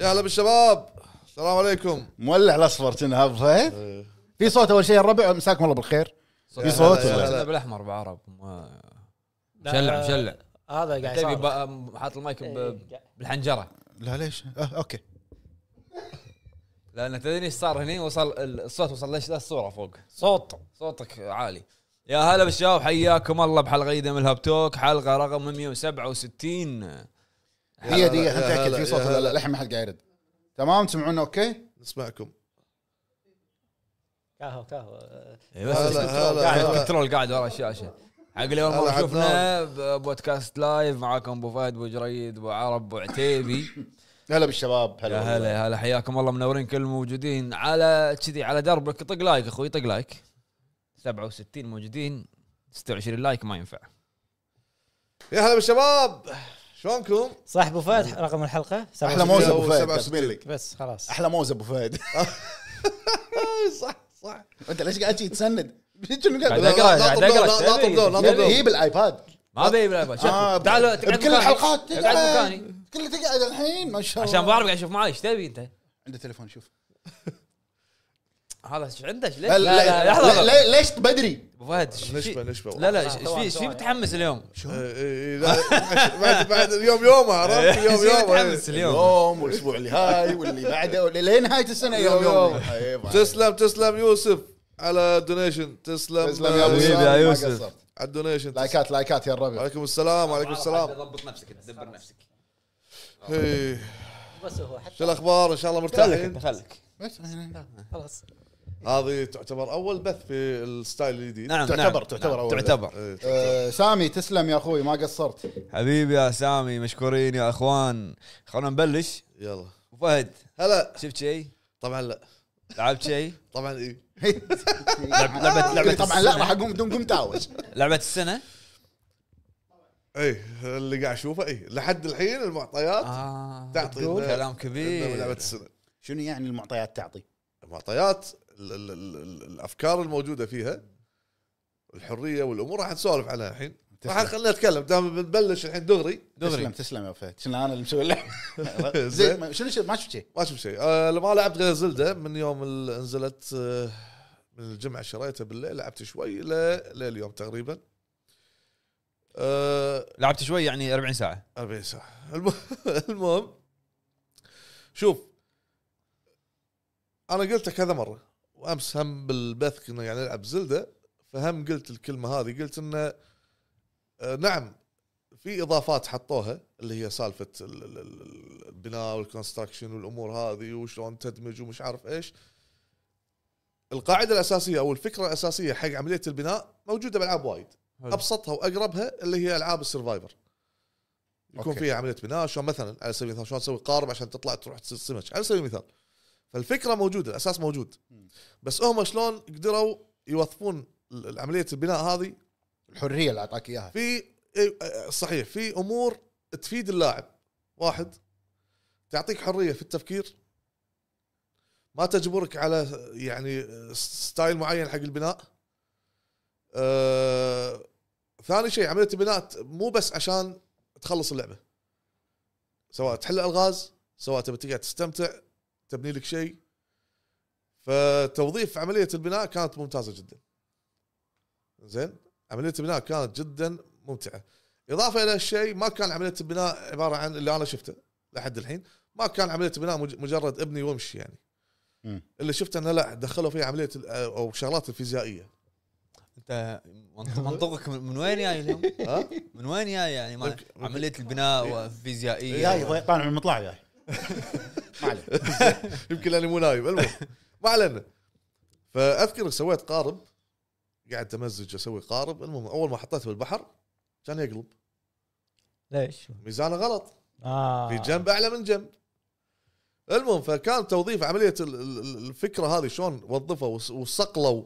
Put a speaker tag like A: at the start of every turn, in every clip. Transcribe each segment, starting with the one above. A: يا هلا بالشباب السلام عليكم
B: مولع الاصفر كنا هبه في صوت اول شيء الربع مساكم الله بالخير في صوت
A: هلا،
B: ولا؟
A: هلا.
C: انا بالاحمر بعرب ما
D: لا،
C: مشلع
D: آه،
C: مشلع
D: هذا قاعد
C: تبي
D: يصارخ.
C: بقى- حاط المايك ب-
D: إيه،
C: بالحنجره
B: لا ليش آه اوكي
C: لان تدري ايش صار هني وصل ال- الصوت وصل ليش الصوره فوق
D: صوت
C: صوتك عالي يا هلا بالشباب حياكم الله بحلقه جديده من الهاب توك حلقه رقم 167
A: هلا،
B: دقيقه دقيقه خلنا
A: يا
B: نتاكد
A: هلا،
B: في صوت
A: يا
B: ولا لا
A: هلا.
B: للحين ما حد قاعد يرد تمام تسمعونا اوكي
A: نسمعكم
D: كاهو كاهو آه،
C: إيه بس
A: هلا،
C: الكنترول
A: هلا،
C: قاعد-
A: هلا.
C: الكنترول قاعد ورا الشاشه حق اللي اول
A: هلا،
C: مره
A: عدنان.
C: شفنا بودكاست لايف معاكم ابو فهد ابو جريد ابو عرب ابو عتيبي
B: هلا بالشباب
C: يا
B: هلا
C: هلا يا هلا حياكم الله منورين كل الموجودين على كذي على دربك طق لايك اخوي طق لايك 67 موجودين 26 لايك ما ينفع
A: يا هلا بالشباب شلونكم؟
D: صح ابو فهد رقم الحلقه
B: احلى موز ابو
A: 67.
B: فهد أقسم لك.
D: بس خلاص
B: احلى موز ابو فهد
A: صح صح
B: انت ليش قاعد شي تسند شنو
C: بعد
B: قاعد
C: أقرأ،
A: لا
C: بعد
A: تطلب لا-
C: أقرأ.
A: لا تطلب لا
C: يبي.
A: تطلب
B: هي بالايباد
C: ما ابي بلا بلا. شوف.
B: آه،
C: تعالوا تقعد
B: بكل
C: مكاني.
B: الحلقات
C: تقعد مكاني
B: كل تقعد الحين ما شاء الله
C: عشان بعرف قاعد اشوف معاي ايش تبي انت
B: عنده تليفون شوف
C: هذا ايش عندك ليش
B: هلا،
C: لا لا
B: لا-
C: لحظه لحظة.
B: لا- ليش بدري
C: ابو فهد إيش-
A: نشبه نشبه
C: لا لا ايش- ايش في
D: ثواني،
C: ايش في
D: ثواني.
C: متحمس اليوم
A: إيه، إيه، لا، بعد بعد اليوم يوم
B: إيه.
A: عرفت
C: إيش
A: اليوم
C: في
A: يوم
C: متحمس اليوم
B: اليوم والاسبوع اللي هاي واللي بعده واللي- لين نهايه السنه يوم
A: يوم.
B: يوم أيوة.
A: تسلم تسلم يوسف على دونيشن تسلم
B: تسلم يا ابو
A: آه،
C: حبيبي
B: يوسف
C: يا
B: ما
C: يوسف.
B: قصرت.
A: على الدونيشن
B: لايكات لايكات يا الربع
A: وعليكم السلام وعليكم السلام
C: ضبط نفسك دبر نفسك
A: إيه.
D: بس هو حتى
A: شو الاخبار ان شاء الله
C: خليك انت
A: مرتاحين
C: خليك
B: بس يعني
D: خلاص
A: هذه تعتبر اول بث في الستايل الجديد
C: نعم
B: تعتبر-
C: نعم.
B: تعتبر
C: نعم،
B: أول.
C: تعتبر
A: إيه.
B: آه، سامي تسلم يا اخوي ما قصرت
C: حبيبي يا سامي مشكورين يا اخوان خلونا نبلش
A: يلا
C: أبو فهد
A: هلا
C: شفت شيء؟
A: طبعا لا إيه.
C: لعبت شيء؟
A: طبعا اي
C: لعبة- لعبة
B: طبعا لا
C: السنة.
B: راح اقوم بدون قمت اوش
C: لعبه السنه؟
A: اي إيه، اللي قاعد اشوفه اي لحد الحين المعطيات
C: اه
A: تعطي
C: بتقول
A: إنه-
C: كلام
A: إنه
C: كبير
A: لعبه السنه
B: شنو يعني المعطيات تعطي؟
A: المعطيات ال- ال- ال- ال- الافكار الموجوده فيها الحريه والامور راح نسولف عنها الحين راح
B: تسلم.
A: خلينا نتكلم دام بنبلش الحين دغري
B: تسلم
C: دغري
B: تسلم يا فهد شنو انا اللي مسوي لك
A: زين.
B: زين ما- شنو شنو- ما شفت شيء
A: ما اشوف شيء أه ما لعبت غير زلده من يوم ال- نزلت آه، من الجمعه شريتها بالليل لعبت شوي ل- لليوم تقريبا أه
C: لعبت شوي يعني 40 ساعه
A: 40 ساعة الم- المهم شوف انا قلتها كذا مرة وامس هم بالبث كنا يعني نلعب زلدة فهم قلت الكلمة هذه قلت انه آه، نعم في اضافات حطوها اللي هي سالفة ال- ال- ال- البناء والكونستراكشن والامور هذه وشلون تدمج ومش عارف ايش القاعدة الاساسية او الفكرة الاساسية حق عملية البناء موجودة بالعاب وايد
C: حلو.
A: ابسطها واقربها اللي هي العاب السرفايفر يكون
B: أوكي.
A: فيها عمليه بناء شلون مثلا على سبيل المثال شلون تسوي قارب عشان تطلع تروح تصيد سمك على سبيل المثال فالفكره موجوده الاساس موجود بس هم شلون قدروا يوظفون ال- عمليه البناء هذه
B: الحريه اللي اعطاك اياها
A: في إيه، آه، صحيح في امور تفيد اللاعب واحد تعطيك حريه في التفكير ما تجبرك على يعني ستايل معين حق البناء آه، ثاني شيء عمليه البناء ت- مو بس عشان تخلص اللعبه سواء تحل الغاز سواء تبي تقعد تستمتع تبني لك شيء فتوظيف عمليه البناء كانت ممتازه جدا زين عمليه البناء كانت جدا ممتعه اضافه الى الشيء ما كان عمليه البناء عباره عن اللي انا شفته لحد الحين ما كان عمليه البناء مج- مجرد ابني وامشي يعني
B: مم.
A: اللي شفته انه لا دخلوا فيه عمليه ال- او شغلات الفيزيائيه
C: انت منط- منطقك من من وين جاي اليوم؟
A: ها
C: من وين جاي يعني ما-
A: ممكن- ممكن.
C: عمليه البناء والفيزيائيه
B: طالع من المطلع جاي ما عليه
A: يمكن لاني مو نايم المهم ما علينا فاذكر سويت قارب قاعد امزج اسوي قارب المهم اول ما حطيته بالبحر كان يقلب
D: ليش؟
A: ميزانه غلط
B: آه،
D: اه
A: في جنب اعلى من جنب المهم فكان توظيف عمليه ال- ال- ال- الفكره هذه شلون وظفوا وس- وصقلوا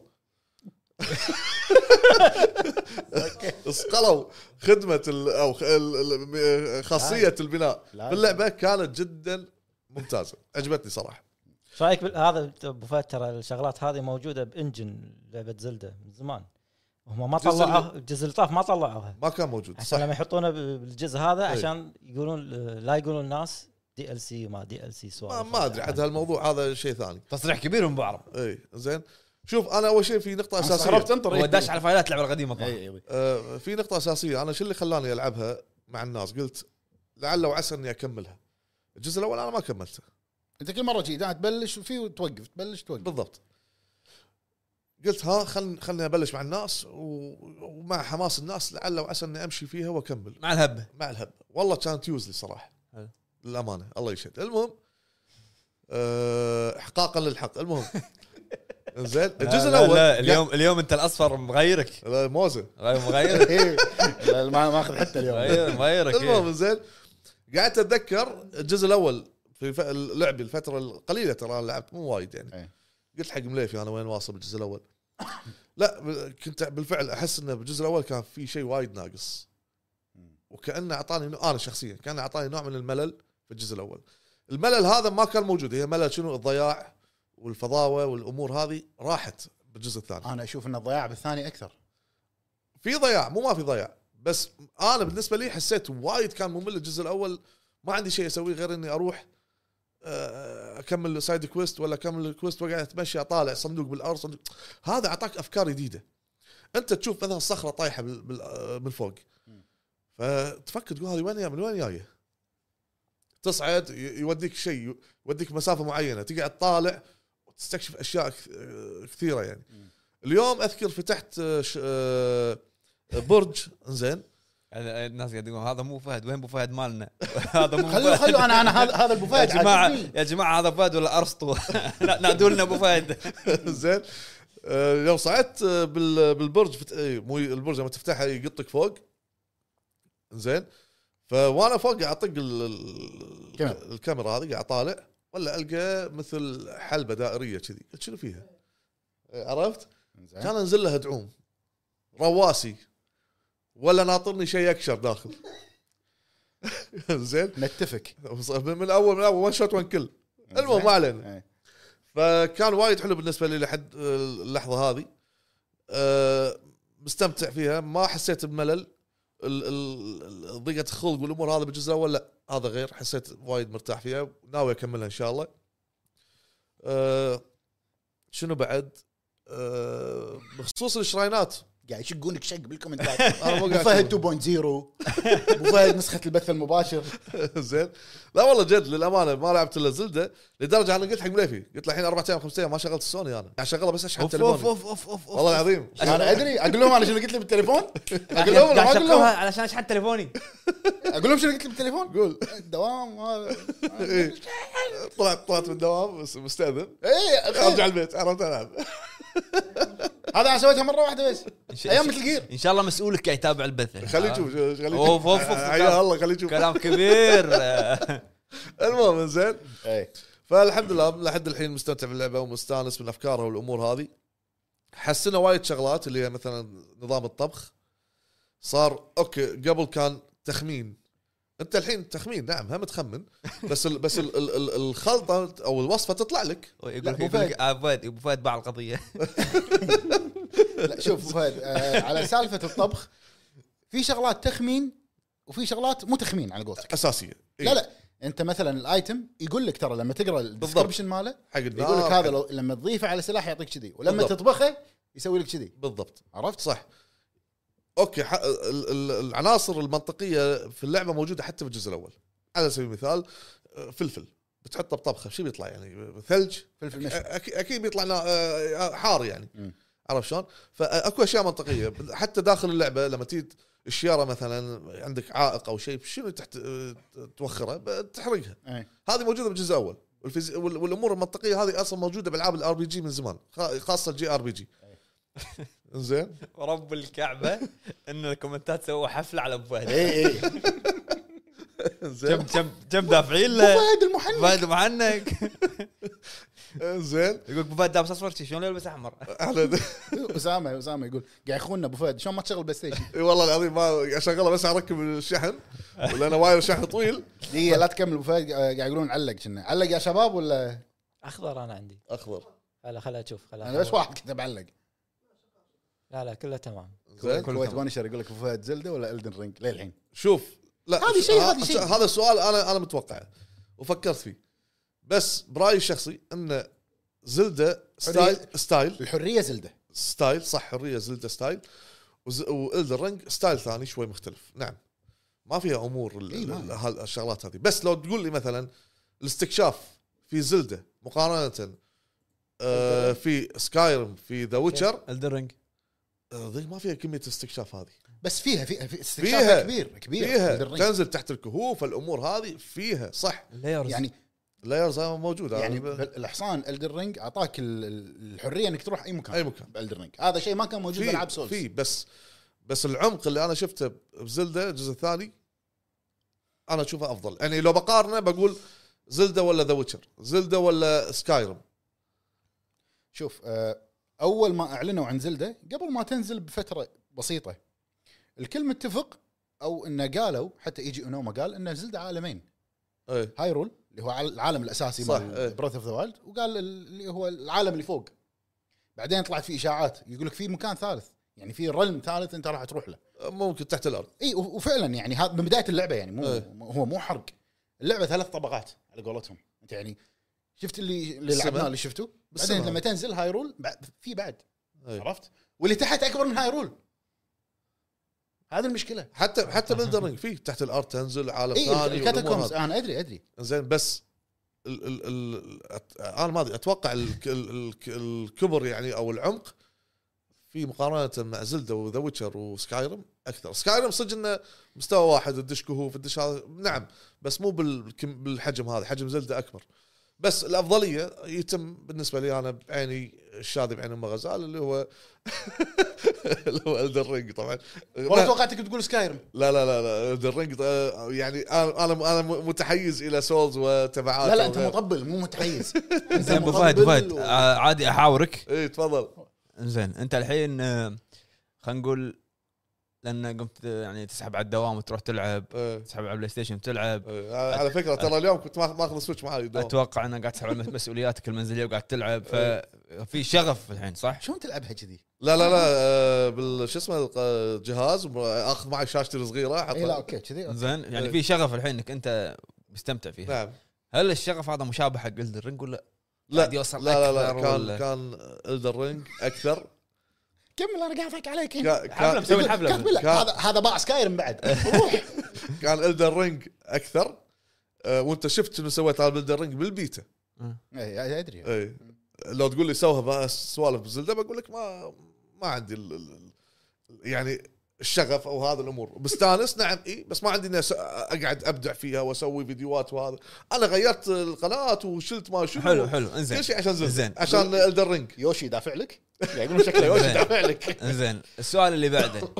A: صقلوا خدمه ال او خ- ال- ال- خاصيه البناء
B: لا.
A: باللعبه كانت جدا ممتازه عجبتني صراحه
D: ايش رايك بال- هذا ابو فهد ترى الشغلات هذه موجوده بانجن لعبه زلده من زمان هم ما
A: جزء
D: طلعوها جزء الطاف ما طلعوها
A: ما كان موجود
D: عشان
A: صح
D: لما يحطونه بالجزء هذا
A: إيه.
D: عشان يقولون لا يقولون الناس دي ال سي ما دي ال سي سوالف يعني
A: ما, ما ادري عاد هالموضوع هذا شيء ثاني
C: تصريح كبير من بعض
A: اي زين شوف انا اول شيء في نقطه اساسيه
B: استغربت انت
C: هو داش على فايلات اللعبه القديمه طبعا
B: اي اي
A: آه، في نقطة أساسية أنا شو اللي خلاني ألعبها مع الناس قلت لعل وعسى إني أكملها الجزء الأول أنا ما كملته
B: انت كل مره جيت تبلش وفي وتوقف تبلش توقف
A: بالضبط قلت ها خل خلني أبلش مع الناس و... ومع حماس الناس لعل وعسى إني أمشي فيها وأكمل
C: مع الهبه
A: مع الهب والله كانت يوزلي صراحة
C: حلو.
A: للأمانة الله يشهد المهم آه، إحقاقا للحق المهم زين الجزء
C: لا- لا-
A: الأول
C: لا اليوم اليوم انت الاصفر مغيرك
A: لا، موزه
C: غير مغيرك
B: إي. لا، ما ما اخذ حتى اليوم
C: مغير- مغيرك إيه.
A: المهم زين قعدت اتذكر الجزء الاول في ف- لعبي الفتره القليله ترى أنا لعبت مو وايد يعني
B: إيه.
A: قلت حق مليفي انا وين واصل بالجزء الاول لا ب- كنت بالفعل احس انه بالجزء الاول كان في شيء وايد ناقص وكانه اعطاني نوع- انا شخصيا كان اعطاني نوع من الملل في الجزء الاول الملل هذا ما كان موجود هي ملل شنو الضياع والفضاوه والامور هذه راحت بالجزء الثاني
B: انا اشوف ان الضياع بالثاني اكثر
A: في ضياع مو ما في ضياع بس انا بالنسبه لي حسيت وايد كان ممل الجزء الاول ما عندي شيء اسويه غير اني اروح آه، اكمل سايد كويست ولا اكمل الكويست واقعد اتمشى اطالع صندوق بالارض صندوق هذا اعطاك افكار جديده انت تشوف مثلا صخره طايحه بال- بال- آه، من فوق فتفكر تقول هذه وين يا- من وين جايه؟ تصعد ي- يوديك شيء يوديك مسافه معينه تقعد تطالع وتستكشف اشياء كث- آه، كثيره يعني اليوم اذكر فتحت آه، ش- آه، برج زين
C: أنا- الناس قاعد يقولون هذا مو فهد وين ابو فهد مالنا هذا مو
B: خلوا
C: فهد
B: خلوا انا انا هذا هذا
C: يا
B: البوفيه
C: جماعه يا جماعه هذا فهد ولا ارسطو لا، نادوا لنا ابو فهد
A: زين آه، لو صعدت آه، بال- بالبرج فت... إي، مو ي- البرج لما تفتحه يقطك فوق زين فوانا فوق قاعد اطق ال- ال-
B: كاميرا.
A: الكاميرا هذه قاعد طالع ولا القى مثل حلبه دائريه كذي قلت شنو فيها؟ آه، عرفت؟ كان انزل لها دعوم رواسي ولا ناطرني شيء اكشر داخل زين
B: نتفق
A: من من اول من اول ون شوت ون كل المهم ما علينا
B: إيه.
A: فكان وايد حلو بالنسبه لي لحد اللحظه هذه أه، مستمتع فيها ما حسيت بملل ال- ال- ال- ضيقه الخلق والامور هذا بالجزء الاول لا هذا غير حسيت وايد مرتاح فيها ناوي اكملها ان شاء الله أه، شنو بعد أه، بخصوص الشراينات
B: قاعد يشقونك شق بالكومنتات
A: انا مو
B: ابو
A: قاعد
B: فهد 2.0 ابو فهد نسخه البث المباشر
A: زين لا والله جد للامانه ما لعبت الا زلده لدرجه انا قلت حق مليفي قلت له الحين اربع ايام خمس ايام ما شغلت السوني انا قاعد شغلها بس اشحن
C: اوف اوف
A: تليفوني
C: اوف اوف اوف
A: والله العظيم
B: انا ادري اقول لهم انا شنو قلت لي بالتليفون اقول لهم ولا ما
C: قاعد
B: اقول لهم
C: اشغلها علشان اشحن تليفوني
B: اقول لهم شنو قلت لي بالتليفون قول الدوام هذا
A: إيه. طلعت طلعت من الدوام بس- إيه، مستاذن
B: اي
A: ارجع البيت عرفت العب
B: إيه. هذا انا سويتها مره واحده بس ايام مثل جير
C: ان شاء الله مسؤولك قاعد يتابع البث
B: آه.
A: خليه يشوف خليه يشوف
C: أوف، أوف، أوف.
A: عيال آه، الله خليه يشوف
C: كلام كبير آه،
A: المهم زين
B: إيه.
A: فالحمد لله لحد الحين مستمتع باللعبه ومستانس من افكارها والامور هذه حسنا وايد شغلات اللي هي مثلا نظام الطبخ صار اوكي قبل كان تخمين انت الحين تخمين نعم هم تخمن بس ال بس ال ال ال الخلطه او الوصفه تطلع لك
C: يقول
B: لا،
C: لك
B: أبو
C: يقول لك آه، ابو فهد ابو فهد باع القضيه
B: لا شوف أبو فهد آه، على سالفه الطبخ في شغلات تخمين وفي شغلات مو تخمين على قولتك
A: اساسيه إيه،
B: لا لا انت مثلا الايتم يقول لك ترى لما تقرا الديسكربشن ماله
A: إيه، حق
B: يقول لك
A: النار،
B: هذا
A: حق-
B: لو لما تضيفه على سلاح يعطيك كذي ولما
A: بالضبط.
B: تطبخه يسوي لك كذي
A: بالضبط
B: عرفت؟
A: صح اوكي ح... ال- ال- العناصر المنطقيه في اللعبه موجوده حتى بالجزء الاول على سبيل المثال آه، فلفل بتحطه بطبخه شو بيطلع يعني ثلج
B: فلفل مشوي
A: أك... اكيد بيطلع نا- آه، حار يعني
B: مم.
A: عرفت شلون؟ فاكو اشياء منطقيه حتى داخل اللعبه لما تيجي الشياره مثلا عندك عائق او شيء شنو تحت آه، توخره ب- تحرقها
B: إيه.
A: هذه موجوده بالجزء الاول والفيز... وال- والامور المنطقيه هذه اصلا موجوده بالعاب الار بي جي من زمان خا- خاصه الجي ار بي جي زين
C: ورب الكعبه ان الكومنتات سووا حفله على ابو فهد
B: اي اي ابو
A: زين
C: كم كم كم دافعين له
B: فهد المحنك
C: فهد محنك
A: زين
C: يقول لك ابو فهد لابس اصفر شي، شلون يلبس احمر
A: احنا
B: اسامه اسامه يقول قاعد يخوننا ابو فهد شلون ما تشغل بلاي ستيشن
A: والله العظيم ما اشغله بس اركب الشحن لان واير شحن طويل
B: دقيقه لا تكمل ابو فهد آه، قاعد يقولون علق كنا علق يا شباب ولا
D: اخضر انا عندي
A: اخضر
D: هلا خلها اشوف خلها
B: انا بس واحد كتب علق
D: لا لا كله تمام
A: زين
B: كويت بانشر يقول لك ابو فهد زلده ولا الدن رينج للحين
A: شوف لا
B: هذه شيء، هذه شيء.
A: هذا السؤال انا انا متوقعه وفكرت فيه بس برايي الشخصي ان زلده ستايل ستايل
B: الحريه زلده
A: ستايل صح حريه زلده ستايل وز... والدر رينج ستايل ثاني شوي مختلف نعم ما فيها امور ال...
B: إي، ما
A: ال-
B: هي.
A: هال- الشغلات هذه بس لو تقول لي مثلا الاستكشاف في زلده مقارنه آه في سكايرم في ذا ويتشر
C: الدرنج
A: ذي ما فيها كميه الاستكشاف هذه
B: بس فيها فيها في
A: فيها.
B: استكشاف كبير كبير
A: فيها
B: بالرنج.
A: تنزل تحت الكهوف الامور هذه فيها صح
C: لايرز
B: يعني
A: اللايرز هاي موجوده
B: يعني
A: أنا ب-
B: بال- الحصان الدر رينج اعطاك ال- ال- الحريه انك تروح اي مكان
A: أي مكان.
B: بالدر رينج هذا شيء ما كان موجود بالعاب
A: في
B: سولز
A: في بس بس العمق اللي انا شفته بزلده الجزء الثاني انا اشوفه افضل يعني لو بقارنه بقول زلده ولا ذا ويتشر زلده ولا سكايرم
B: شوف آه، اول ما اعلنوا عن زلده قبل ما تنزل بفتره بسيطه الكل متفق او انه قالوا حتى ايجي اونوما قال ان زلده عالمين
A: ايه
B: هايرول اللي هو عال- العالم الاساسي
A: صح، إيه.
B: مال بروث اوف ذا وايلد وقال ال- اللي هو العالم اللي فوق بعدين طلعت في اشاعات يقول لك في مكان ثالث يعني في رلم ثالث انت راح تروح له
A: ممكن تحت الارض
B: اي و- وفعلا يعني هذا من بدايه اللعبه يعني مو
A: إيه.
B: مو- هو مو حرق اللعبه ثلاث طبقات على قولتهم انت يعني شفت اللي اللي
A: السماء.
B: لعبناه اللي شفته بعدين
A: السماء.
B: لما تنزل هايرول بعد في بعد
A: ايه.
B: عرفت واللي تحت اكبر من هايرول هذه المشكله
A: حتى حتى بالدرنج في تحت الارض تنزل عالم
B: اي
A: ثاني والأمور
B: الكاتاكومز
A: هذه.
B: انا ادري ادري
A: زين بس ال ال ال أت- انا ما ادري اتوقع ال ال ال الكبر يعني او العمق في مقارنه مع زلدا وذا ويتشر وسكايرم اكثر سكايرم صدق انه مستوى واحد تدش كهوف تدش هذا نعم بس مو بالكم- بالحجم هذا حجم زلدا اكبر بس الافضليه يتم بالنسبه لي انا بعيني الشاذي بعين ام غزال اللي هو اللي هو الدرينج طبعا
B: والله توقعتك تقول سكايرم
A: لا لا لا لا الرينج يعني انا انا انا متحيز الى سولز وتبعات
B: لا لا انت مطبل مو متحيز انت
C: زين ابو فهد أبو فهد
B: مطبل و-
C: آه، عادي احاورك
A: اي إيه، تفضل
C: زين انت الحين آه، خلينا نقول لان قمت آه، يعني تسحب على الدوام وتروح تلعب
A: إيه،
C: تسحب على البلاي ستيشن تلعب
A: إيه. على فكره ترى اليوم كنت ما- ماخذ سويتش معي دوام.
C: اتوقع انك قاعد تسحب على مسؤولياتك المنزليه وقاعد تلعب
A: إيه.
C: ففي شغف الحين صح؟
B: شلون تلعبها كذي؟
A: لا لا لا آه، بال شو اسمه الق- الجهاز اخذ معي شاشتي الصغيره
B: اي إيه، لا
A: احطها
B: اوكي كذي أوكي.
C: زين يعني
A: إيه.
C: في شغف الحين انك انت مستمتع فيها
A: نعم
C: هل الشغف هذا مشابه حق الرينج ولا
A: لا
C: قاعد يوصل
A: لا لا
C: أكثر
A: لا
C: ولا-
A: كان كان الدر رينج اكثر
B: كمل انا قاعد اضحك عليك
A: كا-
C: حفلة
A: كان
C: مسوي الحفله
B: كمل
A: كان-
B: هذا هذا باع سكايرم بعد روح
A: كان الدر رينج اكثر آه، وانت شفت شنو سويت على الدر رينج بالبيتا
B: اي ادري
A: اي إيه. لو تقول لي سوها بقى سوالف بزلده بقول لك ما ما عندي ال ال يعني الشغف او هذه الامور بستانس نعم اي بس ما عندي اني أس- اقعد ابدع فيها واسوي فيديوهات وهذا انا غيرت القناه وشلت ما شنو
C: حلو حلو انزين
A: كل شيء عشان زلده
C: زين.
A: عشان الدرينج
B: يوشي يدافع لك يعني يقولون شكله يوشي يدافع لك
C: انزين السؤال اللي بعده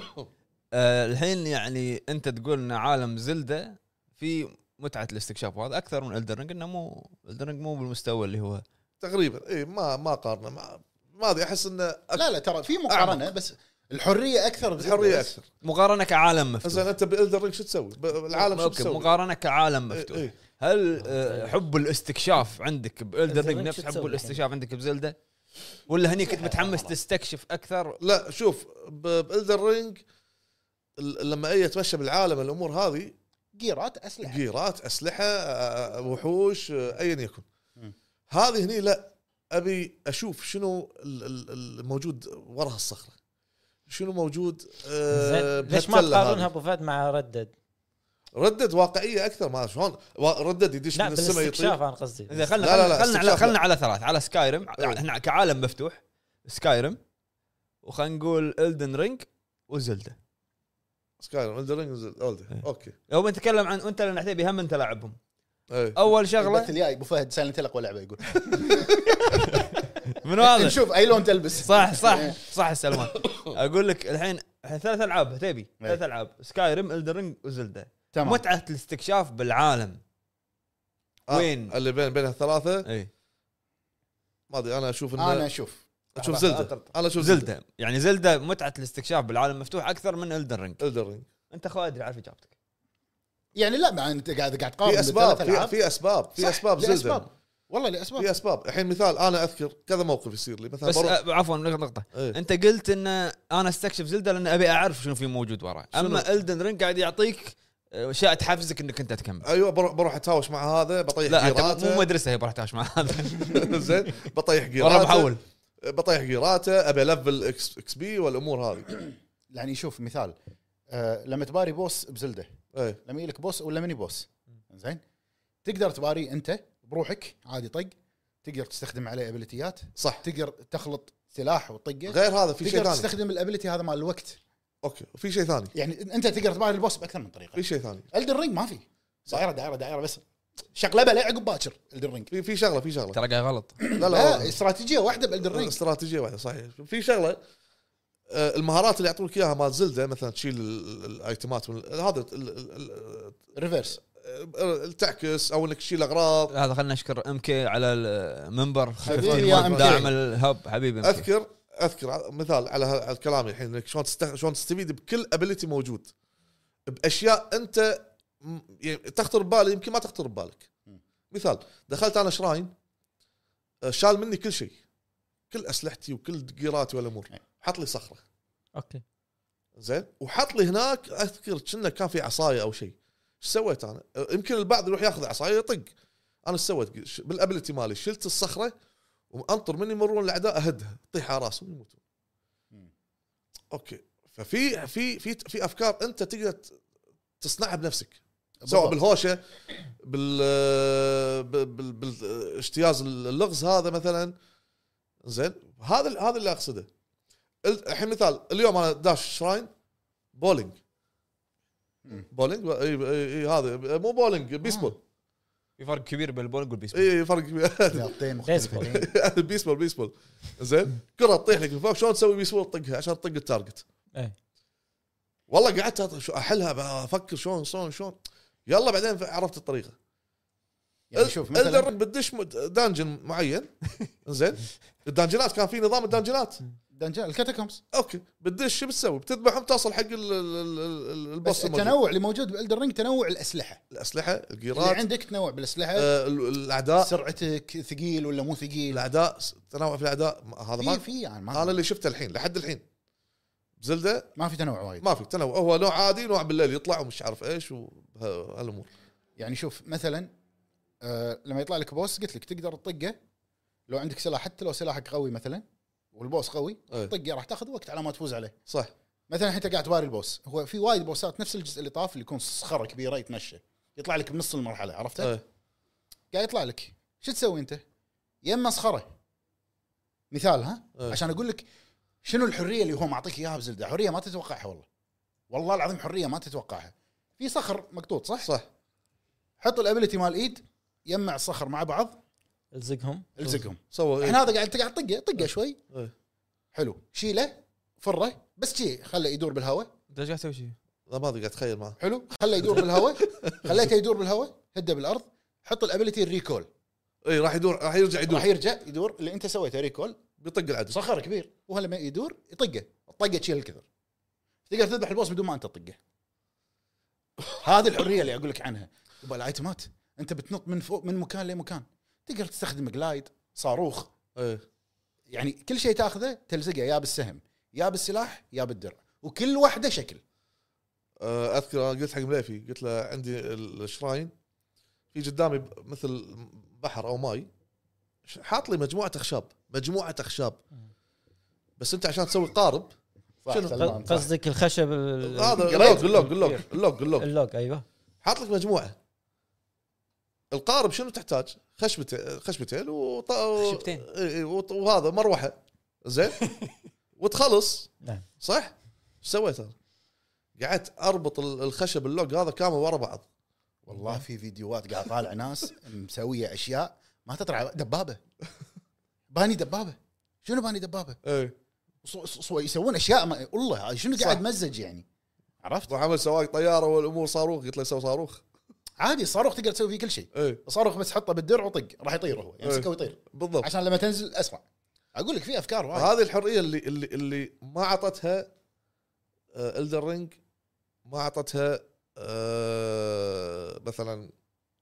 C: آه الحين يعني انت تقول ان عالم زلده في متعه الاستكشاف وهذا اكثر من الدرنج انه مو الدرنج مو بالمستوى اللي هو
A: تقريبا اي ما ما قارنه ما ما ادري احس انه أك-
B: لا لا ترى في مقارنه بس الحريه اكثر بزيادة
A: الحريه
B: بس.
A: اكثر
C: مقارنه كعالم مفتوح
A: زين انت بالدرينج شو تسوي؟ ب- بالعالم شو
C: اوكي
A: تسوي؟ إيه،
C: مقارنه كعالم
A: إي-
C: مفتوح
A: إي.
C: هل آه، حب الاستكشاف عندك بالدر
D: Elden Ring
C: رينج نفس
D: شو
C: حب
D: تسوي
C: الاستكشاف عندك بزلده ولا هني كنت متحمس تستكشف اكثر
A: لا شوف بالدر رينج لما اي اتمشى بالعالم الامور هذه
B: جيرات اسلحه
A: جيرات اسلحه آه، وحوش آه، ايا يكن
B: مم.
A: هذه هني لا ابي اشوف شنو ال- ال- الموجود وراء الصخره شنو موجود آه،
D: زين ليش ما
A: بهالتلة
D: تقارنها
A: هذه.
D: ابو فهد مع ردد؟
A: ردد واقعيه اكثر ما شلون وا- ردد يدش
D: لا
A: من السماء يطير
D: بالاستكشاف انا قصدي
C: زين
A: لا، لا،
C: خلنا
A: لا،
C: خلنا على
A: استكشاف
C: خلنا على ثلاث على سكايرم
A: إيه.
C: احنا كعالم مفتوح سكايرم وخلينا نقول الدن رينج وزلده
A: سكاي رينج
C: إيه.
A: اوكي
C: لو بنتكلم عن انت لان عتيبي هم انت لاعبهم
A: إيه.
C: اول
B: البث
C: شغله
B: الجاي ابو فهد سالنت اقوى لعبه يقول
C: من واضح
B: نشوف اي لون تلبس
C: صح صح صح سلمان اقول لك الحين الحين ثلاث العاب عتيبي ثلاث العاب سكايرم الدن رينج وزلده
B: تمام
C: متعه الاستكشاف بالعالم
A: آه،
C: وين؟ إيه.
A: اللي بين بين الثلاثه
C: اي
A: ما ادري انا اشوف
B: انا
A: انه
B: اشوف
A: اشوف
C: لحظة،
A: زلده انا اشوف زلده
C: زلدة يعني زلدة متعة الاستكشاف بالعالم مفتوح أكثر من الدن رينج
A: الدرينج
C: أنت خوادري عارف إجابتك
B: يعني لا مع انت قاعد قاعد تقارن
A: في اسباب
B: بالثلاث
A: في,
B: ألعاب.
A: في اسباب
B: صح،
A: في اسباب
B: لأسباب.
A: زلده
B: والله لاسباب
A: في اسباب الحين مثال انا اذكر كذا موقف يصير لي مثلا
C: بس آه،
A: بروح
C: أ- عفوا نقطة
A: إيه.
C: أنت قلت أن أنا استكشف زلدة لأن أبي أعرف شنو في موجود وراه أما الدن رينج قاعد يعطيك اشياء تحفزك انك انت تكمل
A: ايوه بروح بروح اتهاوش مع هذا بطيح
C: لا انت مو- مو
A: جيراته
C: مدرسه هي راح تعيش مع هذا
A: زين بطيح
C: والله
A: جيراته
C: محول
A: بطيح جيراته ابي الفل اكس اكس بي والامور هذه
B: يعني شوف مثال آه لما تباري بوس بزلده
A: اي
B: لما يجيلك بوس ولا ميني بوس زين تقدر تباري انت بروحك عادي طق تقدر تستخدم عليه ابيليتيات
A: صح
B: تقدر تخلط سلاح وتطقه
A: غير هذا في شيء
B: تقدر
A: ثاني
B: تستخدم الابيلتي هذا مال الوقت
A: اوكي في شيء ثاني
B: يعني انت تقدر تباري البوس باكثر من
A: في
B: طريقه
A: شيء ثاني
B: الدن رينج ما في دائره دائره دائره بس شقلبه لا عقب باكر الدن رينج
A: في في شغله في شغله
C: ترى قاعد غلط
A: لا
B: لا
A: لا
B: استراتيجيه واحده بالدن رينج
A: استراتيجيه واحده صحيح في شغله آه، المهارات اللي يعطونك اياها مال زلده مثلا تشيل ال- ال- الايتمات من ال- هذا ال- ال-
B: ريفرس
A: ال- تعكس او انك تشيل اغراض
C: هذا خلينا نشكر ام كي على المنبر
B: حبيبي
C: 15
B: يا
C: مال
B: MK.
C: داعم الهب حبيبي MK.
A: اذكر اذكر ع- مثال على ه- على كلامي الحين انك شلون تست- شلون تستفيد بكل ابيلتي موجود باشياء انت م- يعني تخطر ببالي يمكن ما تخطر ببالك مثال دخلت انا شراين آه، شال مني كل شيء كل اسلحتي وكل جيراتي والامور حط لي صخره
D: اوكي
A: زين وحط لي هناك اذكر كنا كان في عصايه او شيء ايش سويت انا؟ أه، يمكن البعض يروح ياخذ عصايه يطق انا ايش سويت؟ ش- بالابيلتي مالي شلت الصخره وانطر من يمرون الاعداء اهدها تطيح على راسهم يموتون.
B: مم.
A: اوكي ففي في في في افكار انت تقدر ت- تصنعها بنفسك سواء بالهوشه بال بال- بال- بالاجتياز اللغز هذا مثلا زين هذا ال- هذا اللي اقصده ال- الحين مثال اليوم انا داش شراين بولينج
B: مم.
A: بولينج اي اي إيه، هذا مو بولينج
B: آه.
A: بيسبول
C: في فرق كبير بين البولينج والبيسبول
A: اي إيه، فرق كبير.
B: رياضتين
D: بيسبول.
B: مختلفين
A: بيسبول بيسبول زين كره تطيح لك من فوق شلون تسوي بيسبول تطقها عشان تطق التارجت
D: إيه.
A: والله قعدت أط- شو- احلها افكر شلون شلون شلون يلا بعدين عرفت الطريقه
B: يعني شوف
A: مثلا
B: مثلا
A: بتدش م- دانجن معين زين الدانجنات كان في نظام الدانجنات
B: دنجن الكاتاكومز
A: اوكي بتدش شو بتسوي؟ بتذبحهم توصل حق ال- ال- ال- ال- البوس
B: بس
A: الموجود.
B: التنوع اللي موجود بالدن رينج تنوع الاسلحه
A: الاسلحه
B: اللي
A: الجيرات
B: يعني عندك تنوع بالاسلحه
A: آه، ال- الاعداء
B: سرعتك ثقيل ولا مو ثقيل
A: الاعداء تنوع في الاعداء ما- هذا ما
B: في في يعني
A: انا
B: ما,
A: اللي شفته الحين لحد الحين بزلده
B: ما في تنوع وايد
A: ما في تنوع هو نوع عادي نوع بالليل يطلع ومش عارف ايش وهالامور
B: يعني شوف مثلا آه لما يطلع لك بوس قلت لك تقدر تطقه لو عندك سلاح حتى لو سلاحك قوي مثلا والبوس قوي
A: إيه.
B: طقه راح تاخذ وقت على ما تفوز عليه
A: صح
B: مثلا الحين انت قاعد تباري البوس هو في وايد بوسات نفس الجزء اللي طاف اللي يكون صخره كبيره يتمشى يطلع لك بنص المرحله عرفته؟
A: إيه.
B: قاعد يطلع لك شو تسوي انت؟ يا اما صخره مثال ها
A: إيه.
B: عشان اقول لك شنو الحريه اللي هو معطيك اياها بزلده حريه ما تتوقعها والله والله العظيم حريه ما تتوقعها في صخر مقطوط صح؟
A: صح
B: حط الابيلتي مال ايد يجمع الصخر مع بعض
D: الزقهم
B: الزقهم
A: سوى
B: الحين هذا قاعد انت قاعد طقه طقه شوي
A: إيه.
B: حلو شيله فره بس شي خله يدور بالهواء
C: انت ايش قاعد تسوي شيء؟
A: لا ما ادري قاعد اتخيل معه
B: حلو خله يدور بالهواء خليته يدور بالهواء هده بالارض حط الابيلتي الريكول
A: اي إيه، راح يدور راح يرجع يدور
B: راح يرجع يدور اللي انت سويته ريكول
A: بيطق العدو
B: صخر كبير وهو لما يدور يطقه الطقه تشيل الكثر تقدر تذبح البوس بدون ما انت تطقه هذه الحريه اللي اقول لك عنها يبقى الايتمات انت بتنط من فوق من مكان لمكان تقدر تستخدم جلايد صاروخ
A: إيه.
B: يعني كل شيء تاخذه تلزقه يا بالسهم يا بالسلاح يا بالدرع وكل واحده شكل
A: آه، اذكر انا قلت حق مليفي قلت له عندي ال- الشراين في قدامي ب- مثل بحر او ماي ش- حاط لي مجموعه اخشاب مجموعه اخشاب بس انت عشان تسوي قارب
B: صح
A: شنو؟
B: سلمان، صح.
D: قصدك الخشب ال-
A: هذا
B: قريت.
A: اللوج اللوج اللوج اللوج اللوج
D: اللوك ايوه
A: حاط لك مجموعه القارب شنو تحتاج؟ خشبتين خشبتين وط...
C: خشبتين.
A: إي- إي، وط- إيه، وهذا مروحه زين وتخلص
D: نعم.
A: صح؟ ايش سويت انا؟ قعدت اربط ال- الخشب اللوج هذا كامل ورا بعض
B: والله في فيديوهات قاعد طالع ناس مسويه اشياء ما تطلع دبابه باني دبابه شنو باني دبابه؟
A: ايه
B: صو صو يسوون اشياء ما والله هاي شنو قاعد
A: صح.
B: مزج يعني عرفت؟
A: وعمل سواق طياره والامور صاروخ قلت له سوي صاروخ
B: عادي الصاروخ تقدر تسوي فيه كل شيء
A: ايه
B: الصاروخ بس حطه بالدرع وطق راح يطير هو
A: إيه.
B: يمسكه ويطير
A: بالضبط
B: عشان لما تنزل اسرع اقول لك في افكار
C: طيب.
B: وايد
A: هذه الحريه اللي اللي اللي ما اعطتها الدر رينج ما اعطتها آه، مثلا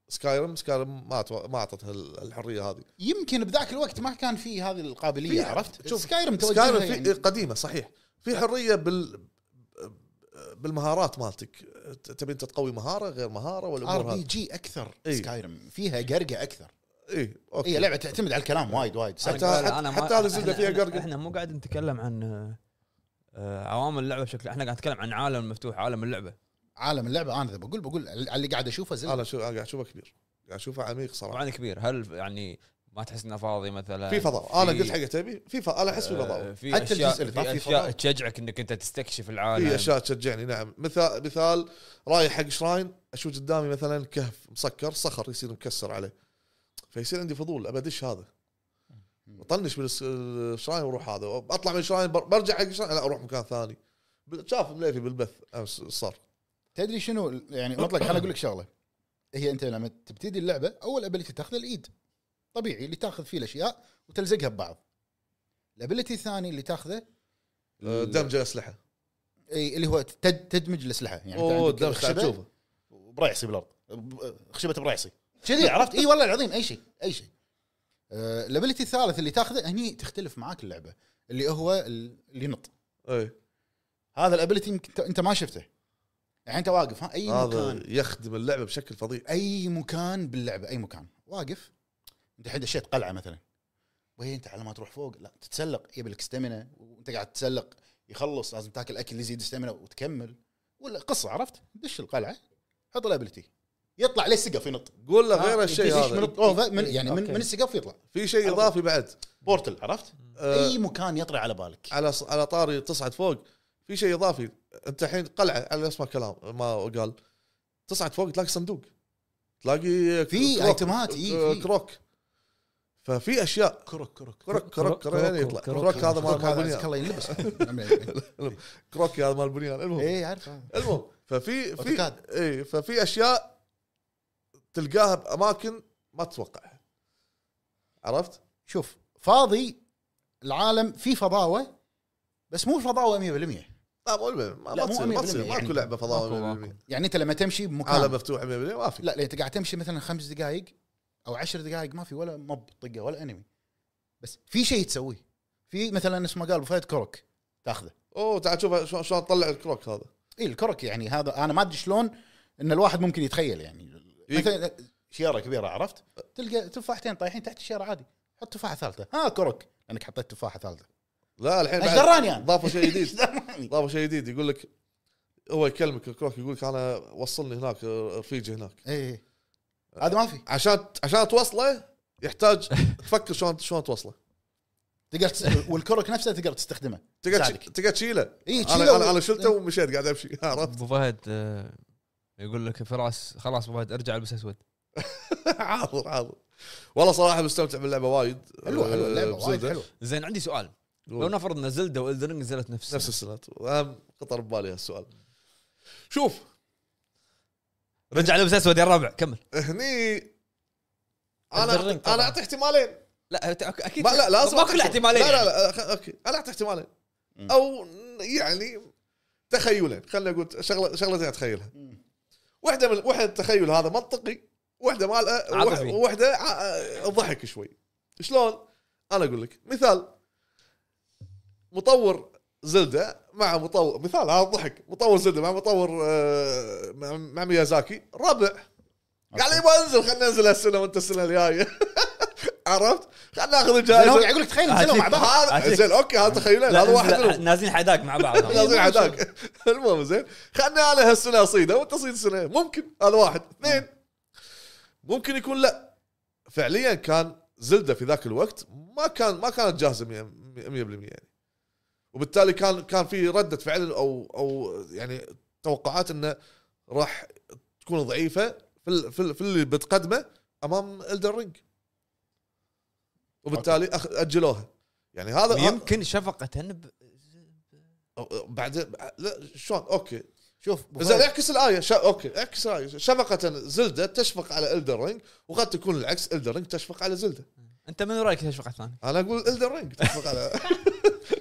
A: سكايرم سكايرم ما أتو- ما اعطتها ال- الحريه هذه
B: يمكن بذاك الوقت ما كان في هذه القابليه
A: فيها.
B: عرفت؟ يعني
A: شوف،
C: يعني.
B: سكايرم توجهها
A: سكايرم في
B: يعني
A: قديمه صحيح في حريه بال بالمهارات مالتك ت- تبي انت تقوي مهاره غير مهاره
B: ار
A: والامور
B: بي
A: هذه
B: جي اكثر
A: إي.
B: سكايرم فيها قرقه اكثر
A: اي اوكي
B: هي لعبه تعتمد على الكلام وايد وايد
A: حتى- حتى على زلدة فيها
C: قرقر
A: قرقر.
C: احنا مو قاعد نتكلم عن آه، عوامل اللعبه بشكل احنا قاعد نتكلم عن عالم مفتوح عالم اللعبه
B: عالم اللعبه انا ذا بقول بقول على اللي قاعد اشوفه زلده
A: انا شو قاعد اشوفه كبير قاعد اشوفه عميق صراحه
C: طبعا كبير هل يعني ما تحس انه فاضي مثلا
A: في فضاء انا
C: آه، في-
A: قلت حق تبي في فضاء انا احس في
C: آه،
A: فضاء
C: في
B: حتى
C: اشياء
B: الجزء اللي طاف
C: في
B: فيه
C: اشياء
B: فضاء.
C: تشجعك انك انت تستكشف العالم
A: في اشياء إيه، تشجعني نعم مثال مثال رايح حق شراين اشوف قدامي مثلا كهف مسكر صخر يصير مكسر عليه فيصير عندي فضول ابى ادش هذا اطنش من الس- الشراين واروح هذا اطلع من الشراين بر- برجع حق الشراين لا اروح مكان ثاني بال- شاف مليفي بالبث امس صار
B: تدري شنو يعني مطلق خليني اقول لك شغله هي انت لما تبتدي اللعبه اول ابيلتي تاخذ الايد طبيعي اللي تاخذ فيه الاشياء وتلزقها ببعض الابيلتي الثاني اللي تاخذه
A: آه، دمج الاسلحه
B: اي اللي هو تد- تدمج الاسلحه يعني أنت
A: اوه
B: عندك
A: دمج
B: خشبة
A: قاعد تشوفه
B: بريعصي بالارض ب- خشبه بريعصي كذي عرفت اي والله العظيم اي شيء اي شيء آه، الابيلتي الثالث اللي تاخذه هني تختلف معاك اللعبه اللي هو ال- اللي ينط
A: اي
B: هذا الابيلتي يمكن ت- انت ما شفته الحين انت واقف ها اي مكان
A: هذا يخدم اللعبه بشكل فظيع
B: اي مكان باللعبه اي مكان واقف انت الحين دشيت قلعه مثلا وهي انت على ما تروح فوق لا تتسلق يبي لك ستامينا وانت قاعد تتسلق يخلص لازم تاكل اكل يزيد ستامينا وتكمل ولا قصه عرفت دش القلعه حط الابيلتي يطلع للسقف ينط
A: قول له
D: آه،
A: غير الشيء
B: يدش من
A: إيه، هذا
B: الطوفه من يعني من,
D: أوكي.
B: من السقف يطلع
A: في شيء اضافي بعد
B: بورتل عرفت
A: آه،
B: اي مكان يطري على بالك
A: على على طاري تصعد فوق في شيء اضافي انت الحين قلعه على اسمه كلام ما قال تصعد فوق تلاقي صندوق تلاقي
B: في
A: كروك-
B: ايتمات، إي،
A: آه،
B: في.
A: كروك ففي اشياء
B: كرك كرك
A: كروك كروك
D: كروك-
A: كروك يعني يطلع
D: كروك-
A: كروك هذا مال مال
B: كرك هذا
A: بنيان
B: عزك الله ينلبس
A: كروك هذا مال بنيان المهم
B: اي عارف عارف.
A: المهم ففي في
B: أوتوكاد.
A: اي ففي اشياء تلقاها باماكن ما تتوقعها عرفت؟
B: شوف فاضي العالم في فضاوه بس مو فضاوه 100%
A: لا مو ما ما
B: لا، مو
A: تصير ما
B: 100%
A: تصير
B: يعني.
A: ماكو لعبه
C: ماكو-
A: فضاء
C: ماكو.
A: 100%
B: يعني انت لما تمشي
A: عالم
B: بمكان
A: مفتوح 100% ما في
B: لا لا، انت قاعد تمشي مثلا خمس دقائق او عشر دقائق ما في ولا موب طقه ولا انمي بس في شيء تسويه في مثلا اسمه قال فايت كرك تاخذه
A: اوه تعال شوف شلون- شلون طلع الكروك هذا
B: اي الكرك يعني هذا انا ما ادري شلون ان الواحد ممكن يتخيل يعني
A: إي.
B: مثلا شياره كبيره عرفت تلقى تفاحتين طايحين تحت الشياره عادي حط تفاحه ثالثه ها كرك لانك حطيت تفاحه ثالثه
A: لا الحين
B: ايش
A: بعد
B: دراني انا؟
A: ضافوا إيه، شيء
B: إيش
A: جديد
B: دراني؟
A: ضافوا شيء جديد يقول لك هو يكلمك الكروك يقول لك انا وصلني هناك رفيجي هناك
B: إي إي. إيه، هذا ما في
A: عشان عشان توصله يحتاج تفكر شلون شلون توصله
B: تقدر تس... والكرك نفسه تقدر تستخدمه إيه،
A: تقعد
B: يساعدك.
A: تش- تقعد تشيله
B: اي
A: انا انا انا شلته ومشيت قاعد امشي عرفت
C: ابو فهد آه، يقول لك فراس خلاص ابو فهد ارجع البس اسود
A: حاضر حاضر والله صراحه مستمتع باللعبه وايد
B: حلو حلو اللعبه
A: آه،
B: وايد
A: بزلدة.
B: حلوه
C: زين عندي سؤال
A: قول.
C: لو نفرض ان زلده والدرنج نزلت نفس
A: نفس
C: السنة.
A: السنه أهم خطر ببالي هالسؤال شوف
C: رجع لبس اسود يا الربع كمل
A: هني انا
D: الدرينج
A: انا
D: طبعاً.
A: اعطي احتمالين
C: لا أت- أك- اكيد
A: ما لا لازم
C: ما
A: أعطي
C: كل احتمالين
A: لا لا لا
C: يعني.
A: خ- اوكي انا اعطي احتمالين
B: مم.
A: او يعني تخيلين خلينا نقول شغله شغلتين اتخيلها
B: مم.
A: واحده من واحده التخيل هذا منطقي واحده مالها وح-
C: عاطفي.
A: واحده ع- ضحك شوي شلون؟ انا اقول لك مثال مطور زلدة مع مطور مثال هذا ضحك مطور زلدة مع مطور آه، مع- مع ميازاكي ربع قال لي بنزل خلينا ننزل هالسنه وانت السنه الجايه عرفت؟ خلينا ناخذ
B: زين، هو
A: الجائزه
B: قاعد يقول لك تخيل نزلوا مع بعض
A: هذا
C: أعطيك.
A: زين اوكي هذا تخيلين
C: لا، أيوة،
A: هذا واحد
C: نزل-
A: منهم
C: نازلين حداق مع بعض
A: لازم عداك المهم زين خلنا انا هالسنه اصيده وانت تصيد السنه ممكن هذا واحد اثنين ممكن يكون لا فعليا كان زلده في ذاك الوقت ما كان ما كانت جاهزه 100% يعني وبالتالي كان كان في رده فعل او او يعني توقعات انه راح تكون ضعيفه في ال- في, ال- في اللي بتقدمه امام الدر رينج وبالتالي أخ- اجلوها يعني هذا
C: يمكن شفقه ب-
A: أو- بعد لا شلون اوكي
B: شوف أبو
A: زين
B: فهد،
A: اعكس الايه شا... اوكي اعكس الايه شفقه زلده تشفق على الدر رينج وقد تكون العكس الدر رينج تشفق على زلده
C: انت من رايك يا شفقه ثاني
A: انا اقول الدر رينج تشفق على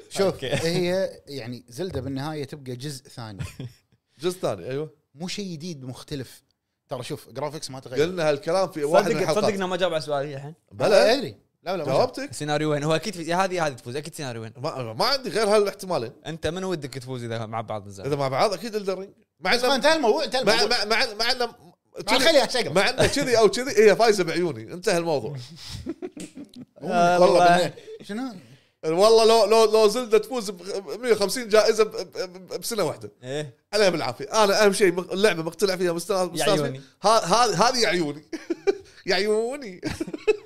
B: شوف
C: أوكي.
B: هي يعني زلده بالنهايه تبقى جزء ثاني
A: جزء ثاني ايوه
B: مو شيء جديد مختلف ترى شوف جرافيكس ما تغير
A: قلنا هالكلام في واحد من
C: صدق
A: الحلقات
C: صدقنا ما جاوب على سؤالي الحين
B: بلا
A: بلى
B: ادري إيه، لا لا ما جاوبت
A: جاوبتك
C: سيناريوين هو اكيد في- هذه هذه تفوز اكيد سيناريوين
A: ما, ما عندي غير هالاحتمالين
C: انت من ودك تفوز اذا مع بعض بالزمن
B: طيب.
A: اذا مع بعض اكيد الدرينج مع
B: بس خلاص،
A: إنه-
B: انتهى الموضوع انتهى
A: مع مع
B: الموضوع
A: مع مع إنه-
B: مع خليها شقل
A: مع انه كذي او كذي هي فايزه بعيوني انتهى الموضوع والله
C: والله.
B: بالنهاية. شنو
A: والله لو لو لو زلده تفوز ب 150 جائزه ب- ب- بسنه واحده
C: ايه
A: عليها بالعافيه انا اهم شيء مق- اللعبه مقتنع فيها مستانس
C: يا
A: مستانس
C: عيوني.
A: فيها. ها- هذه هذه يا عيوني يا عيوني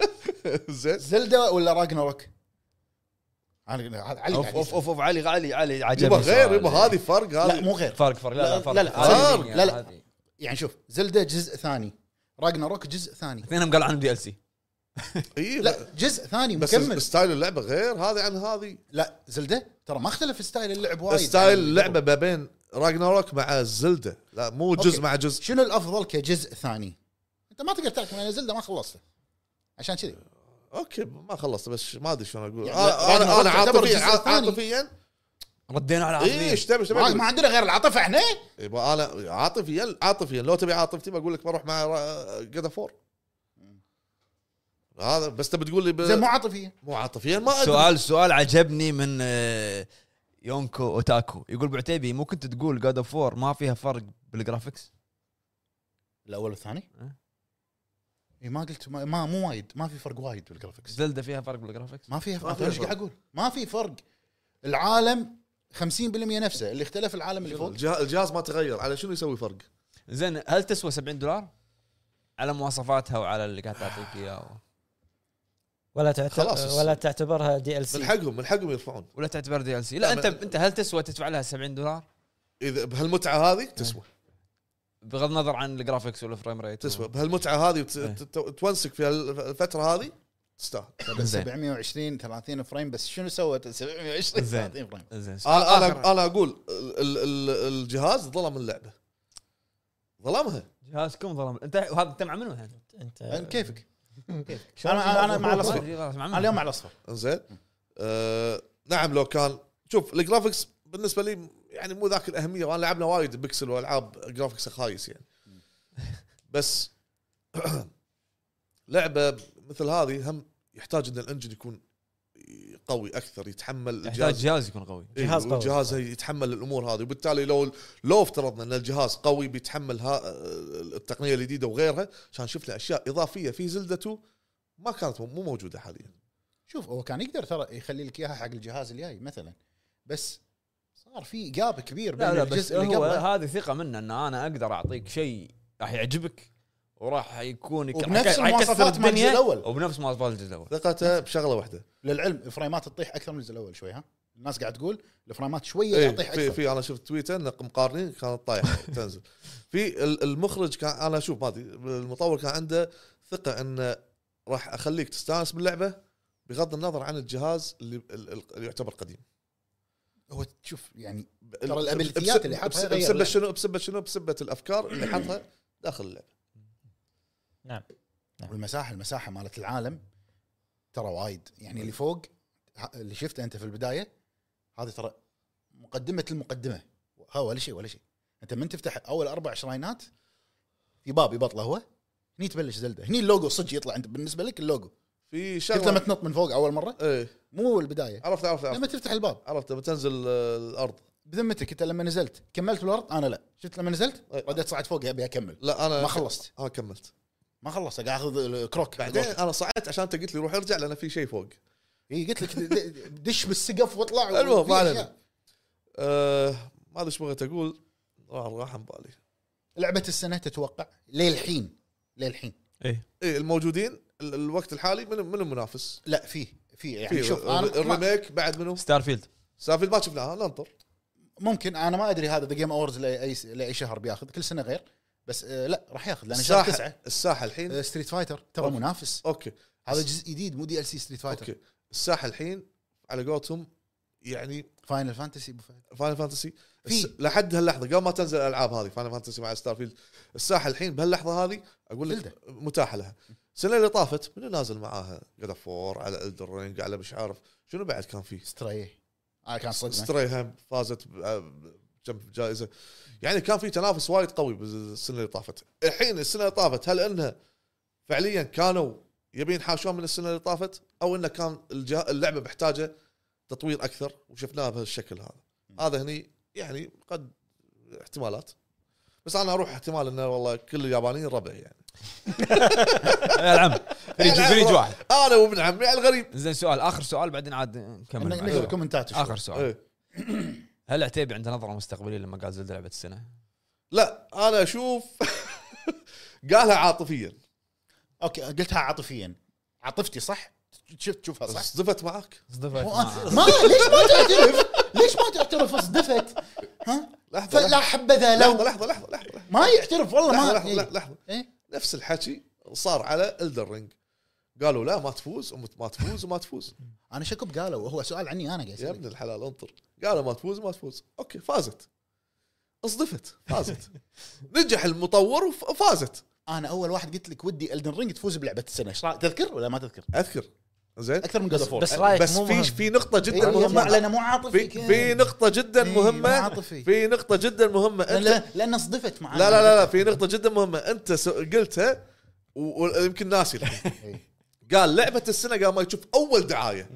A: زين
B: زلدة ولا راجناروك؟ علي علي
C: اوف اوف اوف, أوف علي علي علي عجبني
A: يبا غير
C: سؤال.
A: يبا هذه فرق
B: لا
A: هذه
B: مو غير
C: فرق فرق لا لا
B: لا،
C: فرق
B: لا، لا،
C: هذه
A: فرق.
C: دنيا،
B: لا، لا.
C: هذه.
B: يعني شوف زلدة جزء ثاني راجناروك جزء ثاني
C: اثنينهم قالوا عن دي ال سي
A: اي إيه، لا
B: لا جزء ثاني
A: بس
B: مكمل
A: ستايل اللعبه غير هذه عن هذه
B: لا زلدة ترى ما اختلف ستايل اللعب وايد يعني
A: ستايل اللعبه ما بين راجناروك مع زلده لا مو
B: أوكي.
A: جزء مع جزء
B: شنو الافضل كجزء ثاني؟ انت ما تقدر تحكم انا زلدة ما خلصته عشان كذي
A: اوكي ما خلصت بس ما ادري شلون اقول
B: يعني
A: انا انا
B: راجناروك
A: أنا
B: تعتبر
A: عاطفيا
B: جزء ثاني.
A: عاطفيا
C: ردينا على
A: اي
C: عظيم
A: ايش تبي ايش تبي
B: ما
A: أقول؟
B: ما عندنا غير العاطفه احنا
A: يبا انا عاطفيا عاطفيا لو تبي عاطفتي بقول لك بروح مع جاد فور هذا بس تبي تقول لي
B: زين مو
A: ب...
B: عاطفيه
A: مو عاطفيا ما ادري
C: سؤال سؤال عجبني من آه، يونكو اوتاكو يقول بعتيبي مو كنت تقول جاد اوف فور ما فيها فرق بالجرافكس
B: الاول والثاني
C: أه.
B: اي ما قلت ما, ما مو وايد ما في فرق وايد بالجرافكس
C: زلدة فيها فرق بالجرافكس
B: ما في
A: ما
B: فرق
A: في
B: ايش
A: فرق.
B: قاعد اقول ما في فرق العالم 50% نفسه اللي اختلف العالم اللي فوق
A: الجه- الجهاز ما تغير على شنو يسوي فرق؟
C: زين هل تسوى 70 دولار على مواصفاتها وعلى اللي قاعد تعطيك اياه
D: ولا تعتبر
A: خلاص.
D: ولا تعتبرها دي ال
A: من
D: سي
A: حقهم من حقهم يرفعون
C: ولا تعتبر دي ال سي لا انت انت هل تسوى تدفع لها 70 دولار
A: اذا بهالمتعه هذه تسوى
C: بغض النظر عن الجرافكس والفريم ريت
A: تسوى بهالمتعه هذه وت-
C: إيه.
A: تت- تونسك في الفتره هذه تستاهل
B: بس
C: زين.
B: 720 30 فريم بس شنو سوت 720
C: زين.
B: 30 فريم
C: زين
A: انا انا انا اقول ال- ال- ال- الجهاز ظلم اللعبه ظلمها
C: جهازكم ظلم انت هذا انت مع منو الحين؟
D: انت
B: أه، كيفك
D: شلون
B: يعني أنا- أنا- أنا مع
D: الموضوع؟
B: الأصفر. انا اليوم على الاصفر
A: انزين آه نعم لو كان شوف الجرافكس بالنسبه لي يعني مو ذاك الاهميه وانا لعبنا وايد بيكسل والعاب جرافكس خايس يعني بس لعبه مثل هذه هم يحتاج ان الانجن يكون قوي اكثر يتحمل
C: يحتاج
A: الجهاز
C: جهاز يكون قوي
D: جهاز قوي.
A: الجهاز يتحمل الامور هذه وبالتالي لو لو افترضنا ان الجهاز قوي بيتحمل ها التقنيه الجديده وغيرها عشان شفنا اشياء اضافيه في زلدة 2 ما كانت مو موجوده حاليا
B: شوف هو كان يقدر ترى يخلي لك اياها حق الجهاز الجاي مثلا بس صار في جاب كبير بين
C: لا لا بس
B: طيب، يعني الجزء اللي
C: هو
B: قبله
C: هذه ثقه منه ان انا اقدر اعطيك شيء راح يعجبك وراح يكون يك-
B: وبنفس
C: راح يكسر
B: المواصفات مال الجزء الأول.
C: وبنفس مواصفات الجزء الاول
A: ثقته بشغله واحده
B: للعلم الفريمات تطيح اكثر من الجزء الاول شوي ها الناس قاعد تقول الفريمات شويه
A: إيه
B: قاعد تطيح
A: في
B: اكثر
A: في انا شفت تويتر ان مقارنين كانت طايحه تنزل في ال- المخرج كان انا اشوف ما ادري المطور كان عنده ثقه انه راح اخليك تستانس باللعبه بغض النظر عن الجهاز اللي, ال- ال- اللي يعتبر قديم
B: هو تشوف يعني
A: ال-
B: ترى الابيلتيات
A: بسب-
B: اللي حاطها
A: بسب-
B: غير
A: بسبه
B: اللعبة.
A: شنو بسبه شنو بسبه الافكار اللي حطها داخل اللعبه
D: نعم
B: والمساحه المساحه مالت العالم ترى وايد يعني اللي فوق ه- اللي شفته انت في البدايه هذه ترى مقدمه المقدمه ها ولا شيء ولا شيء انت من تفتح اول اربع شراينات في باب يبطله هو هني تبلش زلده هني اللوجو صدق يطلع انت بالنسبه لك اللوجو
A: في
B: شفت لما
A: شغله
B: تنط من فوق اول مره
A: ايه
B: مو البدايه
A: عرفت عرفت عرفت
B: لما تفتح الباب
A: عرفت لما تنزل آه، الارض
B: بذمتك انت لما نزلت كملت بالارض انا لا شفت لما نزلت
A: أي.
B: رديت صعدت فوق ابي اكمل
A: لا انا
B: ما خلصت
A: انا كملت
B: ما خلصت قاعد اخذ الكروك
A: بعدين انا صعدت عشان انت قلت لي روح ارجع لان في شيء فوق
B: اي إيه، قلت لك د- د- دش بالسقف واطلع
A: المهم، ما
B: وفي
A: علينا.
B: أشياء.
A: آه، ما ادري ايش بغيت اقول راح راح عن بالي
B: لعبه السنه تتوقع للحين للحين
A: إيه الموجودين ال- الوقت الحالي من من المنافس
B: لا في في
A: في
B: يعني شوف
A: الر-
B: انا ما-
A: الريميك بعد منو
C: ستار فيلد
A: سافل ما شفناها ننطر
B: ممكن انا ما ادري هذا ذا جيم اورز لاي لاي شهر بياخذ كل سنه غير بس آه، لا راح ياخذ لان شهر
A: الساحه
B: تسعه
A: الساحه الحين
B: آه، ستريت فايتر ترى
A: أوكي.
B: منافس
A: اوكي
B: هذا جزء جديد مو دي ال سي ستريت فايتر
A: اوكي الساحه الحين على قولتهم يعني
B: فاينل فانتسي أبو فهد.
A: فاينل فانتسي
B: في.
A: الس- لحد هاللحظه قبل ما تنزل الالعاب هذه فاينل فانتسي مع ستار فيلد الساحه الحين بهاللحظه هذه اقول لك
B: زلدة.
A: متاحه لها السنه اللي طافت منو نازل معاها جاد فور على الدر رينج على مش عارف شنو بعد كان فيه
B: ستراي انا آه، كان صدمه
A: ستري هم فازت ب- بكم جائزه يعني كان في تنافس وايد قوي بالسنه اللي طافت الحين السنه اللي طافت هل انها فعليا كانوا يبي ينحاشون من السنه اللي طافت او انه كان الجه... اللعبه محتاجه تطوير اكثر وشفناها بهالشكل هذا هذا هني يعني قد احتمالات بس انا اروح احتمال انه والله كل اليابانيين ربع يعني
C: العم فريج فريج واحد
A: انا وابن عمي على الغريب
C: زين سؤال اخر سؤال بعدين عاد نكمل
B: نقرا
A: آه.
C: معك.
B: الكومنتات
C: اخر سؤال
A: إيه.
C: هل عتيبي عنده نظره مستقبليه لما قال زلده لعبه السنه؟
A: لا انا اشوف قالها عاطفيا
B: اوكي قلتها عاطفيا عاطفتي صح شفت تشوفها صح
A: صدفت معك
C: صدفت
B: مو-
C: معه.
B: ما ليش ما تعترف ليش ما تعترف اصدفت ها
A: لحظه
B: فلا
A: لحظه
B: حبذا
A: لحظه
B: لو
A: لحظه لحظه لحظه
B: ما يعترف والله
A: لحظه,
B: ما
A: لحظة,
B: إيه.
A: لحظة, لحظة.
B: إيه.
A: نفس الحكي صار على الدرينج قالوا لا ما تفوز وما ما تفوز وما تفوز
B: انا شكو قالوا هو سؤال عني انا قاعد
A: يا
B: أسألك.
A: ابن الحلال انطر قالوا ما تفوز ما تفوز اوكي فازت اصدفت فازت نجح المطور وف- وفازت
B: انا اول واحد قلت لك ودي الدن رينج تفوز بلعبه السنه ايش رأيك؟ تذكر ولا ما تذكر
A: اذكر زين
B: اكثر من جود اوف
D: بس رايك
A: بس
D: مو
A: في
D: مهم.
A: في نقطه جدا
B: إيه مو
A: مهمه
B: لانه مو عاطفي
A: في في نقطه جدا مهمه
B: عاطفي
A: في نقطه جدا مهمه انت
B: لان صدفت معانا
A: لا لا لا, لا في نقطة جدا مهمة أنت س- قلتها و- ويمكن ناسي الحين.
B: إيه.
A: قال لعبة السنة قال ما يشوف أول دعاية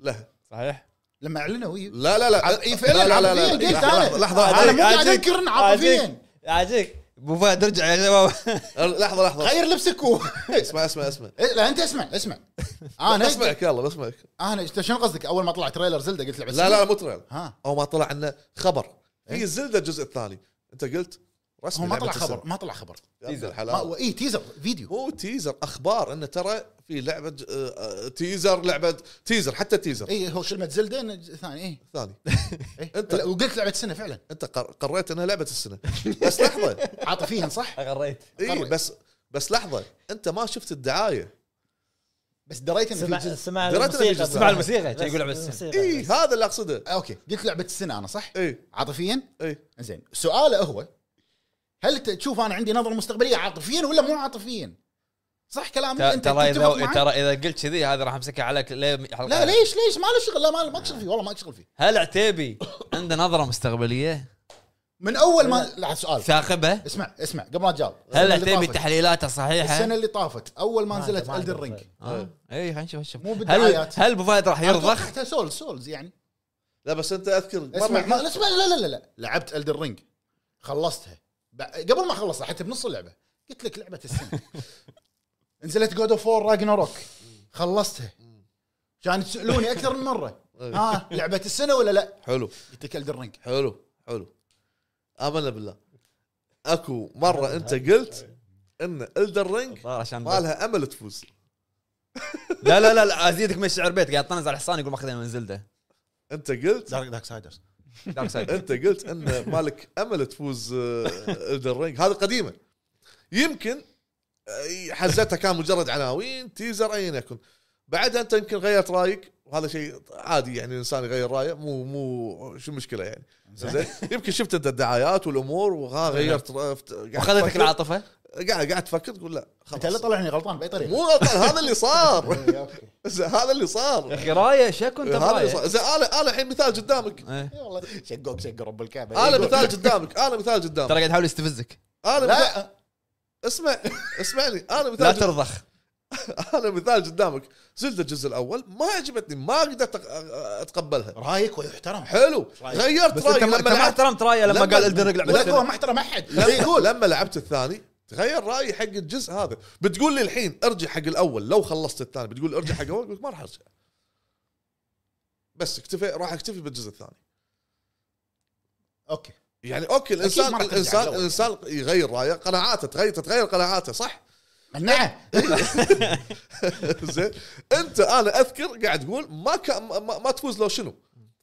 A: لها
C: صحيح
B: لما اعلنوا ويو
A: لا لا لا
B: اي فعلا
A: لا لا لا
B: عاطفيا
A: لا
B: قلت
A: لحظة لحظة لحظة
B: انا انا مو قاعد
C: عاجيك.
B: انكر إن عاطفيا
C: عاجيك. عاجيك ابو فهد ارجع يا شباب
A: لحظة لحظة
B: غير لبسك و...
A: اسمع اسمع اسمع
B: إيه، لا انت اسمع اسمع انا
A: بسمعك يلا بسمعك
B: انا إنت آه، شنو قصدك اول ما طلع تريلر زلده قلت لعبه
A: لا لا لا، مو تريلر
B: ها
A: أو ما طلع عنا خبر في زلدة الجزء الثاني أنت قلت
B: إيه. هو
A: رسمي
B: ما طلع
A: لعبة
B: خبر
A: السنة.
B: ما طلع خبر
A: يا ابن
B: ما هو
A: الحلال
B: اي تيزر فيديو
A: مو تيزر أخبار أنه ترى في لعبة ج- آه، آه، تيزر لعبة تيزر حتى تيزر
B: اي إيه، هو كلمه زلده إنه ج- ثاني اي
A: ثاني
B: إيه.
A: أنت-
B: لا، وقلت لعبه السنه فعلا
A: أنت قر- قريت أنها لعبة السنة بس لحظة
B: عاطفيا صح
C: غريت
A: اي
B: قرر.
A: بس بس لحظه انت ما شفت الدعايه
B: بس دريت انه
D: سمع
B: في جزء
D: سمع
A: دريت
D: الموسيقى
A: إنه
D: بس. إيه.
A: سمع
C: الموسيقى،
D: بس
C: كان يقول لعبة السنة.
D: الموسيقى
A: اي
D: بس.
A: هذا اللي اقصده
B: آه، اوكي قلت لعبه السنه انا صح
A: اي
B: عاطفيا
A: اي
B: زين سؤاله هو هل أنت تشوف انا عندي نظره مستقبليه عاطفيا ولا مو عاطفيا صح كلامي انت
C: ترى
B: تتفق
C: اذا
B: معي؟
C: ترى اذا قلت كذي هذا راح امسكها عليك ليه- حلقة
B: لا ليش ليش ما له شغل لا ما ما اشغل فيه والله ما اشغل فيه
C: هل عتيبي عنده نظره مستقبليه
B: من اول ما لا سؤال
C: ثاقبه
B: اسمع اسمع قبل ما تجاوب
C: هل
B: السنة اللي
C: عتيبي
B: طافت-
C: تحليلاته صحيحه
B: السنه اللي طافت اول ما
D: ما
B: نزلت
D: أنت- ما أنت
B: الدر رينج
D: متخيل.
C: آه. اي خلينا نشوف شوف
B: مو
C: هل
B: بالدعايات
C: هل ابو فهد راح يرضخ
B: توقعتها سولز سولز يعني
A: لا بس انت اذكر مرة
B: اسمع
A: كنت-
B: ما اسمع لا لا لا لا لعبت الدر رينج خلصتها بع- قبل ما اخلصها حتى بنص اللعبه قلت لك لعبه السنه نزلت جود اوف وور راجناروك خلصتها كان تسالوني اكثر من مره ها لعبه السنه ولا لا
A: حلو
B: قلت لك الدر رينج
A: حلو حلو امنا بالله اكو مره انت قلت ان الدر رينج
C: الظاهر عشان
A: ما لها امل تفوز
C: لا لا لا, لا ازيدك من الشعر بيت قاعد طنز على حصان يقول ماخذين من زلده
A: انت قلت
B: دارك دارك سايدرز
C: دارك سايد
A: انت قلت ان مالك امل تفوز الدر رينج هذه قديمه يمكن آه، حزتها كان مجرد عناوين تيزر ايا يكن بعدها انت يمكن غيرت رايك وهذا شيء عادي يعني الانسان يغير رايه مو مو شو المشكله يعني زين يمكن شفت انت الدعايات والامور وها غيرت را- فت- قاعد
C: اخذتك
A: تفكر-
C: العاطفه
A: قاعد قاعد تفكر تقول لا
B: انت اللي
A: خلاص
B: طلعني غلطان باي طريقه
A: مو غلطان هذا اللي صار
B: إيه، أوكي.
A: زين، هذا اللي
C: يا
A: صار
C: اخي رايه شكو انت
A: هذا اللي صار
C: برايه
A: زين، انا انا الحين مثال قدامك
C: إيه.
B: إيه والله شقوق شق رب الكعبه
A: انا
B: إيه،
A: مثال قدامك انا مثال
C: ترى
A: قدامك
C: قاعد يحاول يستفزك
A: انا مثال
B: لا
A: اسمع اسمعني انا مثال
C: لا
A: جد-
C: ترضخ
A: انا مثال قدامك زلت الجزء الاول ما عجبتني ما قدرت أق- اتقبلها
B: رايك ويحترم
A: حلو
B: رأيك.
A: غيرت
C: بس انت
A: رايي لما
C: ما- انت ما
A: لعبت
C: احترمت رايه لما
A: لما-
C: قال الدرج لعبه
B: ولا هو
C: السنة.
B: ما احترم احد
A: لما, لما لعبت الثاني تغير رايي حق الجزء هذا بتقول لي الحين ارجع حق الاول لو خلصت الثاني بتقول ارجع حق الاول قلت ما راح ارجع بس اكتفي راح اكتفي بالجزء الثاني
B: اوكي
A: يعني اوكي الانسان
B: ما راح ترجع
A: الانسان
B: للأول.
A: الانسان يغير رايه قناعاته تغير تتغير قناعاته صح
B: نعم
A: زين انت انا اذكر قاعد تقول ما كان ما, ما تفوز لو شنو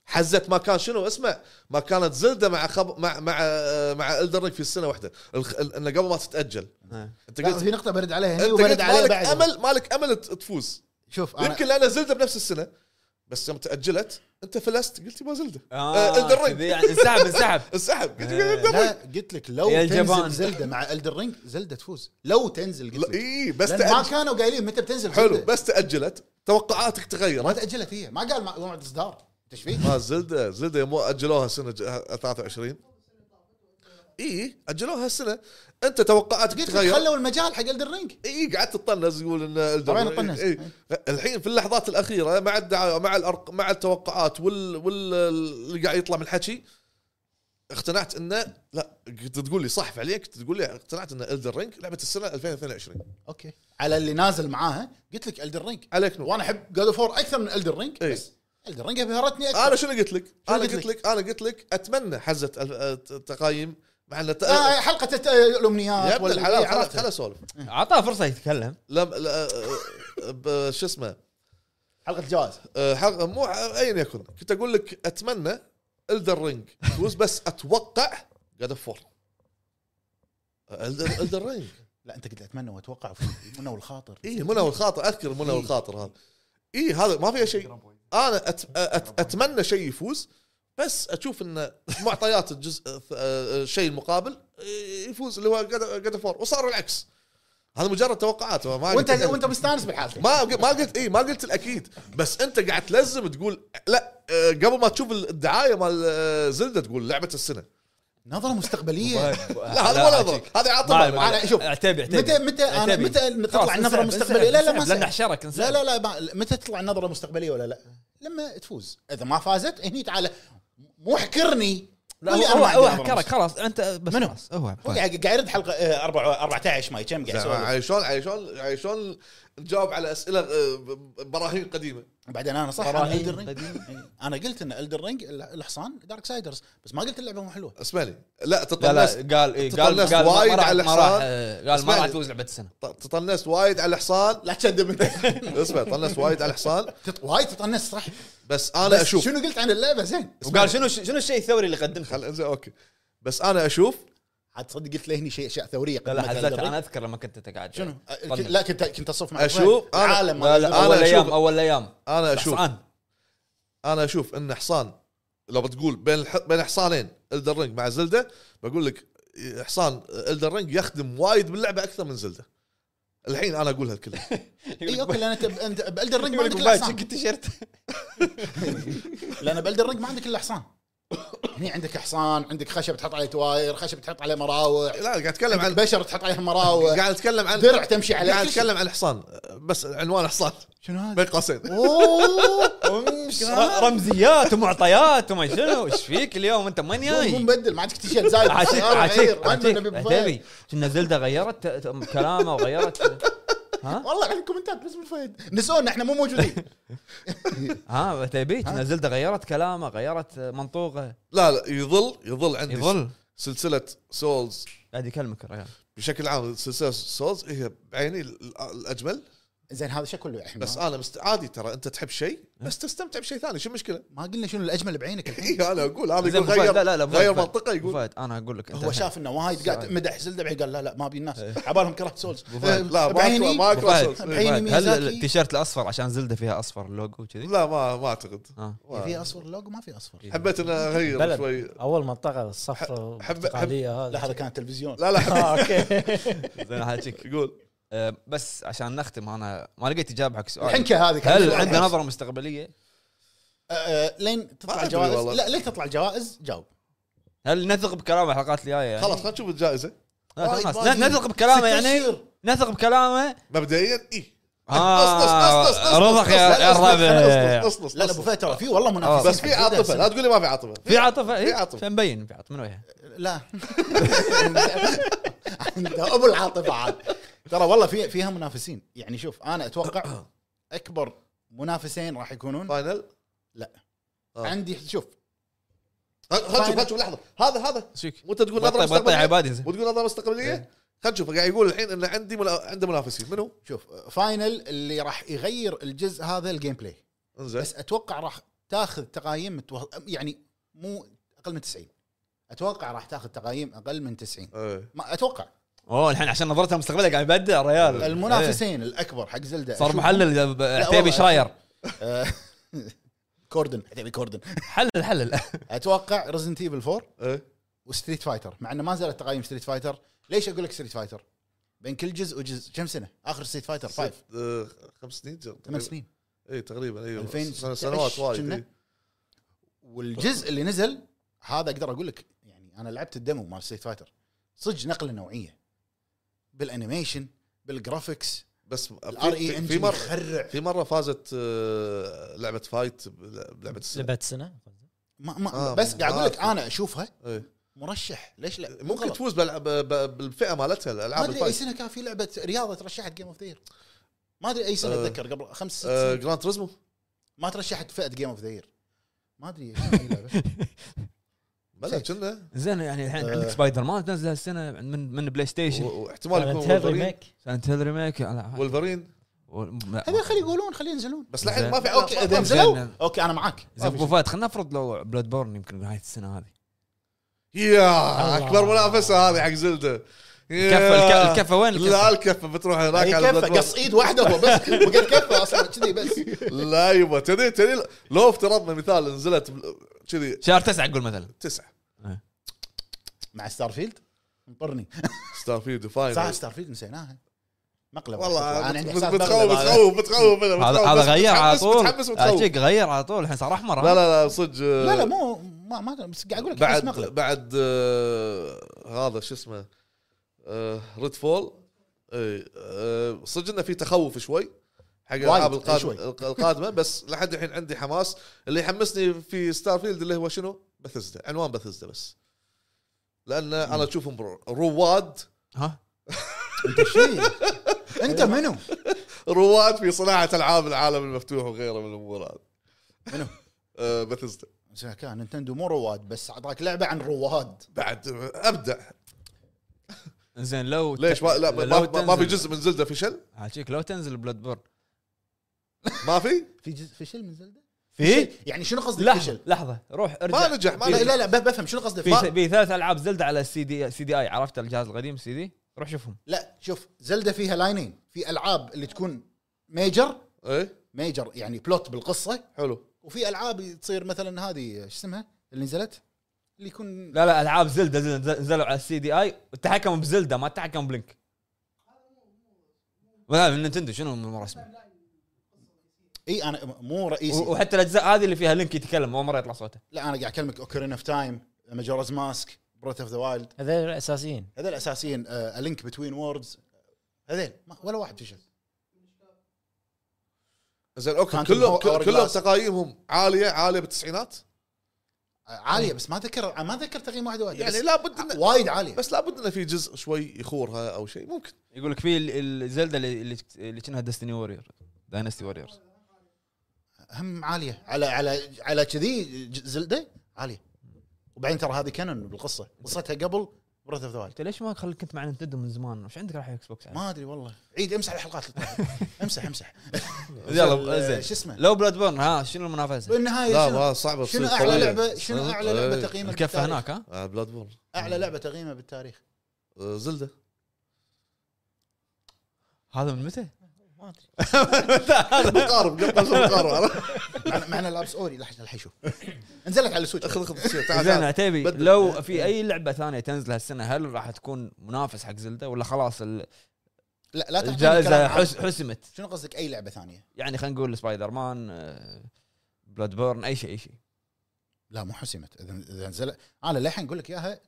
A: حزت ما كان شنو اسمع ما كانت زلده مع خب مع مع آه، مع الدرنج في السنه واحده الخ... ال- انه قبل ما تتاجل
C: إيه.
A: انت
B: نعم. لا،
A: قلت
B: في نقطه برد عليها هني
A: انت قلت
B: وبرد عليها
A: مالك
B: بعد
A: امل مالك امل ت- تفوز
B: شوف انا
A: يمكن لان زلده بنفس السنه بس يوم تاجلت انت فلست قلت ما زلده
C: آه،
A: آه، Elden Ring.
C: كذي يعني انسحب انسحب
A: انسحب قلت
C: إيه.
A: Elden Ring.
B: آه، لا قلت لك لو
C: يا
B: تنزل
C: الجبان.
B: زلده مع الدر رينج زلده تفوز لو تنزل
A: لا،
B: قلت لك
A: اي بس
B: لأن ما
A: تأجل.
B: كانوا قايلين متى بتنزل
A: حلو
B: زلدة.
A: بس تاجلت توقعاتك
B: ما
A: تغيرت
B: تاجلت هي ما قال مع- موعد اصدار انت ايش فيك؟
A: ما زلده زلده يوم اجلوها سنه ج- 23 اي اجلوها السنه انت توقعاتك
B: قلت
A: تتغير
B: لك خلوا المجال حق الدرينج
A: اي قعدت تطنز يقول ان Elden
B: طبعاً
A: Ring-
B: أطنز.
A: إي. الحين في اللحظات الاخيره مع الدعايه مع الأرق... مع التوقعات وال وال اللي قاعد يطلع من الحكي اقتنعت انه لا كنت تقول لي صح فعليا كنت تقول لي اقتنعت ان الدر رينج لعبه السنه 2022
B: اوكي على اللي نازل معاها قلت لك الدرينج
A: عليك نور إيه.
B: وانا احب جاد فور اكثر من الدرينج
A: إي.
B: بس الدرينج ابهرتني اكثر
A: انا شنو قلت لك؟ انا
B: قلت
A: قلت لك انا قلت لك اتمنى حزه ال- التقايم مع ان الت-
B: آه حلقه الت- إيه،
A: يا
B: الامنيات
A: ابن
B: ولا
A: الحلال
B: إي،
A: خلاص
B: عرفتها.
A: خلاص سولف
C: اعطاه فرصه يتكلم
A: لم لا- آه، ب- شو اسمه
B: حلقه الجوائز
A: أه، حق مو ايا يكن كنت اقول لك اتمنى الدر رينج فوز بس اتوقع جاد اوف فور آه، الدر رينج
B: لا انت قلت اتمنى واتوقع وفي- منى والخاطر
A: اي منى والخاطر اذكر منى والخاطر هذا اي هذا ما فيها شيء انا أت آه، أت اتمنى شيء يفوز بس اشوف ان معطيات الجزء أه، الشيء المقابل يفوز اللي هو جاد اوف فور وصار العكس هذا مجرد توقعات ما
B: وانت
A: أتكلم.
B: وانت مستانس بالحالتين
A: ما ما قلت اي ما قلت الاكيد بس انت قاعد تلزم تقول لا آه، قبل ما تشوف الدعايه مال آه، زلده تقول لعبه السنه
B: نظره مستقبليه
A: لا هذا ولا هذا هذا
C: طيب،
A: عاطفه
B: ما- أنا- شوف،
C: اعتبي اعتبي
B: متى متى انا
C: اعتبي.
B: متى
C: خلاص،
B: تطلع النظره
C: انسحب،
B: مستقبليه لا لا
C: انسحب،
B: ما
C: لان
B: انسحب.
C: حشرك انسحب.
B: لا لا لا ما- متى تطلع النظره مستقبليه ولا لا لما تفوز اذا ما فازت هني تعال مو احكرني
C: لا
B: قول لي
C: هو-
B: أنا ما عندي
C: هو
B: نظرة
C: حكرك خلاص انت بس
B: منو؟
C: خلاص، هو
B: هو يعني. قاعد قاعد يرد حلقه آه، أربعة- 14 ماي كم قاعد يسولف
A: عايشون عايشون عايشون نجاوب على اسئله آه، ب- براهين قديمه
B: بعدين انا صح
D: براهين
B: انا Elden Ring-
D: قديمة.
B: انا قلت ان الدر رينج الحصان دارك سايدرز بس ما قلت اللعبه مو حلوه
A: اسمعني لا
C: لا لا
A: تطنست
C: قال إيه، قال
A: تطنست
C: قال ما-
A: وايد
C: ما راح
A: على
C: ما راح
A: الحصان.
C: آه، قال ما
A: اسمعني.
C: راح تفوز لعبه السنه
A: ط- تطنست وايد على الحصان
B: لا تكذب انت
A: اسمع طنست وايد على الحصان
B: تط- وايد تطنست صح
A: بس انا
B: بس
A: اشوف
B: شنو قلت عن اللعبه زين
C: وقال شنو شنو الشيء الثوري اللي قدمته؟
A: خل انزين اوكي بس انا اشوف
B: عاد تصدق قلت له هني شيء اشياء ثوريه
C: لا لا
B: قدمتها
C: حزتها،
B: Elden Ring.
C: انا اذكر لما كنت أنت قاعد
B: شنو؟
C: طنش.
B: لا كنت كنت اصف مع
A: أشوف
B: فهد.
A: أنا-
B: العالم
C: لا لا
A: أنا
C: اول ايام
A: أشوف-
C: اول ايام
A: انا اشوف
C: حصان
A: انا اشوف ان حصان لو بتقول بين الح... بين حصانين الدر رينج مع زلده بقول لك حصان الدر رينج يخدم وايد باللعبه اكثر من زلده الحين انا اقول هالكلمه
B: اي اوكي لان انت انت بالدر رينج أيوة، ما
C: يقول
B: عندك
C: لك
B: الا
C: باي،
B: حصان
C: شق التيشيرت
B: لان بالدر رينج ما عندك الا حصان هني عندك حصان عندك خشب تحط عليه تواير خشب تحط عليه مراوح
A: لا قاعد اتكلم عن
B: بشر تحط عليهم مراوح
A: قاعد اتكلم عن
B: درع تمشي عليه
A: قاعد
B: كل شيء.
A: اتكلم عن حصان بس عنوان حصان
B: شنو هذا؟
A: بين قوسين
C: ر- رمزيات ومعطيات وما شنو ايش فيك اليوم انت من
B: مو
C: جاي
B: مبدل ما عندك تيشيرت زايد
C: عاشيك
B: آه، غير.
C: عاشيك
B: ما عندنا نبي
C: عاشيك
B: بفاير.
C: عتيبي كنا زلده غيرت ت- ت- كلامه وغيرت ها
B: والله عندي كومنتات بس من فهد نسونا احنا مو موجودين
C: ها عتيبي كنا زلده غيرت كلامه غيرت منطوقه
A: لا لا يظل يظل عندي
C: يظل
A: سلسله سولز
C: قاعد يكلمك الرجال
A: بشكل عام سلسله سولز هي بعيني ال- الاجمل
B: زين هذا شو كله الحين
A: بس انا مست... عادي ترى انت تحب شيء بس تستمتع بشيء ثاني شو المشكله؟
B: ما قلنا شنو الاجمل بعينك الحين
A: اي انا اقول انا
C: زين
A: اقول
C: أبو فهد،
A: غير
C: لا لا لا أبو فهد،
A: غير
C: أبو فهد،
A: منطقه
C: أبو
A: يقول
C: فهد انا اقول لك أنت
B: هو
C: الحين.
B: شاف انه وايد قاعد مدح زلده بعدين قال لا لا ما ابي الناس عبالهم كرهت سولز
C: فهد،
A: إيه. لا ما
B: بعيني-
A: أكره- ما
C: أبو فهد،
A: اكره
C: أبو
A: سولز
B: بعيني
C: فهد، هل
B: ميازاكي.
C: التيشيرت الاصفر عشان زلده فيها اصفر اللوجو وكذي؟
A: لا ما ما اعتقد
C: اه
A: ما-
B: في اصفر اللوجو ما في
C: إيه.
B: اصفر
A: حبيت اني اغير
D: بلد.
A: شوي
D: اول منطقه الصفراء
A: حب- حب-
D: البرتقاليه
B: لا هذا
D: هذه
B: كان تلفزيون
A: لا لا حبيت
D: آه، اوكي
C: زين حاجيك
A: يقول
C: آه، بس عشان نختم انا ما لقيت اجابه حق سؤال
B: الحنكه هذه كان
C: هل
B: سؤال
C: عنده
B: عكس.
C: نظره مستقبليه؟
B: آه، آه، لين
A: ما
B: تطلع
A: أدري والله.
B: الجوائز لا لين تطلع الجوائز جاوب
C: هل نثق بكلامه الحلقات الجايه يعني؟
A: خلاص خلينا نشوف الجائزه
C: لا،
B: وايد
C: خلاص
B: وايد.
C: ن- نثق بكلامه
B: ست
C: يعني
B: أشهر.
C: نثق بكلامه
A: مبدئيا اي
C: آه، رضخ إيه. يا- يا الربع
A: اصلص
B: لا لا ابو فهد ترى في والله منافسين
A: بس في عاطفه لا تقول لي ما في عاطفه
C: في عاطفه
A: في عاطفة.
C: إيه؟ مبين في عاطفه من وجهه
B: لا أنت ابو العاطفه عاد ترى والله في فيها منافسين يعني شوف انا اتوقع اكبر منافسين راح يكونون
A: فاينل
B: لا
A: آه.
B: عندي شوف
A: خلينا نشوف
B: فاينل.
A: خلينا نشوف لحظه هذا هذا
C: ايش فيك؟
A: مو أنت تقول نظره
C: بطيء إيه. بطيء
A: مستقبليه
C: عبادي زين
A: وتقول نظره مستقبليه خلينا نشوف قاعد يقول الحين ان عندي ملا... عنده منافسين منو؟
B: شوف فاينل اللي راح يغير الجزء هذا الجيم بلاي
A: انزين
B: بس اتوقع راح تاخذ تقايم متوه... يعني مو اقل من 90 اتوقع راح تاخذ تقايم اقل من 90
A: إيه.
B: ما اتوقع
C: اوه الحين عشان نظرته المستقبليه قاعد يبدع الرجال
B: المنافسين الاكبر حق زلدة
C: إيه. صار
B: أشوف-
C: محلل عتيبي
B: والله.
C: شراير
B: آه، كوردن عتيبي كوردن
C: حلل حلل
B: اتوقع ريزنت ايفل 4
A: إيه.
B: وستريت فايتر مع انه ما زالت تقايم ستريت فايتر ليش اقول لك ستريت فايتر؟ بين كل جزء وجزء كم سنه؟ اخر ستريت فايتر 5
A: ست- آه، خمس سنين إيه،
B: ثمان سنين
A: اي تقريبا اي
B: 2019
A: سنوات وايد
B: كنا.
A: إيه.
B: والجزء اللي نزل هذا اقدر اقول لك يعني يعني انا لعبت الديمو مال ستيت فايتر صدق نقله نوعيه بالانيميشن بالجرافكس
A: بس
B: الار
A: في,
B: اي
A: في, في
B: انجن
A: مره
B: E يخرع
A: في مره فازت آه، لعبه فايت ب- بلعبه السنه
D: لبعد سنه
B: ما ما
A: آه،
B: بس قاعد اقول لك
A: عارف.
B: انا اشوفها
A: إيه.
B: مرشح ليش لا مو
A: ممكن
B: غلط.
A: تفوز بالع- ب- ب- بالفئه مالتها
B: ما إيه،
A: الالعاب
B: ادري اي
A: الفايت
B: سنه كان في لعبه رياضه ترشحت جيم اوف ذير ما ادري اي سنه
A: آه.
B: اتذكر قبل خمس ست
A: آه،
B: سنين
A: جراند تريزمو
B: ما ترشحت فئه جيم اوف ذير ما ادري إيش هي اللعبة.
A: بلا كنا
C: زين يعني الحين
B: آه.
C: عندك سبايدر مان نزل هالسنه من من بلاي ستيشن
A: واحتمال يكون
D: سايلنت
A: ولفرين
D: ريميك
C: سانت هيل ريميك ألعاب.
A: ولفرين
C: وال-
B: هذا خلي يقولون خلي ينزلون
A: بس لحين
C: زين.
A: ما في
B: اوكي اذا
A: ما- ما-
B: نزلوا
C: زين.
B: اوكي انا معاك
C: زين ابو فهد خلينا نفرض لو بلاد بورن يمكن نهايه السنه هذه
A: يا
D: الله.
A: اكبر منافسه هذه حق زلده
C: الكفه الك- الكفه وين
A: آه. لا
C: الكفه؟
A: الكفه بتروح هناك
B: هي كفه
A: Bloodborne.
B: قص ايد واحده هو بس وقد كفه اصلا كذي بس
A: لا يبا تدري تدري لو افترضنا مثال نزلت بل- كذي
C: شهر تسعه قول مثلا
A: تسعه
B: مع ستار فيلد مطرني
A: ستار فيلد
B: ساعه
A: وفاينل
B: ستار فيلد نسيناها مقلب
A: أيوة. والله
B: عندي
A: بت-
B: يعني إحساس
A: بتخوف
B: مقلب هذا.
A: بتخوف بتخوف أنا،
C: هذا
A: بتخوف، بس
C: هذا غير على
A: متحمس-
C: طول
A: متحمس وتخوف
C: أشيك غير على طول الحين صار احمر
A: لا
C: ها؟
A: لا لا صدق آه،
B: لا لا مو ما ما بس قاعد اقول لك
A: بعد
B: بعد مقلب
A: بعد آه، هذا شو اسمه ريد فول إي، آه، صدق انه في تخوف شوي حق الالعاب
B: وايد،
A: القادمه
B: شوي.
A: الق- القادمه بس لحد الحين عندي حماس اللي يحمسني في ستار فيلد اللي هو شنو؟ بثزدا عنوان بثزدا بس لان انا اشوفهم رو- رواد
C: ها
B: انت شي انت منو؟
A: رواد في صناعه العاب العالم المفتوح وغيره من الامور هذه
B: منو؟
A: آه، بثزدا
B: زين، كان نينتندو مو رواد بس اعطاك لعبه عن رواد
A: بعد ابدع
C: زين لو
A: ليش ما لا ما, ما, ما في
C: تنزل-
A: جزء من زلده فشل
C: هاتشيك لو تنزل بلاد بورن
A: ما في
B: في جزء فشل من زلده؟
C: في
B: يعني شنو قصدك
C: لحظه
B: فشل؟
C: لحظه روح ارجع
A: ما نجح ما
B: لا
A: نجح
B: إيه، لا لا بفهم شنو قصدك
C: في
B: ما-
C: في ثلاث العاب زلدة على السي دي سي دي اي عرفت الجهاز القديم سي دي روح شوفهم
B: لا شوف زلده فيها لاينين في العاب اللي تكون ميجر
A: ايه
B: ميجر يعني بلوت بالقصه
A: حلو
B: وفي العاب تصير مثلا هذه شو اسمها اللي نزلت اللي يكون
C: لا لا العاب زلدة زلدة نزلوا على السي دي اي وتحكموا بزلدة ما تحكموا بلينك لا من نينتندو شنو من رسمي
B: اي انا مو رئيسي
C: و- وحتى الاجزاء هذه اللي فيها لينك يتكلم اول مره يطلع صوته
B: لا انا قاعد اكلمك اوكرين اوف تايم ماجورز ماسك بروث اوف ذا وايلد
D: هذول الاساسيين
B: هذول آه، اساسيين لينك بتوين ووردز هذول ما- ولا واحد فشل
A: زين اوكي
B: Phantom
A: كلهم
B: Hour-
A: كلهم
B: Hourglass.
A: تقايمهم عاليه عاليه بالتسعينات
B: آه، عاليه بس ما ذكر ما ذكر تقييم واحد واحد
A: يعني
B: يعني
A: لابد إنه-
B: وايد عاليه
A: بس لابد انه في جزء شوي يخورها او شيء ممكن
C: يقول لك في ال- الزلدة اللي اللي- اللي كانها ديستني وورير داينستي ووريرز
B: هم عاليه على على على كذي ج- زلده عاليه وبعدين ترى هذه كانون بالقصه قصتها قبل بروث اوف ذا وايلد
C: انت ليش ما خل- كنت مع نينتندو من زمان وش عندك راح يعني؟ اكس بوكس
B: ما ادري والله عيد امسح الحلقات اللي طافت. امسح امسح
C: يلا،
B: زل-
C: زين.
B: شو اسمه
C: لو بلاد بورن ها شنو المنافسه
B: بالنهايه
A: لا
B: إيه، شنو,
A: ما صعبه
B: شنو
A: تصير
B: اعلى
A: قوية.
B: لعبه شنو
A: صدق؟
B: اعلى لعبه
A: إيه.
B: تقييمه
C: الكفه
B: بالتاريخ؟
C: هناك ها
A: آه بلاد بورن
B: اعلى لعبه تقييمه بالتاريخ
A: آه زلده
C: هذا من متى؟
D: ما ادري
A: مقارب قبل مقارب
B: معنا معنا لابس اوري لحظه الحين شوف نزلت على السويتش
A: خذ خذ شيء، تعال
C: زين
A: تعال
C: عتيبي
A: بدل.
C: لو في اي لعبه ثانيه تنزل هالسنه هل راح تكون منافس حق زلده ولا خلاص ال-
B: لا لا تعطيني
C: الجائزه
B: كلام عام.
C: حس حسمت
B: شنو قصدك اي لعبه ثانيه؟
C: يعني خلينا نقول سبايدر مان بلاد بورن اي شيء اي شيء
B: لا مو حسمت اذا اذا نزلت انا للحين اقول لك اياها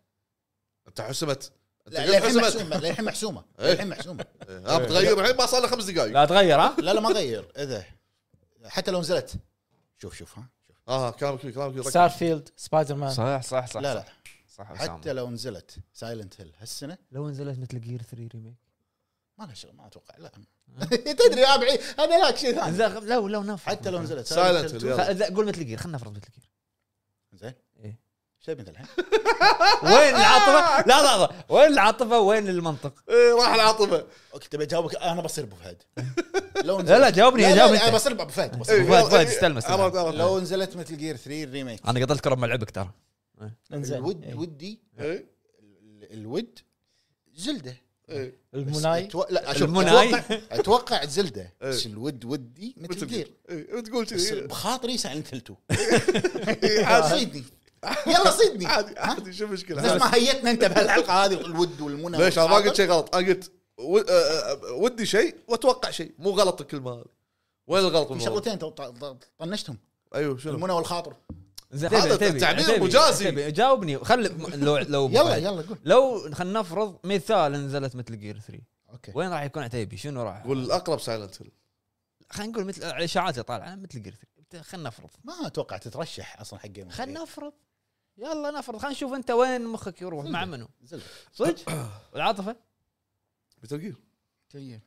A: انت حسبت انت
B: لا،
A: قلت
B: للحين
A: حسبت
B: محسومه للحين محسومه
A: إيه.
B: للحين محسومه
A: إيه، ها بتغير الحين ما صار له خمس دقائق
C: لا تغير ها
B: لا لا ما غير اذا حتى لو نزلت شوف شوف ها شوف
A: اه كلامك كبير كلامك كبير
D: ستار فيلد سبايدر مان
C: صح صح صح
B: لا لا
C: صح, صح
B: حتى
C: حتى
B: لو نزلت سايلنت هيل هالسنه
C: لو نزلت مثل جير 3 ريميك
B: ما لها شغل ما اتوقع لا تدري يا بعيد هذا لاك شيء ثاني
C: لو لو نفرض
B: حتى لو نزلت
A: Silent Hill،
B: two.
A: يلا.
C: قول مثل جير خلينا نفرض مثل جير
B: زين
C: إيه.
B: شو تبي انت الحين؟
C: وين العاطفه لا لحظه وين العاطفه وين المنطق
A: إيه، راح العاطفه
B: اوكي تبي اجاوبك انا بصير ابو فهد لو
C: لا لا جاوبني
B: لا، لا،
C: جاوبني آه.
B: لا،
C: أنت.
B: انا بصير ابو فهد بصير
A: إيه،
C: فهد،
A: يلا، إيه،
C: فهد، استلمس، استلمس.
A: عرفت، عرفت.
B: لو نزلت مثل جير 3 ريميك
C: انا قطلت كرب من لعبك ترى
D: انزين
B: الود
D: إيه.
B: ودي
A: إيه،
B: ال- الود زلده
A: إيه.
B: بس
D: المناي
B: أتو... لا شوف
C: المناي.
B: اتوقع اتوقع زلده
A: إيه.
B: بس الود ودي مثل
A: مثل
B: جير
A: جير. إيه، تقول
B: بس
A: كذي
B: بخاطري سايلنت هيل 2
A: إيه، عادي
B: صيدني يلا صيدني
A: عادي عادي شو المشكله
B: نفس ما هيتنا انت بهالحلقه هذه الود والمنى
A: ليش انا ما
B: والخاطر.
A: قلت شيء غلط انا قلت و- آه، آه، ودي شيء واتوقع شيء مو غلط الكلمه هذه وين الغلط
B: في
A: بالموضوع؟
B: شغلتين تو- ط- ط- طنشتهم
A: ايوه شنو
B: المنى والخاطر
C: زين
A: هذا
C: عتيبي- عتيبي-
A: تعبير
C: عتيبي-
A: مجازي.
C: عتيبي، جاوبني خل لو لو
B: يلا يلا قول
C: لو خلينا نفرض مثال نزلت مثل جير 3
B: اوكي
C: وين راح يكون عتيبي شنو راح
A: والاقرب سايلنت هيل
C: خلينا نقول مثل على اشاعات اللي طالعه مثل جير 3 خلينا نفرض
B: ما اتوقع تترشح اصلا حق جيم
C: خلينا نفرض يلا نفرض خلينا نشوف انت وين مخك يروح مع منو
B: زلدة.
C: صدق العاطفه
A: متل جير
B: يعني
D: طيب.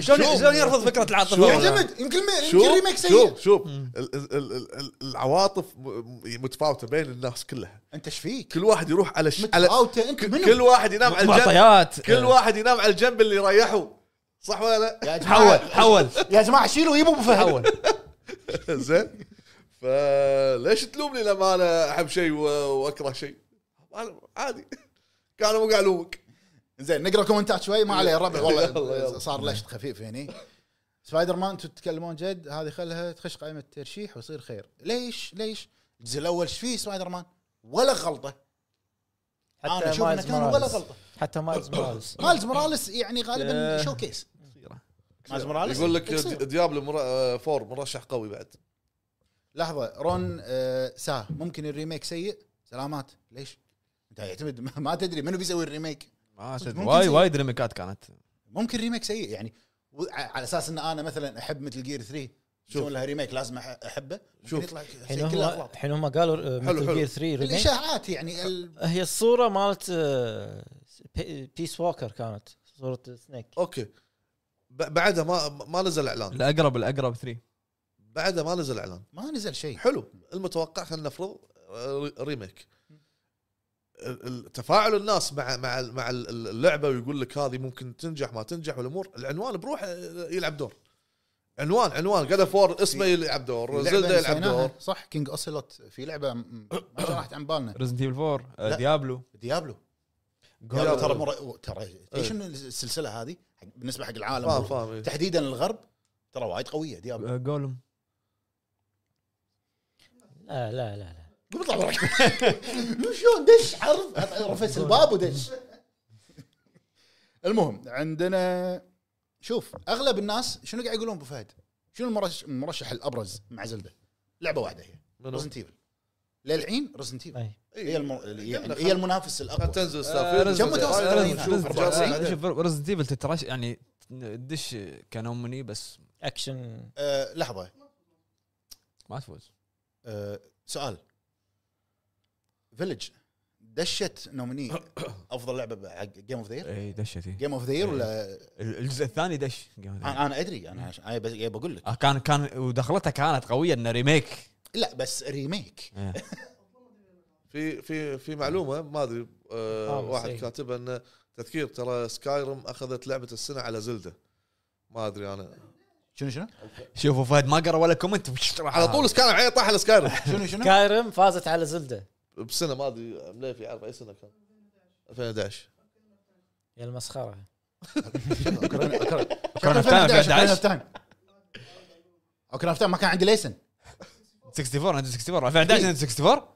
C: شلون شلون يرفض فكره العاطفه
B: يعتمد يمكن ما- يمكن ريميك
A: شوف
B: سيء
A: شوف شوف
C: مم.
A: ال- ال- ال- ال- ال- العواطف م- م- متفاوته بين الناس كلها
B: انت ايش فيك؟
A: كل واحد يروح على ش... على
B: متفاوته
A: ك-
B: انت منو؟
A: كل واحد ينام على الجنب
C: معطيات إيه.
A: كل واحد ينام على الجنب اللي يريحه صح ولا لا؟
B: يا جماعه
C: حول حول
B: يا جماعه شيلوا ويبوا ابو فهد
C: حول
A: زين فليش تلومني لما انا احب شيء و- واكره شيء؟ أنا عادي كان مو قاعد الومك
B: زين نقرا كومنتات شوي ما عليه الربع
A: يلا،
B: والله
A: يلا.
B: صار لشت خفيف هني سبايدر مان انتم تتكلمون جد هذه خلها تخش قائمه الترشيح ويصير خير ليش ليش الجزء الاول ايش فيه سبايدر مان ولا غلطه انا
D: حتى
B: اشوف انه
D: مايلز
B: كان ولا
D: موراليس
B: غلطه
D: حتى مايلز موراليس
B: مايلز موراليس يعني غالبا
C: آه.
B: شو كيس مايلز موراليس
A: يقول لك
B: يصير.
A: دي- ديابلو مرا- فور مرشح قوي بعد
B: لحظه رون آه، ساه ممكن الريميك سيء سلامات ليش؟ انت يعتمد ما- ما تدري منو بيسوي الريميك
C: ما
B: صدق،
C: أدري،
B: ممكن
C: آه، وايد
B: زين.
C: وايد ريميكات كانت
B: ممكن ريميك سيء يعني و- ع- على اساس ان انا مثلا احب مثل جير 3 شوف لها ريميك لازم أح- احبه
A: شوف.
B: شوف يطلع
D: الحين
B: شيء كله
D: هم
B: اغلاط
D: الحين هم قالوا
A: حلو،
D: مثل
A: حلو.
D: جير 3 ريميك
B: الاشاعات يعني ال...
D: هي الصوره مالت آه، بيس ووكر كانت صوره سنيك
A: اوكي ب- بعدها ما ما نزل اعلان
C: الاقرب الاقرب 3
A: بعدها ما نزل اعلان
B: ما نزل شيء
A: حلو المتوقع خلينا نفرض آه، ريميك ال- ال- تفاعل الناس مع مع مع ال- ال- اللعبه ويقول لك هذه ممكن تنجح ما تنجح والامور العنوان بروح آه، يلعب دور عنوان عنوان قاعد فور اسمه يلعب دور
B: لعبة
A: زلدا يلعب
B: نسيناها.
A: دور
B: صح كينج اوسلوت في لعبه م- ما راحت عن بالنا
C: ريزنت ايفل 4 آه،
B: لا.
C: ديابلو
B: ديابلو
A: ديابلو.
B: ديابلو ترى مر... ترى ليش إن السلسله هذه حق- بالنسبه حق العالم
A: فاهم فاهم إيه.
B: تحديدا الغرب ترى وايد قويه ديابلو
C: آه، جولم
D: لا لا لا لا
B: بيطلع برا شو دش عرض رفس الباب ودش المهم عندنا شوف اغلب الناس شنو قاعد يقولون ابو فهد؟ شنو المرشح, المرشح الابرز مع زلده؟ لعبه واحده هي
A: منو؟
B: رزنت ايفل للحين رزنت ايفل
D: أي.
B: هي
A: إيه.
B: الم... يعني
A: قبل
B: هي المنافس الاقوى
A: خلنا تنزل
C: آه،
A: ستار
C: ريزنت-
B: كم متوسط؟
C: ريزنت-
B: نشوف.
C: ريزنت-
A: 94.
C: آه، شوف ريزنت ايفل تترش يعني دش كنومني بس
D: اكشن
B: أه لحظه
C: ما تفوز
B: أه سؤال فيلج دشت نوميني افضل لعبه حق جيم اوف ذا يير
C: اي دشت إي.
B: جيم اوف ذا يير ولا
C: ال- الجزء الثاني دش Game
A: آه.
C: of the Year.
B: انا أنا ادري انا عشان- أنا بس- بقول لك
C: آه، كان كان ودخلتها كانت قويه انه ريميك
B: لا بس ريميك
C: إيه.
A: في في في معلومه ما ادري آه
D: آه،
A: واحد
D: بس إيه.
A: كاتبها ان تذكير ترى سكايرم اخذت لعبه السنه على زلده ما ادري انا
B: شنو شنو؟
C: شوفوا فهد ما قرا ولا كومنت
A: على
C: آه.
A: طول سكايرم عيني طاح على سكايرم
B: شنو شنو؟
D: كايرم فازت على زلده
A: بسنه ما ادري مليفي عارف اي سنه كان 2011
D: يا المسخره
B: اوكران
C: أوكران أوف تايم
B: 2011
C: 11.
B: أوكران أوف تايم. اوكران اوف تايم ما كان عندي ليسن
C: 64 نتندو 64 2011
A: إيه.
C: نتندو 64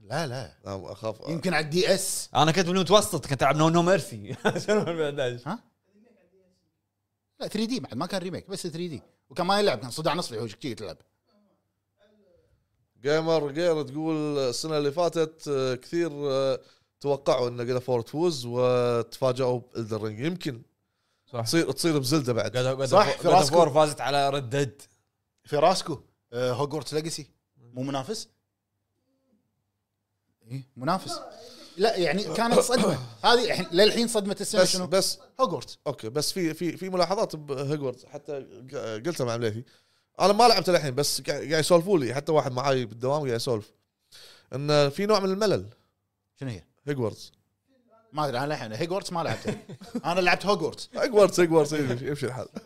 B: لا لا
A: أنا اخاف
B: يمكن على الدي اس
C: انا كنت بالمتوسط كنت العب نو نو ميرسي شنو 2011
B: لا 3 دي بعد ما كان ريميك بس 3 دي وكان ما يلعب كان صداع نصفي هو شكلك تلعب
A: جيمر غير تقول السنه اللي فاتت آه، كثير آه، توقعوا ان جاد فور تفوز وتفاجئوا بالدرينج يمكن
C: صح.
A: تصير تصير بزلده بعد
B: صح،
C: صح
B: في راسكم.
C: فور فازت على ردد
B: في راسكو هوجورتس ليجاسي آه، مو منافس؟ ايه منافس لا يعني كانت صدمه هذه الحين- للحين صدمه السنه
A: بس
B: شنو؟
A: بس
B: هوجورتس
A: اوكي بس في في في ملاحظات بهجوردز حتى ق- قلتها مع مليفي انا ما لعبت الحين بس قاعد قاعد يسولفوا لي حتى واحد معاي بالدوام قاعد يسولف ان في نوع من الملل
B: شنو هي؟
A: هجوردز
B: ما ادري انا الحين هوجورتس ما لعبته انا لعبت هوجورتس
A: هجوردز هجوردز إيه، يمشي يمشي الحال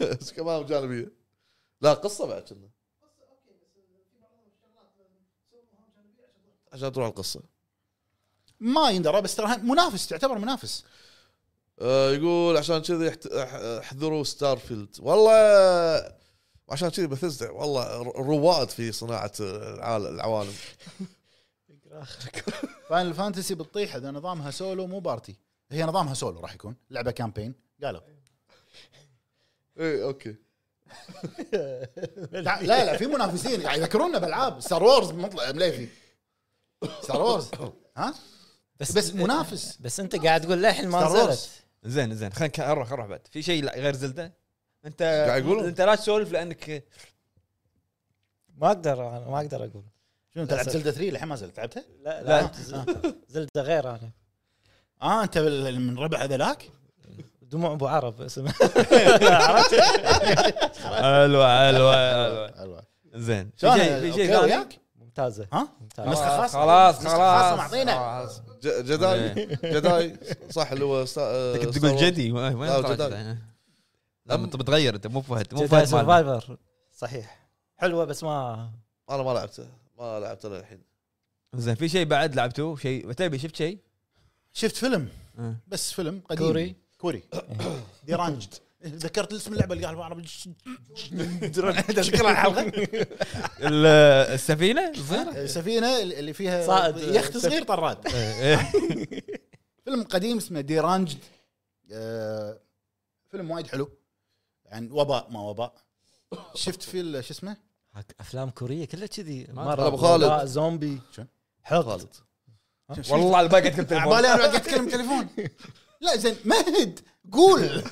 A: بس كمان جانبيه لا قصه بعد كنا عشان تروح القصه
B: ما يندرى بس ترى منافس تعتبر منافس
A: آه، يقول عشان كذي احت- اح- احذروا ستارفيلد والله عشان كذي بثزدا والله ر- رواد في صناعه آه، العال- العوالم
B: فاينل فانتسي بتطيح اذا نظامها سولو مو بارتي هي نظامها سولو راح يكون لعبه كامبين قالوا
A: ايه اوكي
B: لا لا في منافسين يعني قاعد يذكرونا بالعاب ستار وورز مطلع مليفي ستار وورز ها بس منافس
D: بس انت قاعد تقول للحين ما
B: Star Wars.
D: نزلت
C: زين زين خلينا نروح نروح بعد في شيء لا- غير زلده انت
A: قاعد يقولون.
C: انت لا تسولف لانك
D: ما اقدر انا ما اقدر اقول
B: شنو انت لعبت زلده 3 للحين ما زلت لعبتها؟
D: لا
C: لا.
D: لا زلده غير انا
B: اه انت بال- من ربع هذلاك؟
D: دموع ابو عرب اسمه
C: حلو حلو حلو
B: حلوة.
C: زين في
B: أيوة. شلون
C: شيء في شيء
B: أوكي
C: ثاني؟
B: وياك؟
D: ممتازه
B: ها؟
D: ممتازه
B: نسخة خاصة.
C: خلاص
B: نسخة خاصة
C: خلاص
B: معطينا.
C: خلاص.
A: ج- جداي جداي صح اللي هو آه، سا...
C: انت كنت
A: ستار
C: إيه. تقول
A: وورز.
C: جدي وين
A: لا،
C: طلعت
A: جداي.
C: جداي؟ لا انت بتغير انت مو فهد مو
D: جداي
C: فهد مالنا.
D: سرفايفر صحيح حلوه بس ما
A: انا ما لعبته ما لعبته للحين
C: زين في شيء بعد لعبتوه شيء عتيبي شفت شيء؟
B: شفت فيلم
C: آه.
B: بس فيلم قديم
D: كوري.
B: كوري ديرانجد ذكرت اسم اللعبه اللي قاعد بعرب
D: تذكر الحلقه
C: ال- السفينه الصغيره
B: سفينه اللي فيها
D: صائد.
B: يخت صغير طراد
C: إيه.
B: فيلم قديم اسمه ديرانجد آه، فيلم وايد حلو عن وباء ما وباء شفت في ال- شو اسمه
D: افلام كوريه كلها كذي
C: ما
D: مره
C: أدري.
A: أبو خالد.
D: وباء، زومبي
B: شنو؟
D: حط
A: خالد
C: والله على الباقي قاعد
B: عبالي انا قاعد اتكلم تليفون لا زين مهد قول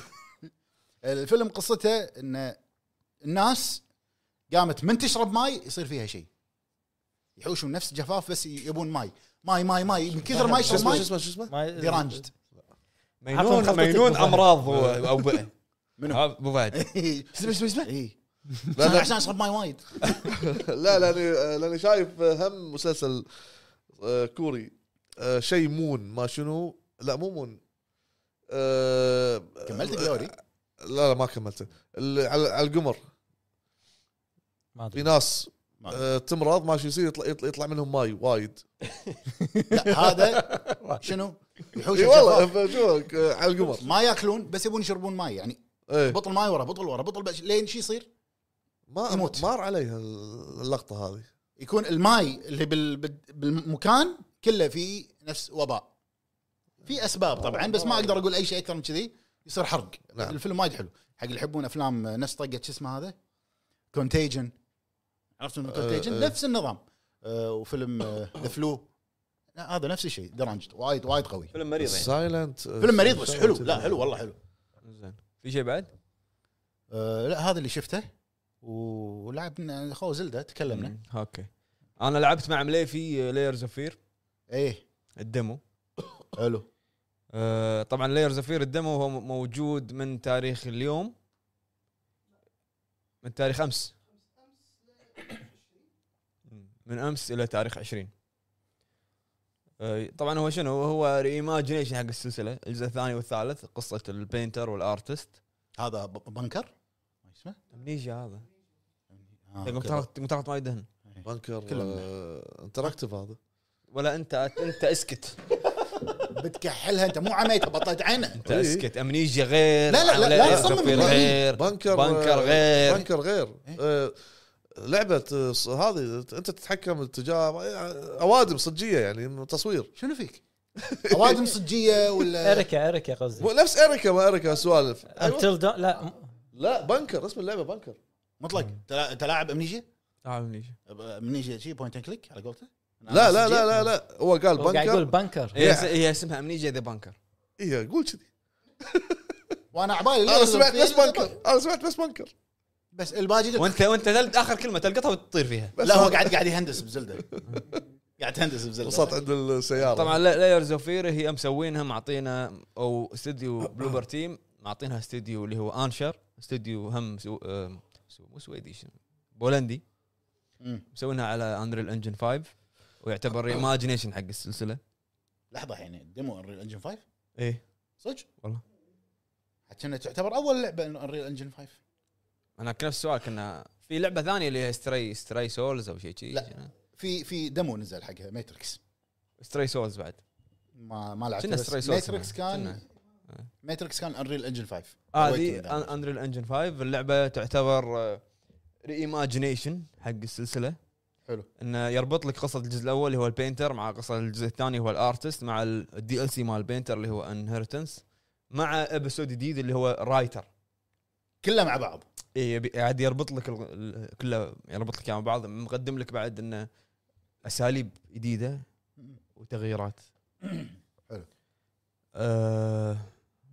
B: الفيلم قصته ان الناس قامت من تشرب ماي يصير فيها شيء يحوشون نفس جفاف بس يبون ماي ماي ماي ماي من كثر ما
A: شو
B: يشرب
A: اسمه شو
B: ماي
A: اسمه شو اسمه
D: ما
B: ديرانجد
D: عفواً
C: مجنون
D: خبطتك
C: مجنون
D: أبو فهد.
C: امراض هو- او بقى
B: منو؟ إيه.
C: هذا ابو فهد
B: اسمه اسمه اسمه اي
A: لا، إيه. لا.
B: عشان اشرب ماي وايد
A: لا لاني لاني شايف هم مسلسل آه، كوري آه، شيء مون ما شنو لا مو مون آه،
B: كملت جلوري
A: لا لا ما كملته اللي على على القمر
D: ما
A: في
D: ادري
A: ناس
B: ما-
A: آه، تمرض ما شو يصير يطلع, يطلع, يطلع منهم ماي وايد
B: لا هذا شنو يحوش
A: اي إيه، والله
B: الجفاف
A: فشو آه، على القمر
B: ما ياكلون بس يبون يشربون ماي يعني
A: ايه
B: بطل ماي ورا بطل ورا بطل بش- لين شو يصير؟
A: ما
B: يموت.
A: مار عليها اللقطه هذه
B: يكون الماي اللي بال... بال- بالمكان كله في نفس وباء في اسباب طبعا بس ما اقدر اقول اي شيء اكثر من كذي يصير حرق
A: نعم.
B: نعم. الفيلم وايد حلو حق اللي يحبون افلام نفس طقه شو اسمه هذا كونتيجن عرفتوا من كونتيجن
A: أه.
B: نفس النظام أه وفيلم ذا فلو هذا نفس الشيء درانجد وايد وايد قوي
E: فيلم مريض يعني
A: سايلنت
B: فيلم مريض بس حلو لا حلو والله حلو
C: زين في شيء بعد؟
B: أه لا هذا اللي شفته ولعبنا خو زلده تكلمنا
C: مم. اوكي انا لعبت مع مليفي لايرز اوف فير
B: ايه
C: الدمو
B: حلو
C: آه، طبعا لايرز اوف فير الدمو هو موجود من تاريخ اليوم من تاريخ امس من امس الى تاريخ 20 آه، طبعا هو شنو هو ريماجينيشن حق السلسله الجزء الثاني والثالث قصه البينتر والارتست
B: هذا ب- بنكر ما اسمه
C: امنيجيا هذا
B: آه، أوكي.
C: مقطعات مقطعات ما يدهن
A: بنكر
B: كله
A: آه، انتراكتيف هذا
C: ولا انت انت اسكت
B: بتكحلها انت مو عميت بطلت عينه
C: انت اسكت امنيجيا غير
B: إيه. لا، لا، لا، لا،
C: Layers of
B: صمم آه،
C: Fear
B: بالله.
C: غير
A: بنكر
C: بنكر غير.
A: بنكر آه، غير
B: إيه.
A: آه، لعبه آه، ص- هذه انت تتحكم اتجاه آه، اوادم صجيه يعني من تصوير
B: شنو فيك؟ اوادم صجيه ولا
D: اريكا اريكا قصدي
B: إيه.
A: مو- نفس اريكا ما اريكا سوالف أيوة.
D: انتل دون لا م-
A: لا بنكر اسم اللعبه بنكر
B: مطلق تلا- تلاعب امنيجيا؟
C: آه، امنيجيا
B: امنيجيا شي بوينت اند كليك على قولته؟
A: لا لا لا لا لا هو قال
D: هو قاعد يقول
A: بنكر
B: إيه.
D: بنكر
C: هي هي اسمها امنيجيا ذا بانكر
A: اي إيه، قول كذي
B: وانا عبالي
A: انا آه، سمعت بس بنكر انا سمعت بس بنكر
B: بس الباجي قلت-
C: وانت وانت تل- اخر كلمه تلقطها وتطير فيها
A: بس
B: لا هو
A: أنا-
B: قاعد قاعد يهندس بزلده قاعد تهندس
A: وصلت
B: بزلده
A: عند السياره
C: طبعا لايرز اوف فير هي مسوينها معطينا او استوديو بلوبر تيم معطينها استوديو اللي هو انشر استوديو هم سو... آم، سو... مو سويدي شنو بولندي
B: مم.
C: مسوينها على انريل انجن 5 ويعتبر ريماجينيشن حق السلسله
B: لحظه يعني ديمو انريل انجن 5
C: ايه
B: صدق؟
C: والله.
B: حتى انها تعتبر اول لعبه انريل انجن 5
C: انا كان نفس السؤال كنا في لعبه ثانيه اللي هي ستري ستري سولز او شيء شيء
B: لا. في في ديمو نزل حقها ماتريكس
C: ستري سولز بعد
B: ما ما لعبت
C: كنا
B: بس
C: Stray Souls
B: ماتريكس
C: كنا.
B: كان ماتريكس كان انريل انجن 5
C: آه، هذه انريل انجن 5 اللعبه تعتبر ريماجينيشن حق السلسله
B: حلو.
C: انه يربط لك قصه الجزء الاول اللي هو البينتر مع قصه الجزء الثاني هو الارتست مع الدي ال سي مال البينتر اللي هو انهرتنس مع ابسود جديد اللي هو رايتر
B: كلها مع بعض
C: إيه يبي قاعد يربط لك ال- ال- كله يربط لك مع بعض مقدم لك بعد انه اساليب جديده وتغييرات
B: حلو.
C: آه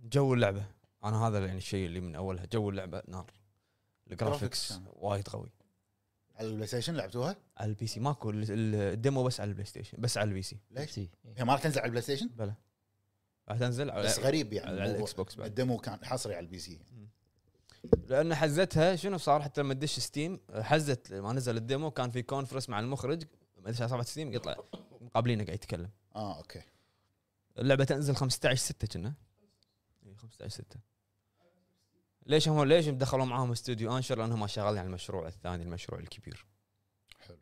C: جو اللعبه انا هذا يعني الشيء اللي من اولها جو اللعبه نار
B: الجرافيكس
C: الجرافيكس
B: كان.
C: وايد قوي
B: على البلاي ستيشن لعبتوها؟
C: على البي سي ماكو ال- ال- الديمو بس على البلاي ستيشن بس على البي سي
B: ليش؟
D: سي.
B: هي ما راح تنزل على البلاي ستيشن
C: بلى راح تنزل على,
B: بس غريب يعني
C: على
B: الموضوع.
C: الاكس بوكس بعد
B: الديمو كان حصري على البي سي
C: لان حزتها شنو صار حتى لما تدش ستيم حزت ما نزل الديمو كان في كونفرنس مع المخرج ما ادري صفحه ستيم يطلع مقابلينه قاعد يتكلم
B: اه اوكي
C: اللعبه تنزل 15 6 كنا إي، 15 6 ليش هم ليش دخلوا معاهم استوديو آه، انشر لانهم شغالين على المشروع الثاني المشروع الكبير
B: حلو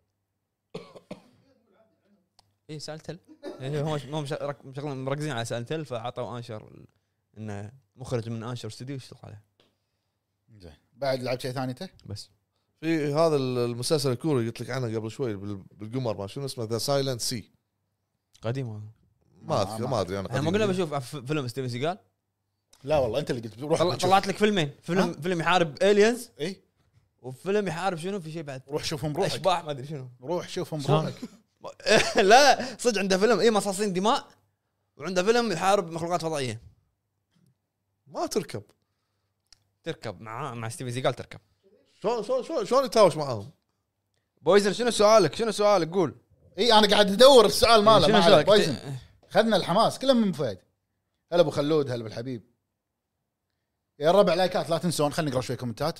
C: اي سالتل إي، إيه، هم هم مش- رك- مشغلين مركزين على سالتل فعطوا انشر ال- انه مخرج من انشر استوديو يشتغل عليه
B: زين بعد لعبت شيء ثاني انت؟
C: بس
A: في هذا المسلسل الكوري قلت لك عنه قبل شوي بال- بالقمر ما شنو اسمه ذا سايلنت سي
C: قديم هذا
A: ما
B: آه،
A: اذكر ما ادري انا
C: احنا ما قلنا بشوف أف- فيلم ستيفن سيجال
B: لا والله انت اللي قلت روح
C: طلع-
B: بتشوف.
C: طلعت لك فيلمين فيلم
B: ها؟ إيه؟
C: فيلم يحارب الينز
B: اي
C: وفيلم يحارب شنو في شيء بعد
B: روح شوفهم بروحك
C: اشباح ما ادري شنو
B: روح شوفهم
D: شلون؟
B: بروحك
C: لا صدق عنده فيلم اي مصاصين دماء وعنده فيلم يحارب مخلوقات فضائيه
A: ما تركب
C: تركب مع مع ستيفن سيجال تركب
A: شلون شلون شلون شلون يتهاوش معاهم؟
C: بويزر شنو سؤالك شنو سؤالك قول
B: اي انا قاعد ادور السؤال ماله
C: شنو
B: ما عليك. بايزن.
C: سؤالك
B: خذنا الحماس كله من فهد هلا ابو خلود هلا بالحبيب يا الربع لايكات لا تنسون خلينا نقرا شوي كومنتات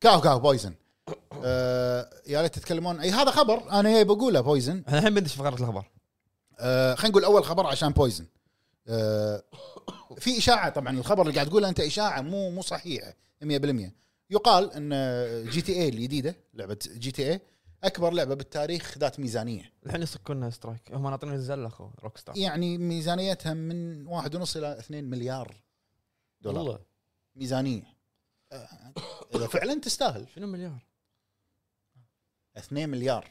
B: كاو كاو بويزن آه يا ريت تتكلمون اي هذا خبر انا جاي بقوله بويزن
C: احنا الحين بندش فقره الاخبار
B: آه خلينا نقول اول خبر عشان بويزن آه في اشاعه طبعا الخبر اللي قاعد تقوله انت اشاعه مو مو صحيحه 100% يقال ان جي تي اي الجديده لعبه جي تي اي اكبر لعبه بالتاريخ ذات ميزانيه
C: الحين يصكونا سترايك هم ناطرين الزله اخو روك ستار
B: يعني ميزانيتها من واحد ونص الى 2 مليار دولار والله.
D: والله
B: ميزانيه آه، اذا فعلا تستاهل
C: شنو مليار
B: 2 مليار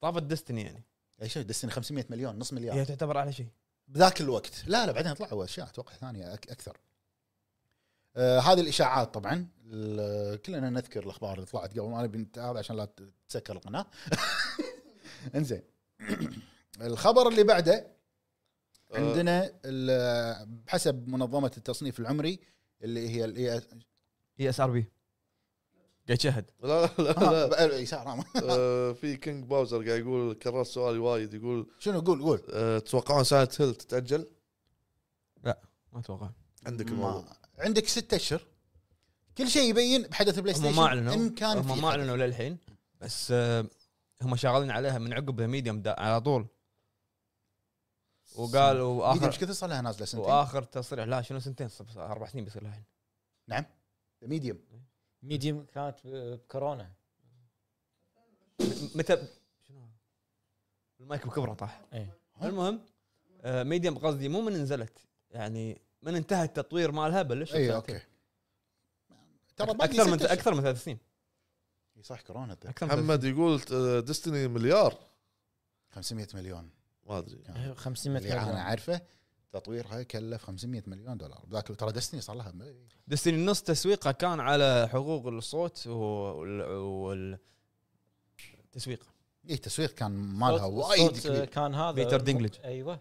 C: طافت ديستني يعني
B: اي شيء دستني 500 مليون نص مليار
C: هي تعتبر اعلى شيء
B: بذاك الوقت لا لا بعدين طلعوا اشياء اتوقع ثانيه أك اكثر آه هذه الاشاعات طبعا ال- كلنا نذكر الاخبار اللي طلعت قبل ما نبي نت- هذا عشان لا ت- تسكر القناه انزين الخبر اللي بعده
A: آه،
C: آه.
B: عندنا ال- بحسب منظمه التصنيف العمري اللي هي الاي
C: آه، هي اس ار بي قاعد يشهد
A: لا لا لا, لا.
B: آه، اي سعر
A: آه، في كينج باوزر قاعد يقول كرر سؤالي وايد يقول
B: شنو قول قول
A: آه، تتوقعون سايلنت هيل تتاجل؟
C: ما اتوقع
A: عندك الموضوع
B: ما عندك ستة اشهر كل شيء يبين بحدث البلاي
C: هم
B: ستيشن
C: ما اعلنوا
B: ان كان
C: هم
B: في
C: ما
B: حدث.
C: اعلنوا للحين بس آه، هم شغالين عليها من عقب ذا ميديوم دا- على طول وقالوا
B: ميديا مش
C: اخر
B: كثر صار لها نازله سنتين
C: واخر تصريح لا شنو سنتين صب- اربع سنين بيصير لها الحين
B: ميديوم
D: ميديم كانت بكورونا
C: متى شنو المايك بكبره طاح
D: إيه.
C: المهم آه، ميديوم قصدي مو من نزلت يعني من انتهى التطوير مالها بلش
B: اي اوكي ترى باقي
C: اكثر من
B: ستة أشهر.
C: اكثر من ثلاث سنين
B: إي صح كورونا ذا.
C: اكثر من ثلاث سنين.
A: محمد يقول ديستني مليار
B: 500 مليون
A: ما ادري
B: كان.
D: 500
B: اللي انا
D: مليون
B: عارفه تطويرها كلف 500 مليون دولار ذاك ترى دستني صار لها
C: دستني نص تسويقه كان على حقوق الصوت وال, وال... التسويق
B: اي إيه، التسويق كان مالها
D: صوت-
B: وايد
D: صوت
B: كبير.
D: كان هذا
C: بيتر دينجلج.
D: ايوه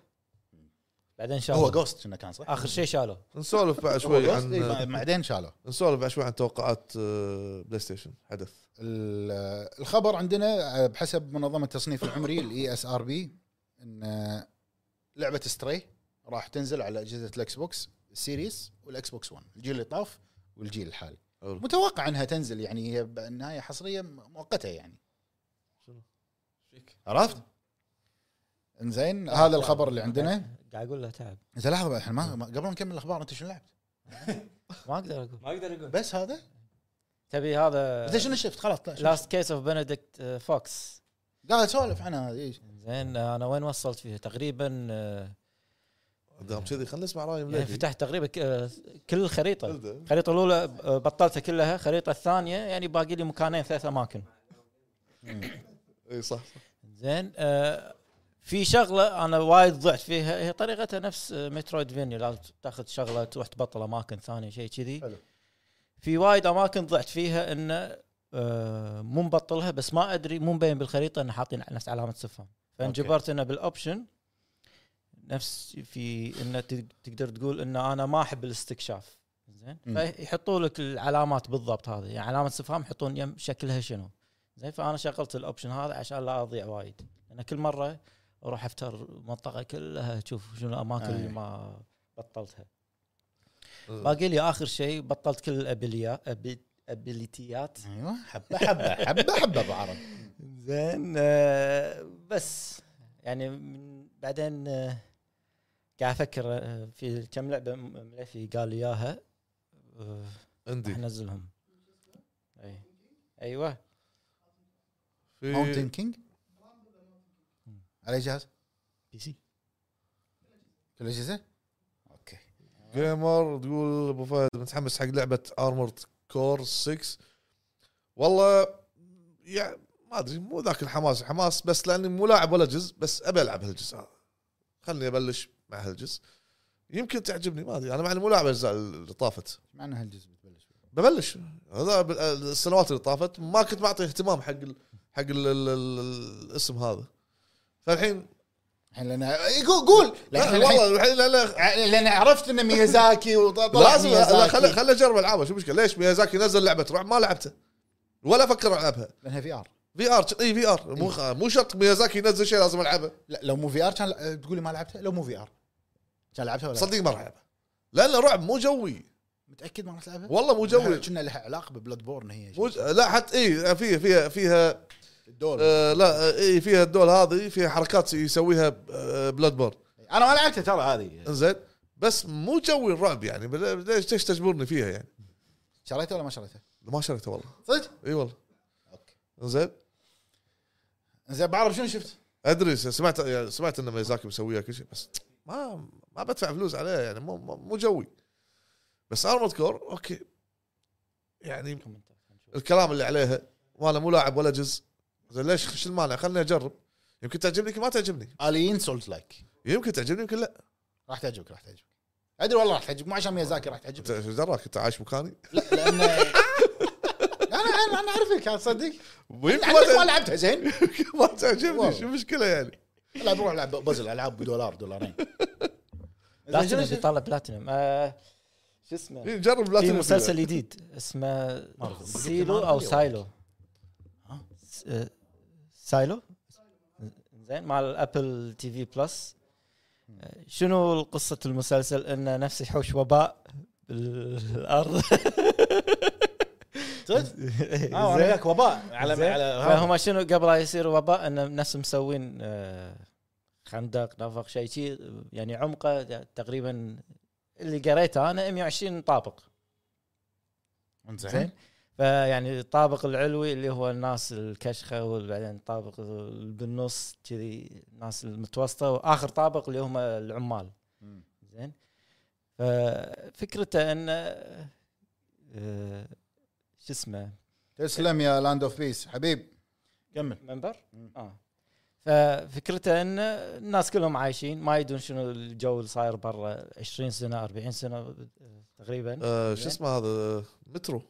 D: بعدين
B: هو
D: شالوا
B: جوست كنا كان صح؟
D: اخر شيء شالوه
A: نسولف بعد
B: هو
A: شوي
B: جوست إي،
A: عن
B: بعدين شالوه
A: نسولف بعد شوي عن توقعات آه، بلاي ستيشن حدث
B: ال- الخبر عندنا آه، بحسب منظمه التصنيف العمري E الاي اس ار بي ان لعبه ستري راح تنزل على اجهزه الاكس بوكس سيريس والاكس بوكس 1 الجيل اللي طاف والجيل الحالي
A: حلو.
B: متوقع انها تنزل يعني هي بالنهايه حصريه مؤقته يعني
A: شنو؟ فيك؟
B: عرفت؟ انزين هذا الخبر اللي عندنا
D: قاعد اقول له تعب
B: انزين لحظه بقى، احنا ما ما- قبل ما نكمل الاخبار انت شنو لعبت؟
D: ما اقدر اقول
C: ما اقدر اقول
B: بس هذا؟
D: تبي هذا
B: انت شنو شفت خلاص طلع.
D: لاست كيس اوف بنديكت فوكس
B: قاعد اسولف عنها إيش.
D: uh, زين انا وين وصلت فيها تقريبا آه،
A: دام كذي خلينا نسمع راي
D: يعني
A: مليكي
D: فتحت تقريبا ك- آه، كل الخريطه
A: بلدة.
D: الخريطه الاولى آه، بطلتها كلها الخريطه الثانيه يعني باقي لي مكانين ثلاث اماكن
A: اي صح صح.
D: زين آه، في شغله انا وايد ضعت فيها هي آه، طريقتها نفس مترويد فينيا لازم تاخذ شغله تروح تبطل اماكن ثانيه شيء كذي
B: حلو.
D: في وايد اماكن ضعت فيها انه آه، مو مبطلها بس ما ادري مو مبين بالخريطه انه حاطين نفس علامه استفهام فانجبرت انه بالاوبشن نفس في انه تق- تقدر تقول انه انا ما احب الاستكشاف زين
B: مم.
D: فيحطوا لك العلامات بالضبط هذه يعني علامه استفهام يحطون يم شكلها شنو زين فانا شغلت الاوبشن هذا عشان لا اضيع وايد انا كل مره اروح افتر منطقه كلها اشوف شنو الاماكن اللي
B: أي.
D: ما بطلتها باقي لي اخر شيء بطلت كل الابيليا أبي... ابيليتيات
B: ايوه حبه حبه حبه حبه ابو عرب
D: زين آه، بس يعني من بعدين آه، قاعد افكر آه، في كم لعبه م- مليفي قال لي اياها آه، راح
A: عندي
D: انزلهم اي ايوه
B: ماونتن
A: في
B: كينج على أي جهاز؟ بي سي كل اجهزه؟ اوكي
A: جيمر تقول ابو فهد متحمس حق لعبه ارمورد كور 6 والله يعني ما ادري مو ذاك الحماس الحماس بس لاني مو لاعب ولا جزء بس ابي العب هالجزء هذا خلني ابلش مع هالجزء يمكن تعجبني ما ادري انا مع إني مو لاعب الاجزاء اللي طافت
B: ايش معنى هالجزء بتبلش فيه؟
A: ببلش هذا بال- السنوات اللي طافت ما كنت معطي اهتمام حق ال حق ال ال ال الاسم هذا فالحين
B: الحين لان إي، قول قول لأن
A: لا
B: إحنا
A: والله الحين لا لا
B: الحين- لان عرفت انه ميازاكي وطلع
A: لازم لا خل خل اجرب العابه شو المشكله ليش ميازاكي نزل لعبه رعب ما لعبته ولا افكر العبها
B: لانها في ار
A: في ار اي في ار مو خ- مو شرط ميازاكي ينزل شيء لازم العبه
B: لا لو مو في ار كان لا- تقولي ما لعبتها لو مو في ار كان لعبتها ولا لا؟
A: صدق ما راح العبها لان رعب مو جوي
B: متاكد ما راح تلعبها؟
A: والله مو جوي
B: كنا لها علاقه ببلاد بورن هي
A: مو ج- لا حتى اي فيها فيها فيها
B: الدور
A: آه لا اي فيها الدول هذه فيها حركات يسويها آه بلاد بورن
B: انا ما لعبتها ترى هذه
A: زين بس مو جوي الرعب يعني بل- ليش ليش تجبرني فيها يعني
B: شريتها ولا ما شريتها؟
A: ما شريته والله
B: صدق؟
A: اي والله
B: اوكي
A: زين
B: زين بعرف شنو شفت؟
A: ادري س- سمعت يعني سمعت ان ميزاكي مسويها كل شيء بس ما ما بدفع فلوس عليها يعني مو مو مو جوي بس ارمود كور اوكي يعني
D: كومنتات، هنشوف.
A: الكلام اللي عليها وانا مو لاعب ولا جزء زين ليش شو المانع خلني اجرب يمكن تعجبني يمكن ما تعجبني
B: الين سولز لايك
A: يمكن تعجبني يمكن لا
B: راح تعجبك راح تعجبك ادري والله راح تعجبك مو عشان ميازاكي راح
A: انت
B: تعجبك
A: ايش دراك انت عايش مكاني
B: لا لان انا انا انا اعرفك أنا صدق
A: ويمكن ما
B: عندك ما
A: تعجبني-
B: يعني لعبتها زين
A: يمكن ما تعجبني
B: والله.
A: شو المشكله يعني
B: العب روح العب بازل العاب بدولار دولارين
D: بلاتينم بيطلع بلاتينم آه، شو اسمه
A: إيه، جرب لا
D: في
A: تنفع.
D: مسلسل جديد اسمه
B: أعرف.
D: سيلو او سايلو
B: ها؟
D: س- آه، سايلو زين مع الابل تي في بلس آه، شنو قصة المسلسل انه نفس يحوش وباء بالارض
B: صدق؟ اه انا
D: زين
B: وياك وباء على
D: زين.
B: على هذا.
D: فهم شنو قبل لا يصير وباء انه نفس مسوين آه، خندق نفق شيء شي يعني عمقه تقريبا اللي قريته انا 120 طابق زين
B: زين
D: فيعني الطابق العلوي اللي هو الناس الكشخه وبعدين الطابق اللي بالنص كذي الناس المتوسطه واخر طابق اللي هم العمال زين ففكرته انه آه، شو اسمه
B: تسلم يا لاند اوف بيس حبيب كمل
D: منبر
B: مم.
D: اه ففكرته ان الناس كلهم عايشين ما يدون شنو الجو اللي صاير برا 20 سنه 40 سنه آه، تقريبا
A: آه، شو اسمه هذا مترو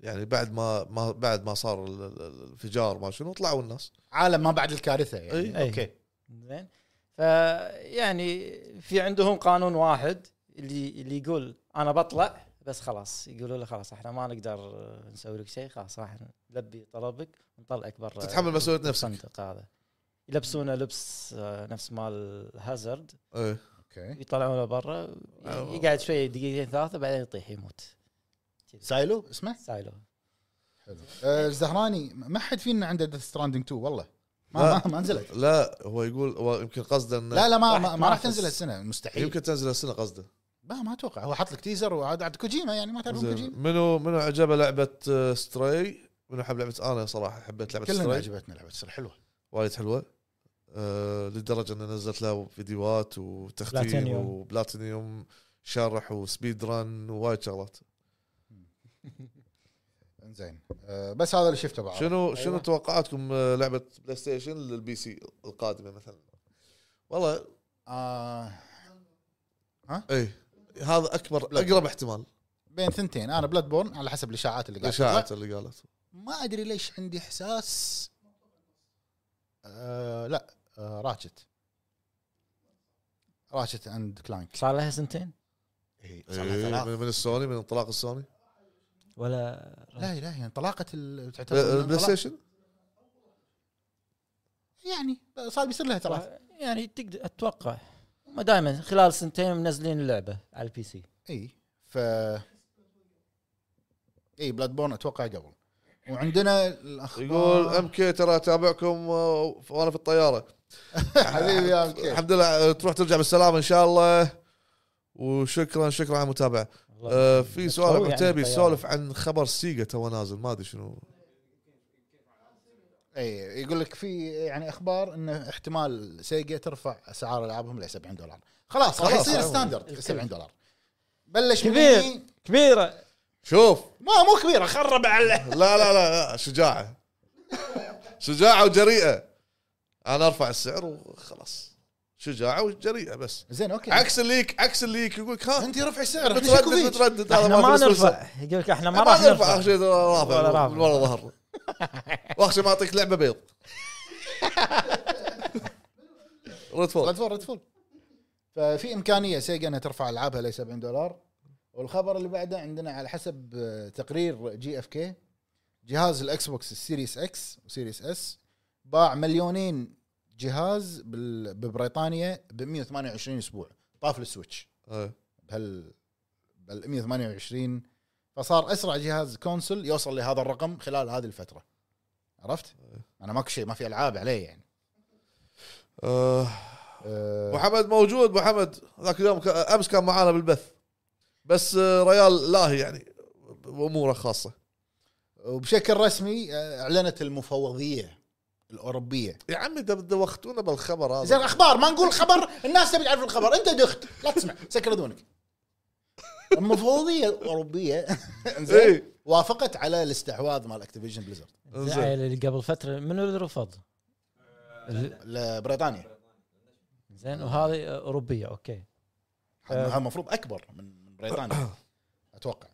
A: يعني بعد ما ما بعد ما صار ال- ال- الانفجار ما شنو طلعوا الناس
B: عالم ما بعد الكارثه يعني
D: أي.
B: اوكي
D: زين فيعني في عندهم قانون واحد اللي اللي يقول انا بطلع بس خلاص يقولوا له خلاص احنا ما نقدر آه، نسوي لك شيء خلاص راح نلبي طلبك ونطلعك برا
B: طيب.
A: تتحمل مسؤولية نفسك.
D: الصندوق هذا يلبسونه لبس آه، نفس مال هازارد
A: ايه
B: اوكي
D: يطلعونه برا
A: آه.
D: يقعد شوي دقيقتين ثلاثه بعدين يطيح يموت
B: سايلو اسمه
D: سايلو
B: حلو آه، الزهراني ما حد فينا عنده ديث ستراندنج 2 والله ما
A: لا.
B: ما, ما نزلت
A: لا هو يقول هو يمكن قصده انه
B: لا لا ما
D: واحد
B: ما, ما راح
D: نافس.
B: تنزل السنه مستحيل
A: يمكن تنزل السنه قصده
B: ما ما اتوقع هو حط لك تيزر وعاد عاد كوجيما يعني ما تعرفون
A: زين.
B: كوجيما
A: منو منو عجبه لعبه آه، ستراي منو حب لعبه انا صراحه حبيت لعبه
B: كلنا
A: ستراي
B: عجبتنا لعبه تصير حلوه
A: وايد حلوه آه لدرجه اني نزلت لها فيديوهات وتختيم
D: بلاتينيوم.
A: وبلاتينيوم شرح وسبيد رن ووايد شغلات
B: زين آه، بس هذا اللي شفته بعد
A: شنو شنو
D: أيوة.
A: توقعاتكم آه، لعبه بلاي ستيشن للبي سي القادمه مثلا والله
B: آه
A: اي هذا اكبر اقرب احتمال
B: بين ثنتين انا بلاد بورن على حسب الاشاعات اللي قاعد
A: الاشاعات اللي قالت
B: ما ادري ليش عندي احساس آه لا آه راتشت راتشت اند كلاينك
D: صار لها سنتين
B: اي
A: إيه من من السوني من انطلاق السوني
D: ولا
B: لا لا يعني طلاقه ال- تعتبر
A: آه،
B: إنها
A: البلاي
B: طلاق.
A: ستيشن
B: يعني صار بيصير لها ثلاث
D: يعني تقدر اتوقع هم دائما خلال سنتين منزلين اللعبه على البي سي
B: اي ف اي بلاد بورن اتوقع قبل وعندنا الاخبار
A: يقول ام كي ترى اتابعكم آه، وانا في الطياره
B: حبيبي يا أوكي.
A: الحمد لله آه، تروح ترجع بالسلامه ان شاء الله وشكرا شكرا على المتابعه آه، في سؤال
D: قوي
A: ابو
D: يعني
A: عتيبي
D: الطيارة.
A: سولف عن خبر سيجا تو نازل ما ادري شنو
B: اي يقول لك في يعني اخبار انه احتمال سيجا ترفع اسعار العابهم ل 70 دولار خلاص راح
A: خلاص،
B: يصير
A: خلاص.
B: ستاندرد 70 دولار بلش
D: كبير.
B: مني-
D: كبيره
A: شوف
B: ما مو كبيره خرب على
A: لا لا لا لا، شجاعه شجاعه وجريئه انا ارفع السعر وخلاص شجاعه وجريئه بس
B: زين اوكي
A: عكس اللي يك- عكس اللي يك يقول لك ها
B: انت رفع السعر إحنا شكو
A: متردد
B: فيك؟
A: متردد هذا
D: احنا ما
A: في السوق.
D: نرفع يقول لك احنا ما
A: ما
D: راح
A: نرفع اخر
D: نرفع
A: شيء رافع
D: ولا رافع.
A: من ورا ظهر واخر شيء ما اعطيك لعبه بيض ريد فول
B: ريد فول ريد فول ففي امكانيه سيجا انها ترفع العابها ل 70 دولار والخبر اللي بعده عندنا على حسب آه، تقرير جي اف كي جهاز الاكس بوكس السيريس اكس وسيريس اس باع مليونين جهاز بال- ببريطانيا ب 128 اسبوع طاف السويتش
A: إيه.
B: بهال بال 128 فصار اسرع جهاز كونسل يوصل لهذا الرقم خلال هذه الفتره عرفت؟ انا ماكو شيء ما في العاب عليه يعني
A: آه،
B: أه
A: ابو حمد موجود ابو حمد ذاك اليوم ك- امس كان معانا بالبث بس آه، ريال لاهي يعني باموره خاصه
B: وبشكل رسمي آه، اعلنت المفوضيه الاوروبيه
A: يا عمي ده دوختونا بالخبر
B: زين
A: هذا
B: اخبار ما نقول خبر الناس تبي تعرف الخبر انت دخت لا تسمع سكر اذنك المفوضيه الاوروبيه
C: إيه.
B: زين
A: اي
B: وافقت على الاستحواذ مال اكتيفيجن بليزرد
A: انزين
D: اللي قبل فتره منو اللي رفض؟ ال-
B: لبريطانيا
D: زين وهذه اوروبيه اوكي
C: آه.
B: هذا المفروض اكبر من بريطانيا اتوقع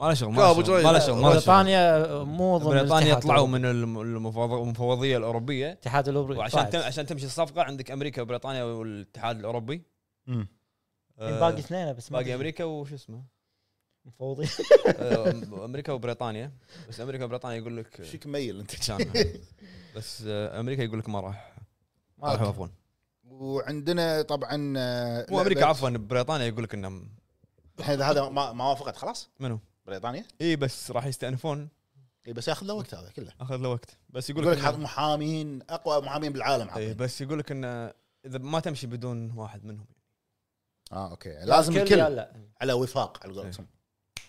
C: ما له شغل ما
A: لا،
C: له
A: أبو
C: شغل
A: جريد.
C: ما له شغل ما له شغل
D: بريطانيا مو ضمن
C: بريطانيا
D: الاتحاد
C: طلعوا
D: الأوروبي.
C: من الم- المفوض- المفوضيه الاوروبيه
D: الاتحاد طيب. الاوروبي
C: وعشان تم
D: طلعت.
C: عشان تمشي الصفقه عندك امريكا وبريطانيا والاتحاد الاوروبي آه،
D: إيه، باقي اثنين بس ما
C: باقي
D: أدري.
C: امريكا وش اسمه
D: مفوضين
C: آه، امريكا وبريطانيا بس امريكا وبريطانيا يقول لك
B: شيك ميل انت
C: كان بس آه، امريكا يقول لك ما راح ما راح يوافقون
B: وعندنا طبعا آه،
C: مو امريكا
B: لعبة-
C: عفوا بريطانيا يقول لك انه
B: هذا هذا ما ما وافقت خلاص
C: منو؟
B: بريطانيا
C: اي إيه، بس راح يستانفون
B: إي، بس ياخذ له وقت هذا كله
C: اخذ له وقت بس يقول
B: يقول لك
C: لك
B: حاط
C: إنه-
B: محامين اقوى محامين بالعالم
C: إيه،
B: حاطين
C: بس يقول لك انه اذا ما تمشي بدون واحد منهم
B: اه اوكي لازم
D: يا
B: الكل
D: لا
B: على وفاق على قولتهم
C: إيه،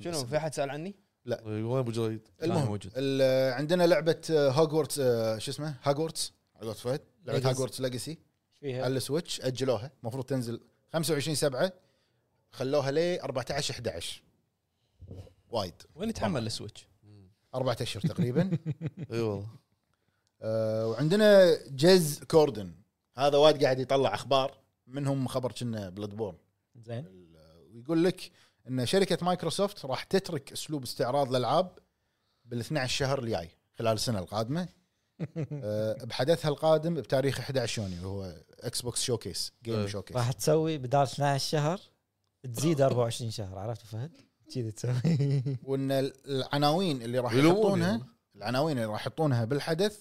C: شنو في احد سال عني؟
A: وين ابو جريد؟
B: المهم
C: موجود.
B: ال- عندنا لعبه هوجورتس آه، شو اسمه هوجورتس على قولت فهد لعبه
D: Legacy.
B: هوجورتس ليجسي
D: فيها
B: على السويتش اجلوها المفروض تنزل 25 7 خلوها لي 14 11 وايد
C: وين يتحمل السويتش؟
B: اربعة اشهر تقريبا
A: اي والله
B: آه، وعندنا جيز كوردن هذا وايد قاعد يطلع اخبار منهم خبر كنا بلاد بورن
D: زين
B: ويقول لك ان شركه مايكروسوفت راح تترك اسلوب استعراض الالعاب بال 12 شهر الجاي خلال السنه القادمه أه، بحدثها القادم بتاريخ 11 يونيو هو اكس بوكس شوكيس جيم
A: أه.
B: شوكيس
D: راح تسوي بدال 12 شهر تزيد 24 شهر عرفت فهد؟ كذي تسوي
B: وان ال- العناوين اللي راح
A: يلومون
B: يحطونها
A: يعني.
B: العناوين اللي راح يحطونها بالحدث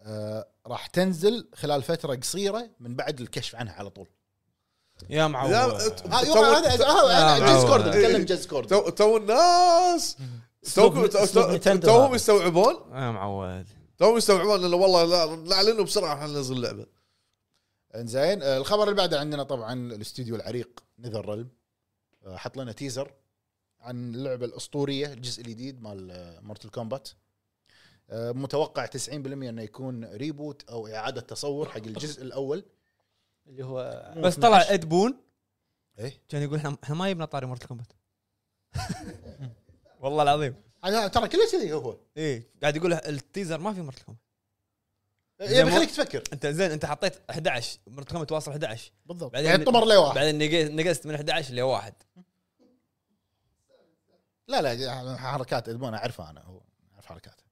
B: أه، راح تنزل خلال فتره قصيره من بعد الكشف عنها على طول
C: يا معود
A: يا- أت-
B: هذا
A: تو-
B: هذا- هذا
C: آه،
B: جيز كوردن
A: آه.
B: تكلم جيز كوردن
A: تو تو الناس
D: أسلوب-
A: توكم- تو-
D: أسلوب
A: تو-
D: نينتندو
A: توهم
D: هذا.
A: يستوعبون
C: يا معود
A: توهم يستوعبون انه والله لا نعلنه بسرعه احنا ننزل لعبه
B: انزين آه، الخبر اللي بعده عندنا طبعا الاستوديو العريق نذر ريلم حط لنا تيزر عن اللعبه الاسطوريه الجزء الجديد مال آه، مورتل كومبات آه، متوقع 90% انه يكون ريبوت او اعاده تصور حق الجزء الاول
D: اللي هو
C: بس طلع اد بون
B: ايه
C: كان يقول احنا احنا ما جبنا طاري مورتل كومبات والله العظيم
B: على- ترى كله كذي هو
C: ايه قاعد يقول التيزر ما في مورتل كومبات
B: يبي خليك تفكر
C: انت زين انت حطيت 11 مورتل كومبات واصل 11
B: بالضبط
C: بعدين-
B: بعدين طمر لي واحد
C: بعدين نقي- نقزت من 11 ل 1
B: لا لا حركات ادمون اعرفها انا هو اعرف حركاته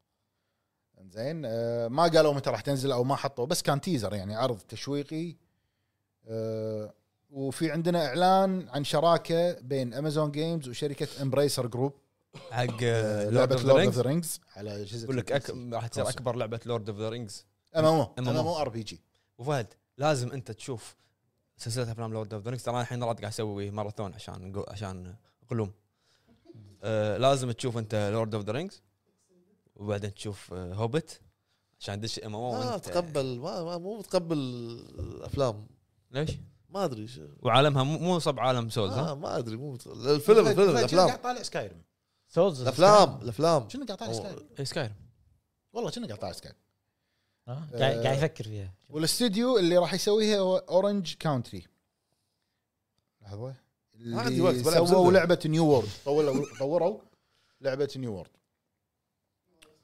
B: زين آه، ما قالوا متى راح تنزل او ما حطوا بس كان تيزر يعني عرض تشويقي آه، وفي عندنا اعلان عن شراكه بين امازون جيمز وشركه امبريسر جروب
C: حق آه، لورد
B: لعبه
C: اوف
B: لورد اوف ذا
C: ذا
B: رينجز على اجهزه
C: يقول لك
B: البي سي.
C: أك- راح تصير اكبر لعبه لورد اوف ذا رينجز
B: ام ام او ام
C: MMO.
B: ام او ار بي جي
C: وفهد لازم انت تشوف سلسله افلام لورد اوف ذا رينجز ترى أنا الحين راد قاعد اسوي ماراثون عشان جو- عشان قلوم آه لازم تشوف انت لورد اوف ذا رينجز وبعدين تشوف آه هوبت عشان تدش ام
A: ما
C: ام
A: اتقبل ما, ما مو متقبل الافلام
C: ليش؟
A: ما ادري شو
C: وعالمها مو مو صب عالم سولز
A: آه
C: ها؟
A: ما ادري مو متقبل. الفيلم الفيلم الافلام
B: قاعد طالع سكايرم
D: سولز
A: الافلام الافلام
B: شنو قاعد طالع
A: أوه.
B: سكايرم
C: سكاير
B: والله شنو قاعد طالع سكايرم
D: آه، قاعد قاعد يفكر فيها
B: والاستوديو اللي راح يسويها هو اورنج كاونتري لحظه
A: ما عندي وقت، بلعب
B: اللي سووا
A: زلدة.
B: لعبه نيو وورد طولوا طوروا لعبه نيو وورد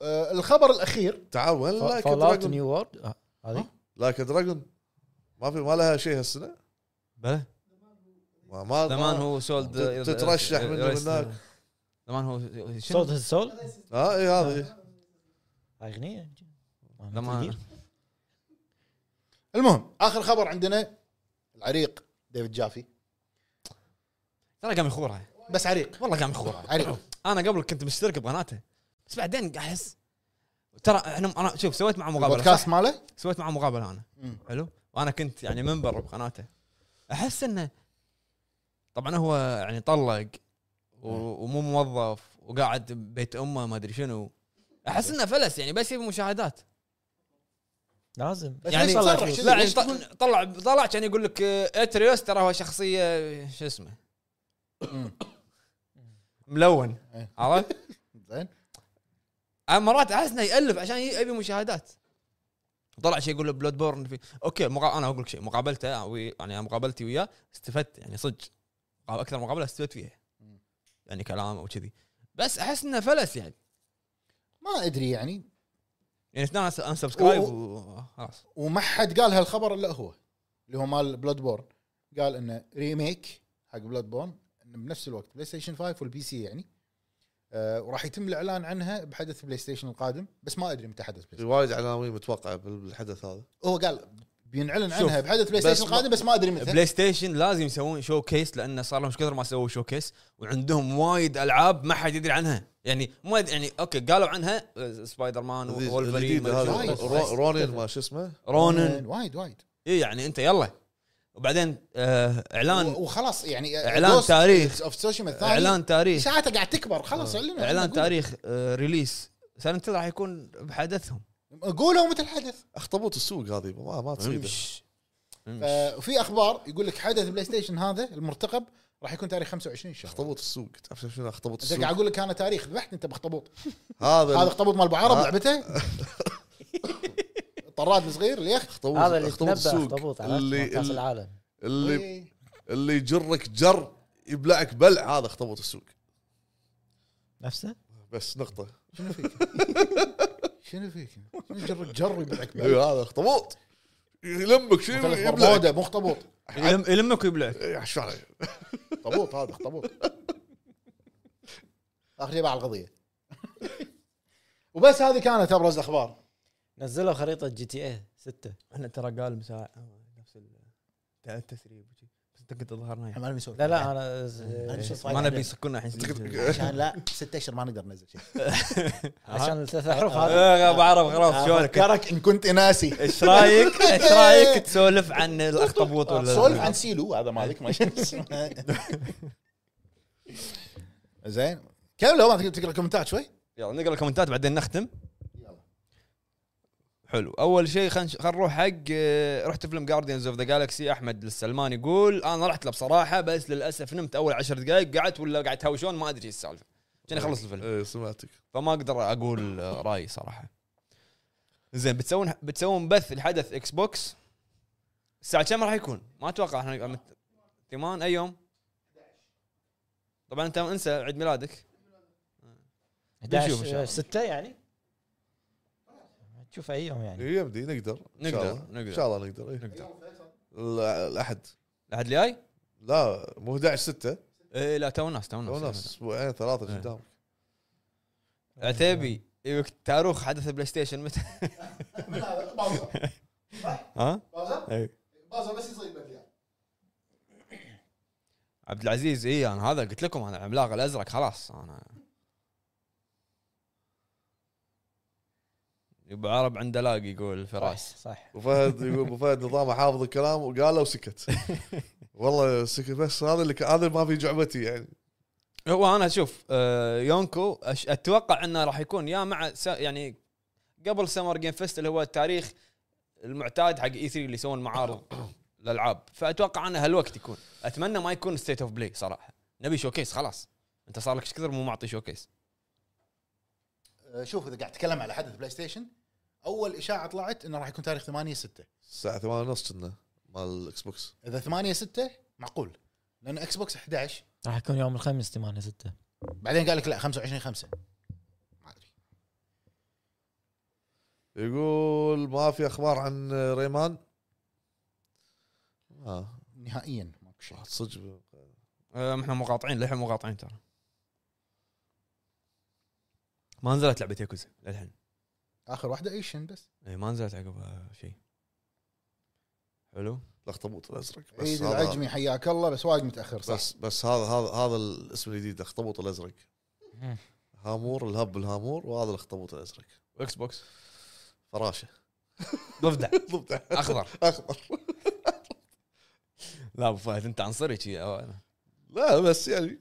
B: آه الخبر الاخير
A: تعال وين لايك
D: فول اوت
A: دراجون
D: نيو وورد آه، هذه
A: لايك دراجون ما في ما لها شيء هالسنه
C: بلى
A: ما ما
C: زمان
A: ما-
C: هو سولد
A: تت- آه، تترشح من هناك.
C: إيه، زمان هو شنو؟
D: سولز هز سول
A: اه اي هذه
D: هاي اغنيه
C: زمان
B: المهم اخر خبر عندنا العريق ديفيد جافي
C: ترى قام يخورها
B: بس عريق
C: والله قام يخورها
B: عريق
C: انا قبل كنت مشترك بقناته بس بعدين قاعد احس ترى احنا انا شوف سويت معه مقابله
B: البودكاست
C: صح؟
B: ماله
C: سويت معه مقابله انا
B: مم.
C: حلو وانا كنت يعني منبر بقناته احس انه طبعا هو يعني طلق و- ومو موظف وقاعد ببيت امه ما ادري شنو احس انه فلس يعني بس يبي مشاهدات
D: لازم
B: بس
C: يعني
B: ليش
C: طلع
B: صرح؟ شو-
C: لا يعني
B: ليش
C: ط-
B: تقول-
C: طلع طلع كان يقول لك آه، اتريوس ترى هو شخصيه آه، شو اسمه
B: مم.
C: ملون
B: إيه.
C: عرفت؟
B: زين
C: أنا مرات احس انه يالف عشان ي- يبي مشاهدات طلع شيء يقول بلود بورن في اوكي مقا... انا اقول لك شيء مقابلته وي... يعني مقابلتي وياه استفدت يعني صدق اكثر مقابله استفدت فيها يعني كلام او كذي بس احس انه فلس يعني
B: ما ادري يعني
C: يعني انا انا سبسكرايب
B: أوه.
C: وخلاص
B: وما حد قال هالخبر الا هو اللي هو مال بلاد بورن قال انه ريميك حق بلاد بورن إنه بنفس الوقت بلاي ستيشن 5 والبي سي يعني آه وراح يتم الاعلان عنها بحدث بلاي ستيشن القادم بس ما ادري متى حدث بلاي
A: في
B: ستيشن
A: وايد عناوين متوقعه بال- بالحدث هذا
B: هو قال بينعلن
C: شوف،
B: عنها بحدث بلاي ستيشن
A: ما-
B: القادم بس ما ادري متى
C: بلاي ستيشن لازم يسوون شو كيس لانه صار لهم إيش كثر ما سووا شو كيس وعندهم وايد العاب ما حد يدري عنها يعني ما يد- يعني اوكي قالوا عنها آه، سبايدر مان
A: هذه
C: وولفرين
A: الجديده
C: ما أدري
A: هذه
B: وايد.
C: شنو.
A: رو- رونين ما شو اسمه
C: رونن
B: وايد وايد
C: اي يعني انت يلا وبعدين آه
B: و-
C: اعلان
B: وخلاص يعني
C: إعلان تاريخ.
B: اوف سوشيما الثاني اعلان
C: اعلان تاريخ
B: ساعته قاعد تكبر خلاص اعلنوا
C: اعلان
B: قولوا.
C: تاريخ آه ريليس سنتل راح يكون بحدثهم
B: قولوا متى الحدث
A: اخطبوط السوق هذه ما ما تصيده
C: امش. امش.
B: ففي اخبار آه، يقول لك حدث بلاي ستيشن هذا المرتقب راح يكون تاريخ 25 شهر
A: اخطبوط السوق تعرف شنو اخطبوط
B: انت قاعد
A: السوق
B: اقول لك انا تاريخ ذبحت انت باخطبوط هذا
A: هذا
B: اخطبوط مال ابو عرب
A: آه.
B: لعبته طراد صغير اليخ
A: اخطبوط
D: هذا اللي
A: اخطبوط
D: تنبأ
A: السوق
D: اخطبوط
A: اللي
D: على كاس
A: اللي-
D: العالم
A: اللي
B: إيه.
A: اللي يجرك جر يبلعك بلع هذا اخطبوط السوق
D: نفسه
A: بس نقطه
B: شنو فيك؟ شنو فيك؟ شنو جرك جر يبلعك
A: ايوه هذا اخطبوط يلمك شيء
B: مثلث
A: يبلعك
B: برمودا مو اخطبوط
C: يلم- يلمك ويبلعك
A: إيه، شو عليه؟
B: اخطبوط هذا اخطبوط اخر شيء باع القضيه وبس هذه كانت ابرز الاخبار
D: نزلوا خريطه جي تي اي 6
C: احنا ترى قال مساع نفس التسريب بس انت كنت ظهرنا
B: احنا ما نبي نسولف
D: لا يعني لا انا
C: ما نبي يسكرنا الحين إيه،
B: عشان لا ست اشهر ما نقدر ننزل شيء
D: عشان الثلاث احرف هذه
C: آه، ابو عرب خلاص شلونك
B: افكرك ان كنت ناسي
C: ايش رايك ايش رايك تسولف عن الاخطبوط ولا
B: سولف أه، عن سيلو هذا مالك ما شنو اسمه. زين كمل لو ما تقدر تقرا كومنتات شوي
C: يلا نقرا الكومنتات بعدين نختم
B: يلا.
C: حلو اول شيء خلينا نروح حق آه، رحت فيلم جارديانز اوف ذا جالكسي احمد السلمان يقول انا رحت له بصراحه بس للاسف نمت اول عشر دقائق قعدت ولا قاعد تهاوشون ما ادري ايش السالفه عشان اخلص الفيلم
A: ايه سمعتك
C: فما اقدر اقول آه، رايي صراحه زين بتسوون بتسوون بث الحدث اكس بوكس الساعه كم راح يكون؟ ما اتوقع احنا نبقى مت- ثمان اي يوم؟ طبعا انت انسى عيد ميلادك
D: 11 6 يعني تشوف اي يوم يعني
A: إيه، يبدي نقدر إن شاء
C: نقدر،
A: الله.
C: نقدر.
A: ان شاء الله نقدر إيه.
C: نقدر
A: الأ- الاحد
C: الاحد الجاي؟
A: لا مو 11 6
C: اي لا تو ناس تو ناس
A: لو ناس اسبوعين ثلاثه
C: إيه.
A: قدام
C: عتيبي يبيك تاريخ حدث البلاي ستيشن متى ها؟ اي
B: بازر بس يصيبك
C: عبد العزيز اي انا إيه، هذا قلت لكم انا العملاق الازرق خلاص انا ابو عرب عنده لاق يقول فراس
D: صح
A: وفهد يقول ابو فهد نظامه حافظ الكلام وقاله وسكت والله سكت بس هذا اللي ك- هذا ما في جعبتي يعني
C: هو انا شوف آه، يونكو أش- اتوقع انه راح يكون يا مع س- يعني قبل سمر جيم فيست اللي هو التاريخ المعتاد حق اي 3 اللي يسوون معارض الالعاب فاتوقع انه هالوقت يكون اتمنى ما يكون ستيت اوف بلاي صراحه نبي شوكيس خلاص انت صار لك ايش كثر مو معطي شوكيس
B: شوف اذا قاعد اتكلم على حدث بلاي ستيشن اول اشاعه طلعت انه راح يكون تاريخ 8 6
A: الساعه 8 ونص كنا مال الاكس بوكس
B: اذا 8 6 معقول لان اكس بوكس 11
D: راح يكون يوم الخميس 8 6
B: بعدين قال لك لا 25 5 ما ادري
A: يقول ما في اخبار عن ريمان اه
B: نهائيا ماكو شيء
A: صدق
C: آه، احنا مقاطعين للحين مقاطعين ترى ما نزلت لعبه ياكوزا للحين
B: اخر واحده ايشن بس
C: إيه، ما نزلت عقب آه، شيء حلو
A: الاخطبوط الازرق بس
B: عيد
A: هذا
B: العجمي إيه، حياك الله بس وايد متاخر صح
A: بس بس هذا هذا هذا الاسم الجديد الاخطبوط الازرق
D: مم.
A: هامور الهب الهامور وهذا الاخطبوط الازرق
C: اكس بوكس
A: فراشه
C: ضفدع
A: ضبطه
C: اخضر
A: اخضر
C: لا ابو فهد انت عنصري شي
A: لا بس يعني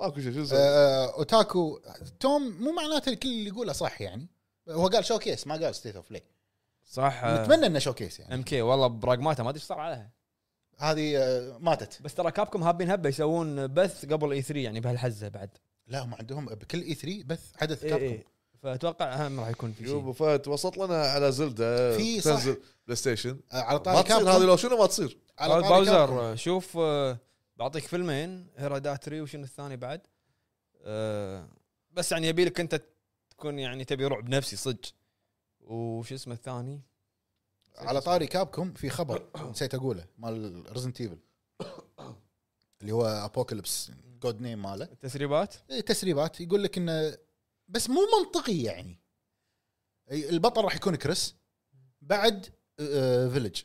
A: ماكو شيء شو اسمه؟
B: آه، اوتاكو توم مو معناته الكل اللي يقوله صح يعني هو قال شوكيس ما قال ستيت اوف بلاي
C: صح
A: آه.
B: نتمنى انه شوكيس يعني
C: ام كي والله براغماتا ما ادري ايش صار عليها
B: هذه آه، ماتت
C: بس ترى كابكم هابين هبه يسوون بث قبل اي 3 يعني بهالحزه بعد
B: لا هم عندهم بكل اي 3 بث حدث
C: إيه
B: كابكم
C: إيه. فاتوقع هم راح يكون في
A: يو ابو
C: شيء
A: فهد وسط لنا على زلده
B: في صح.
A: تنزل بلاي ستيشن
B: آه،
A: ما
B: على طاري
A: تصير
B: كابكم
A: هذه لو شنو ما تصير
B: على طاري كابكم.
C: باوزر شوف آه، بعطيك فيلمين هيراداتري وشنو الثاني بعد آه، بس يعني يبي لك انت تكون يعني تبي رعب نفسي صدق وش اسمه الثاني
B: على طاري كابكم في خبر نسيت اقوله مال ريزنت ايفل اللي هو ابوكاليبس جود نيم ماله
C: التسريبات
B: إيه، تسريبات يقول لك انه بس مو منطقي يعني أي- البطل راح يكون كريس بعد فيلج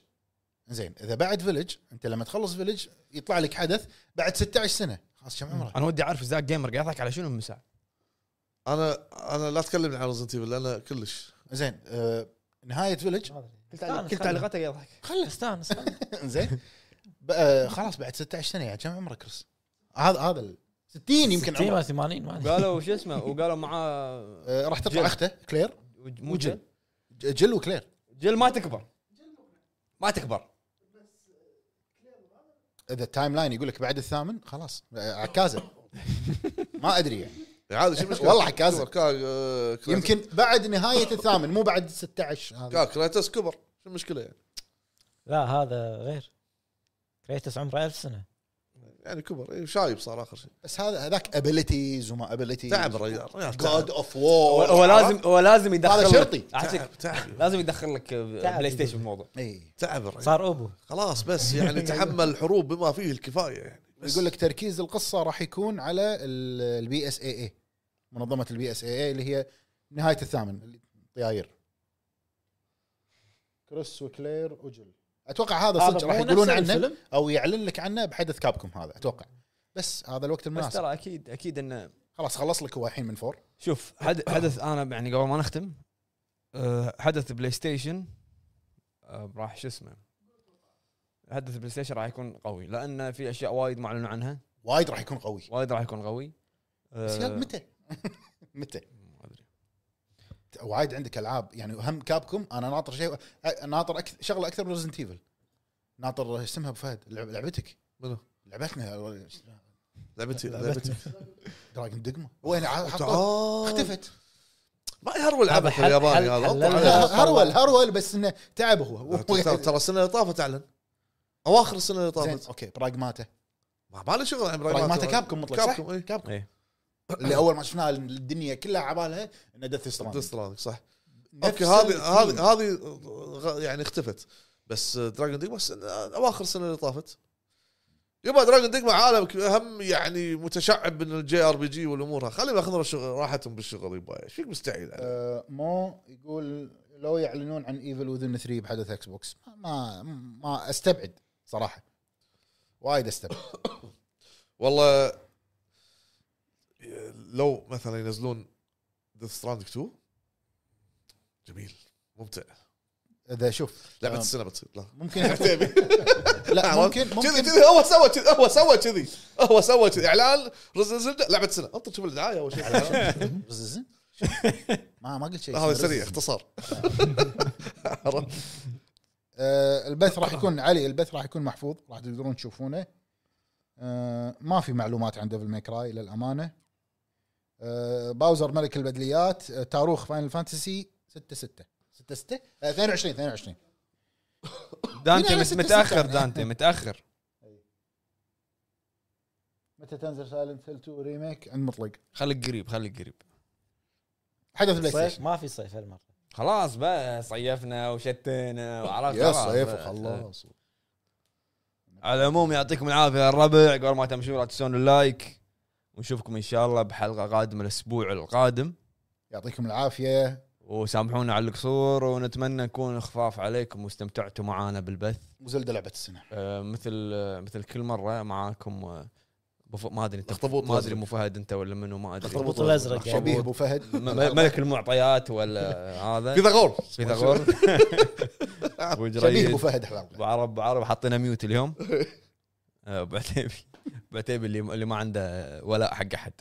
B: زين اذا بعد فيلج انت لما تخلص فيلج يطلع لك حدث بعد 16 سنه خلاص كم عمره؟
C: انا ودي اعرف زاك جيمر قاعد يضحك على شنو من ساعه
A: انا انا لا تكلمني عن ريزنت ايفل لان كلش
B: زين آه، نهايه فيلج
C: كل تعليقاته قاعد يضحك
B: خلص
D: استانس
B: زين بقى- خلاص بعد 16 سنه يعني كم عمرك كريس؟ هذا هذا ال- 60 يمكن
D: يمكن 60 ولا
B: عمره
D: 80 ما أدري.
C: قالوا شو اسمه وقالوا معاه
B: آه، راح تطلع
C: جل.
B: اخته كلير
C: مو جل
B: ج- جل وكلير
C: جل ما تكبر ما تكبر
B: اذا التايم لاين يقول لك بعد الثامن خلاص آه، عكازه ما ادري يعني
A: عادي شو المشكله
B: والله حكازة.
A: كبر، كا- آه، كريتوس-
B: يمكن بعد نهايه الثامن مو بعد 16 هذا
A: كا- كريتوس كبر شو المشكله يعني
D: لا هذا غير كريتس عمره 1000 سنه
A: يعني كبر إيه، شايب صار اخر شيء
B: بس هذا هذاك ابيلتيز وما ابيلتيز
A: تعب الرجال الرجال Oh, تعب.
B: جاد اوف وور
C: هو لازم هو لازم يدخل
B: هذا
C: لك-
B: شرطي.
C: أحسك
A: تعب تعب
C: لازم يدخل لك
D: تعب.
C: بلاي ستيشن الموضوع
B: اي
A: تعب الرجال
D: صار ابو
A: خلاص بس يعني تحمل الحروب بما فيه الكفايه يعني بس
B: يقول لك تركيز القصه راح يكون على البي اس اي اي منظمه البي اس اي اي اللي هي نهايه الثامن اللي- طياير كريس وكلير وجل اتوقع هذا صدق
D: هذا
B: راح
D: مو نفس
B: يقولون عنه
D: الفيلم؟
B: او يعلن لك عنه بحدث كابكم هذا اتوقع بس هذا الوقت
C: بس
B: المناسب
C: ترى اكيد اكيد انه
B: خلاص خلص لك هو الحين من فور
C: شوف حد حدث انا يعني قبل ما نختم أه، حدث بلاي ستيشن أه، راح شو اسمه حدث بلاي ستيشن راح يكون قوي لان في اشياء وايد ما اعلنوا عنها
B: وايد راح يكون قوي
C: وايد راح يكون قوي
B: بس
C: أه،
B: يلا متى آه، متى
C: ما ادري
B: وايد عندك العاب يعني هم كابكم انا ناطر شيء ناطر أكثر شغله اكثر من ريزنت ايفل ناطر اسمها ابو فهد لعب- لعبتك
A: منو؟
B: لعبتنا
A: لعبتي لعبتي
B: دراجون دقمة وين ع- حطوها؟
A: تعال
B: اختفت
A: ما يهرب العبث
D: هذا حل-
A: الياباني
D: حل-
A: هذا
D: حل-
A: أطلع
D: لا،
A: عليه.
D: لا،
B: هرول هرول بس انه تعب هو
A: ترى- ترى- ترى السنه اللي طافت اعلن اواخر السنه اللي
B: زين
A: طافت
B: اوكي براغماتا
A: ما ما له شغل عن
B: براغماتا كابكم مطلق صح؟
A: كابكم اي
B: كابكم
C: إيه.
B: اللي اول ما شفناه الدنيا كلها عبالها انه دث ستراند
A: ديسترانك صح اوكي هذه هذه هذه غ- يعني اختفت بس دراجون ديج بس اواخر السنه اللي طافت يبا دراجون ديجما عالم ك- هم يعني متشعب من الجي ار بي جي والامور ها. خليهم ياخذون الشغل- راحتهم بالشغل يبا ايش فيك يعني؟ مستعيل عليه؟
B: آه، مو يقول لو يعلنون عن ايفل وذن 3 بحدث اكس بوكس ما ما استبعد صراحه وايد استبعد
A: والله لو مثلا ينزلون ديث ستراندك 2 جميل ممتع
B: اذا شوف
A: لعبه
B: آه،
A: السنه بتصير لا
B: ممكن
A: لا
B: لا ممكن
A: كذي
B: ممكن
A: كذي هو سوى كذي هو سوى كذي هو سوى كذي اعلان رزن زلده لعبه السنه انطر شوف الدعايه اول شيء
B: بززن. ما ما قلت شيء
A: هذا سريع اختصار عرفت؟
B: آه، البث راح يكون علي البث راح يكون محفوظ راح تقدرون تشوفونه آه، ما في معلومات عن ديفل ميكراي للامانه آه، باوزر ملك البدليات آه، تاروخ فاينل فانتسي 6 6 6 6 22 22
C: دانتي
B: هنا
C: مت-
B: ستة
C: متاخر
B: ستة.
C: دانتي متاخر
B: متى تنزل سايلنت هيل 2 ريميك عند مطلق
C: خليك قريب خليك قريب
B: حدث بلاي
D: صيف
B: ستيشن
D: ما في صيف هالمره
C: خلاص بقى صيفنا وشتينا وعرفت
B: يا
C: خلاص
B: صيف
C: بقى.
B: وخلاص
C: على العموم يعطيكم العافيه يا الربع قبل ما تمشون لا تنسون اللايك ونشوفكم ان شاء الله بحلقه قادمه الاسبوع القادم
B: يعطيكم العافيه
C: وسامحونا على القصور ونتمنى نكون خفاف عليكم واستمتعتوا معانا بالبث
B: وزلده لعبه السنه
C: آه، مثل آه، مثل كل مره معاكم آه، أبو ف- ما ادري انت
A: أخطبوط
C: ما ادري
A: الأزرق.
C: مو فهد انت ولا منو ما ادري
A: أخطبوط
D: الأزرق يعني.
B: شبيه
C: أخطبوط.
B: ابو فهد
C: م- م- ملك المعطيات ولا هذا
A: فيثاغور
C: فيثاغور ابو
B: شبيه ابو
C: جريد
B: فهد حلقه
C: ابو عرب ابو عرب حطينا ميوت اليوم آه، ابو عتيبي ابو عتيبي اللي اللي ما عنده ولاء حق احد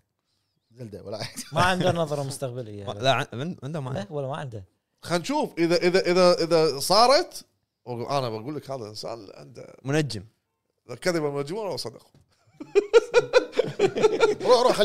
B: زلده ولا
D: ما عنده نظره مستقبليه
C: ما- لا عن- عن- عنده ما
D: لا
C: عنده.
D: ولا ما عنده
A: خلينا نشوف اذا اذا اذا اذا صارت انا بقول لك هذا انسان عنده
C: منجم
A: كذب المجموعه وصدق
B: روح روح